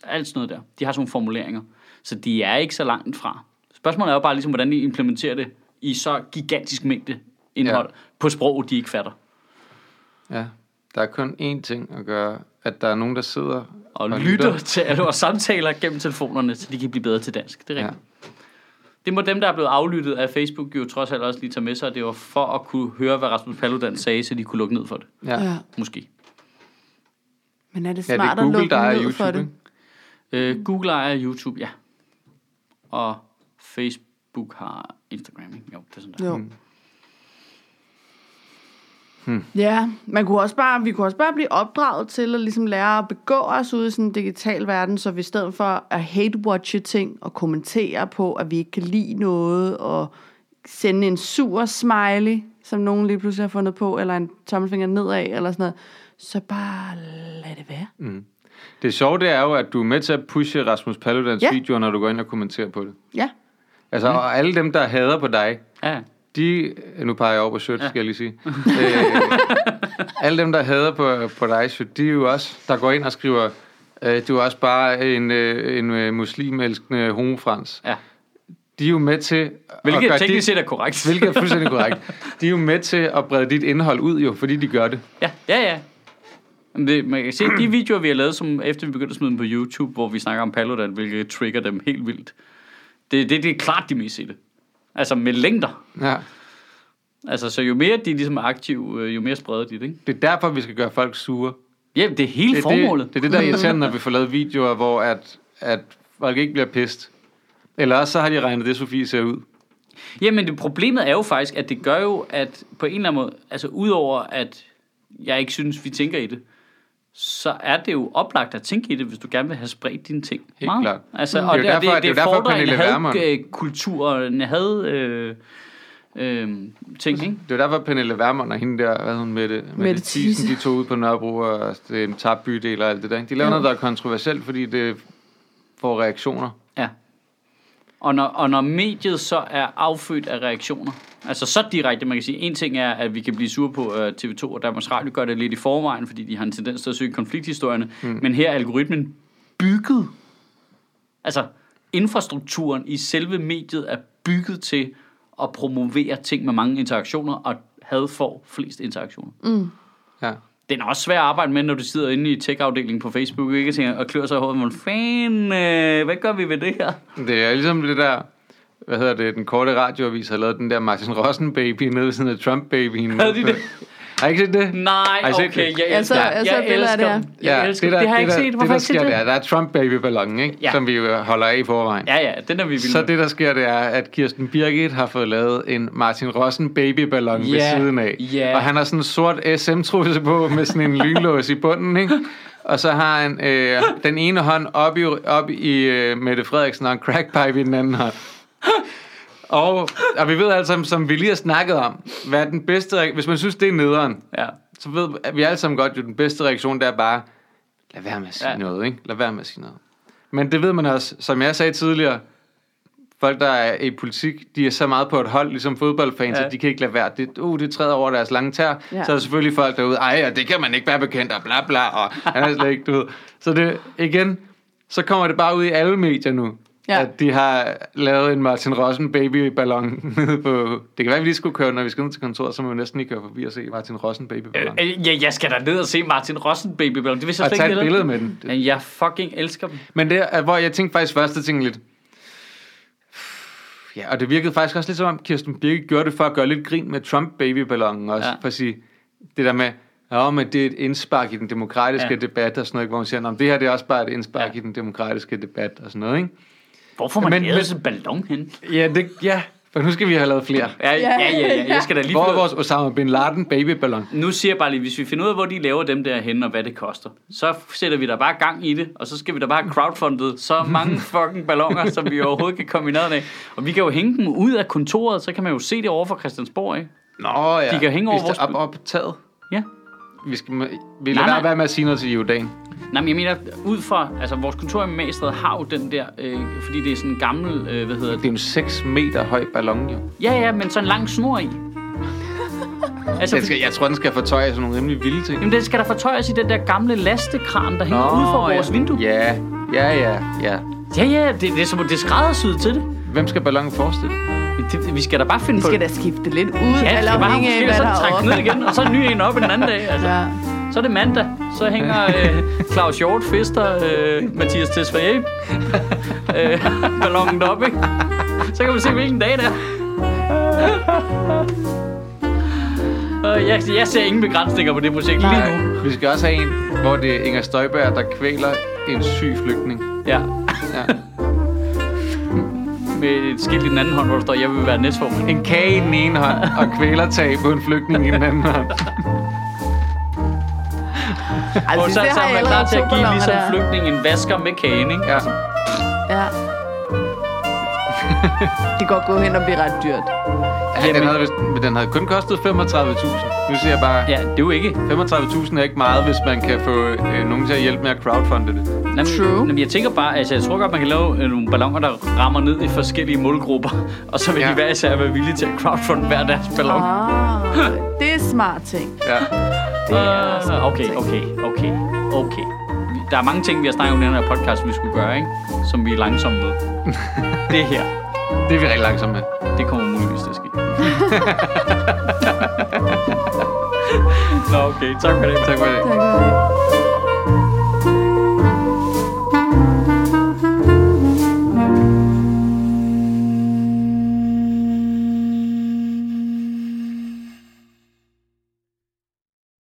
[SPEAKER 1] alt sådan noget der. De har sådan nogle formuleringer. Så de er ikke så langt fra. Spørgsmålet er jo bare ligesom, hvordan de implementerer det i så gigantisk mængde indhold ja.
[SPEAKER 3] Ja.
[SPEAKER 1] på sprog, de ikke fatter.
[SPEAKER 3] Ja. Der er kun én ting at gøre, at der er nogen, der sidder
[SPEAKER 1] Og, og lytter, til alle vores samtaler gennem telefonerne, så de kan blive bedre til dansk. Det er
[SPEAKER 3] Ja.
[SPEAKER 1] rigtigt. Ja. Det må dem, der er blevet aflyttet af Facebook, jo trods alt også lige tage med sig, og det var for at kunne høre, hvad Rasmus Paludan sagde, så de kunne lukke ned for det.
[SPEAKER 3] Ja.
[SPEAKER 2] Ja.
[SPEAKER 1] Måske.
[SPEAKER 2] Men er det
[SPEAKER 3] Ja, det
[SPEAKER 2] smart
[SPEAKER 3] er
[SPEAKER 2] ja, det
[SPEAKER 3] Google, der
[SPEAKER 2] at
[SPEAKER 3] er
[SPEAKER 2] lukke ned for
[SPEAKER 3] YouTube,
[SPEAKER 2] det?
[SPEAKER 3] ikke?
[SPEAKER 1] Øh, Google ejer YouTube, ja. Og Facebook har Instagram, ikke? Jo, det er sådan der.
[SPEAKER 2] Jo. Ja, man kunne også bare, vi kunne også bare blive opdraget til at ligesom lære at begå os ud i sådan en digital verden, så vi i stedet for at hate-watche ting og kommentere på, at vi ikke kan lide noget, og sende en sur smiley, som nogen lige pludselig har fundet på, eller en tommelfinger nedad, eller sådan noget, så bare lad det være.
[SPEAKER 3] Det sjove, det er jo, at du er med til at pushe Rasmus Paludans
[SPEAKER 2] Ja.
[SPEAKER 3] ja. videoer, når du går ind og kommenterer på det.
[SPEAKER 2] Ja,
[SPEAKER 3] Altså, mm. og alle dem, der hader på dig,
[SPEAKER 1] Ja, ja.
[SPEAKER 3] de... Nu peger jeg over på Sjøt, ja. skal jeg lige sige. øh, alle dem, der hader på, på dig, Sjøt, de er jo også, der går ind og skriver, øh, du er også bare en, øh, en øh, muslimelskende homofrans.
[SPEAKER 1] ja.
[SPEAKER 3] De er jo med til... at
[SPEAKER 1] Hvilket
[SPEAKER 3] gøre
[SPEAKER 1] teknisk
[SPEAKER 3] dit,
[SPEAKER 1] set er korrekt.
[SPEAKER 3] Hvilket er fuldstændig korrekt. De er jo med til at brede dit indhold ud, jo, fordi de gør det.
[SPEAKER 1] Ja, ja, ja. Men Det, man kan se, de videoer, vi har lavet, som efter vi begyndte at smide dem på YouTube, hvor vi snakker om Paludan, hvilket trigger dem helt vildt. Det, det, det er klart, de mest sette. Altså med længder.
[SPEAKER 3] Ja.
[SPEAKER 1] Altså, så jo mere de ligesom er aktive, øh, jo mere spreder de det, ikke?
[SPEAKER 3] Det er derfor, vi skal gøre folk sure.
[SPEAKER 1] Ja, det er hele
[SPEAKER 3] det, er
[SPEAKER 1] formålet.
[SPEAKER 3] Det, det er det, der er irriterende, når vi får lavet videoer, hvor at, at folk ikke bliver pist. Eller også så har de regnet det, Sofie ser ud.
[SPEAKER 1] Jamen, det problemet er jo faktisk, at det gør jo, at på en eller anden måde, altså udover at jeg ikke synes, vi tænker i det, så er det jo oplagt at tænke i det, hvis du gerne vil have spredt dine ting.
[SPEAKER 3] Helt klart.
[SPEAKER 1] Altså,
[SPEAKER 3] Mm.
[SPEAKER 1] og
[SPEAKER 3] Det
[SPEAKER 1] det,
[SPEAKER 3] er jo
[SPEAKER 1] og det,
[SPEAKER 3] derfor-
[SPEAKER 1] det, det,
[SPEAKER 3] det er jo derfor,
[SPEAKER 1] fordrer en
[SPEAKER 3] Pernille Vermund-
[SPEAKER 1] hadkultur og en had øh, øh, ting, ikke?
[SPEAKER 3] Det var derfor, Pernille Vermund og hende der, hvad hed hun med det? Med
[SPEAKER 2] Mette
[SPEAKER 3] det Thiesen,
[SPEAKER 2] Thiesen.
[SPEAKER 3] de tog ud på Nørrebro og det er en tabt bydel og alt det der. ikke? De laver noget, der er kontroversielt, fordi det får reaktioner.
[SPEAKER 1] Ja. Og når, og når mediet så er affødt af reaktioner, altså så direkte, man kan sige, en ting er, at vi kan blive sure på uh, TV2 og Danmarks Radio gør det lidt i forvejen, fordi de har en tendens til at søge konflikthistorierne, mm. men her er algoritmen bygget, altså infrastrukturen i selve mediet er bygget til at promovere ting med mange interaktioner, og had får flest interaktioner. Mm.
[SPEAKER 3] Ja.
[SPEAKER 1] Den er også svær at arbejde med, når du sidder inde i tech-afdelingen på Facebook, ikke? Og tænker, og klør sig i hovedet, men fan, øh, hvad gør vi ved det her?
[SPEAKER 3] Det er ligesom det der, hvad hedder det, den korte radioavis har lavet den der Martin Rossen baby nede ved siden af Trump babyen.
[SPEAKER 1] Havde de det?
[SPEAKER 3] Har I ikke set det?
[SPEAKER 1] Nej,
[SPEAKER 3] Har I set
[SPEAKER 1] okay,
[SPEAKER 3] det?
[SPEAKER 1] jeg
[SPEAKER 2] Ja,
[SPEAKER 1] elsker,
[SPEAKER 2] så-
[SPEAKER 1] jeg,
[SPEAKER 2] jeg så
[SPEAKER 1] jeg
[SPEAKER 2] billeder af
[SPEAKER 1] elsker,
[SPEAKER 2] det her.
[SPEAKER 1] dem. jeg elsker, dem. det har jeg ikke set,
[SPEAKER 3] det,
[SPEAKER 1] hvorfor har
[SPEAKER 3] der
[SPEAKER 1] jeg
[SPEAKER 3] sker,
[SPEAKER 1] ikke set
[SPEAKER 3] er,
[SPEAKER 1] det?
[SPEAKER 3] der er Trump baby ikke?
[SPEAKER 1] Ja.
[SPEAKER 3] som vi jo holder af i forvejen.
[SPEAKER 1] Ja, ja, den er vi vilde
[SPEAKER 3] Så
[SPEAKER 1] med.
[SPEAKER 3] det, der sker, det er, at Kirsten Birgit har fået lavet en Martin Rossen babyballon yeah. ved
[SPEAKER 1] Ja,
[SPEAKER 3] siden af.
[SPEAKER 1] ja.
[SPEAKER 3] Og han har sådan en sort SM-trusse på med sådan en lynlås i bunden, ikke? Og så har han øh, den ene hånd op i, op i øh, Mette Frederiksen og en crackpipe i den anden hånd. Og, og vi ved altså, som vi lige har snakket om, hvad er den bedste... reak- Hvis man synes, det er nederen,
[SPEAKER 1] Ja.
[SPEAKER 3] så ved at vi alle sammen godt, at den bedste reaktion det er bare, lad være med at sige
[SPEAKER 1] Ja.
[SPEAKER 3] ja. noget, ikke? Lad være med at sige noget. Men det ved man også, som jeg sagde tidligere, folk, der er i politik, de er så meget på et hold, ligesom fodboldfans,
[SPEAKER 1] Ja.
[SPEAKER 3] ja. at de kan ikke lade være. Det, uh, det træder over deres lange tær.
[SPEAKER 2] Ja.
[SPEAKER 3] Ja. Så er der selvfølgelig folk derude, ej, og det kan man ikke være bekendt, og bla bla, og han er slet ikke, du ved. Så det, igen, så kommer det bare ud i alle medier nu.
[SPEAKER 2] Ja.
[SPEAKER 3] ja. at de har lavet en Martin Rossen babyballon nede på... Det kan være, at vi lige skulle køre, når vi skal ud til kontoret, så må vi næsten lige køre forbi og se Martin Rossen babyballon. Øh,
[SPEAKER 1] Øh, ja, jeg skal da ned og se Martin Rossen Baby Ballon. Det vil jeg
[SPEAKER 3] og
[SPEAKER 1] slet
[SPEAKER 3] tage
[SPEAKER 1] ikke.
[SPEAKER 3] et
[SPEAKER 1] heller.
[SPEAKER 3] billede med den. Det-
[SPEAKER 1] Men jeg fucking elsker dem.
[SPEAKER 3] Men det er, hvor jeg tænkte faktisk først, at tænkte lidt... Ja, og det virkede faktisk også lidt som om, Kirsten Birke gjorde det for at gøre lidt grin med Trump-babyballonen også.
[SPEAKER 1] Ja.
[SPEAKER 3] Ja. For at sige, det der med, ja, men det er et indspark i den demokratiske
[SPEAKER 1] Ja.
[SPEAKER 3] ja. debat og sådan noget, ikke? hvor hun siger, "Nå, men det her det er også bare et indspark
[SPEAKER 1] Ja.
[SPEAKER 3] ja. i den demokratiske debat og sådan noget, ikke?
[SPEAKER 1] Hvor får man
[SPEAKER 3] Men-
[SPEAKER 1] lavet
[SPEAKER 3] men-
[SPEAKER 1] sådan en ballon hen?
[SPEAKER 3] Ja, det, ja. For nu skal vi have lavet flere.
[SPEAKER 1] Ja, ja, ja, ja.
[SPEAKER 2] Ja.
[SPEAKER 1] Jeg skal da lige
[SPEAKER 3] Hvor
[SPEAKER 1] finde
[SPEAKER 3] er
[SPEAKER 1] ud-
[SPEAKER 3] vores Osama Bin Laden babyballon?
[SPEAKER 1] Nu siger jeg bare lige, hvis vi finder ud af, hvor de laver dem der henne, og hvad det koster, så sætter vi da bare gang i det, og så skal vi da bare have crowdfundet så mange fucking ballonger, som vi overhovedet kan komme i nærheden af. Og vi kan jo hænge dem ud af kontoret, så kan man jo se det over for Christiansborg, ikke?
[SPEAKER 3] Nå ja.
[SPEAKER 1] De kan hænge over
[SPEAKER 3] Hvis det er
[SPEAKER 1] vores-
[SPEAKER 3] op, op taget.
[SPEAKER 1] Ja.
[SPEAKER 3] Vi skal, vi
[SPEAKER 1] Nej,
[SPEAKER 3] lader
[SPEAKER 1] nej.
[SPEAKER 3] være, være med at sige noget til Jordan.
[SPEAKER 1] Nej, men jeg mener, ud fra, altså vores kontor i Magstred har jo den der, øh, fordi det er sådan en gammel, øh, hvad hedder
[SPEAKER 3] Det er jo en 6 meter høj ballon, jo.
[SPEAKER 1] Ja, ja, men så en lang snor i. altså,
[SPEAKER 3] Den skal, jeg tror, den skal fortøje sådan nogle rimelig vilde ting.
[SPEAKER 1] Jamen, den skal der fortøjes i den der gamle lastekran, der hænger ud for vores
[SPEAKER 3] ja.
[SPEAKER 1] vindue.
[SPEAKER 3] Ja, ja, ja, ja.
[SPEAKER 1] Ja, ja, det, det er som det er skræddersyet til det.
[SPEAKER 3] Hvem skal ballonen forestille?
[SPEAKER 1] det. det- Vi skal da bare finde
[SPEAKER 2] Vi
[SPEAKER 1] på...
[SPEAKER 2] skal da skifte lidt ud,
[SPEAKER 1] Ja, det
[SPEAKER 2] eller
[SPEAKER 1] skal bare
[SPEAKER 2] afhængig af,
[SPEAKER 1] måske
[SPEAKER 2] hvad
[SPEAKER 1] så
[SPEAKER 2] der er
[SPEAKER 1] trække
[SPEAKER 2] op.
[SPEAKER 1] ned igen, og så en ny en op en anden dag. Altså.
[SPEAKER 2] Ja.
[SPEAKER 1] Så er det mandag, så hænger øh, Claus Hjort Fister, øh, Mathias Tesfaye, øh, ballongen op, ikke? Så kan vi se, hvilken dag det er. Øh, jeg, jeg ser ingen begrænsninger på det projekt lige nu.
[SPEAKER 3] Vi skal også have en, hvor det er Inger Støjberg, der kvæler en syg flygtning.
[SPEAKER 1] Ja.
[SPEAKER 3] Ja.
[SPEAKER 1] Med et skilt i den anden hånd, hvor der står, jeg vil være næstformand.
[SPEAKER 3] En kage i den ene hånd, og kvælertag på en flygtning i den anden hånd.
[SPEAKER 1] Og
[SPEAKER 2] Altså,
[SPEAKER 1] så,
[SPEAKER 2] det
[SPEAKER 1] så er
[SPEAKER 2] har jeg
[SPEAKER 1] man klar
[SPEAKER 2] allerede
[SPEAKER 1] til
[SPEAKER 2] to
[SPEAKER 1] at give
[SPEAKER 2] balloner
[SPEAKER 1] ligesom
[SPEAKER 2] der.
[SPEAKER 1] flygtning en vasker med kagen, ikke?
[SPEAKER 3] Ja.
[SPEAKER 2] Ja. Det kan godt gå hen og blive ret dyrt.
[SPEAKER 3] ja den,
[SPEAKER 1] Jamen.
[SPEAKER 3] havde, vist- men den havde kun kostet 35.000. Nu siger jeg bare,
[SPEAKER 1] Ja, det er jo ikke.
[SPEAKER 3] 35.000 er ikke meget, hvis man kan få øh, nogen til at hjælpe med at crowdfunde det.
[SPEAKER 1] Jamen,
[SPEAKER 2] True.
[SPEAKER 1] Jamen, jeg tænker bare, altså jeg tror godt, man kan lave øh, nogle ballonger, der rammer ned i forskellige målgrupper, og så vil ja.
[SPEAKER 3] Ja.
[SPEAKER 1] de hver især være villige til at crowdfunde hver deres ballon. Ah,
[SPEAKER 2] Ah, det er smart ting.
[SPEAKER 3] Ja.
[SPEAKER 2] Det er altså smart
[SPEAKER 1] Ah, okay,
[SPEAKER 2] ting.
[SPEAKER 1] okay, okay, okay. Vi- Der er mange ting, vi har snakket om i den her podcast, vi skulle gøre, ikke? Som vi er langsomme med. det her,
[SPEAKER 3] Det er vi rigtig langsomme med.
[SPEAKER 1] det kommer muligvis til at ske. Nå, okay. Tak for det.
[SPEAKER 3] Tak for det.
[SPEAKER 2] Tak for det.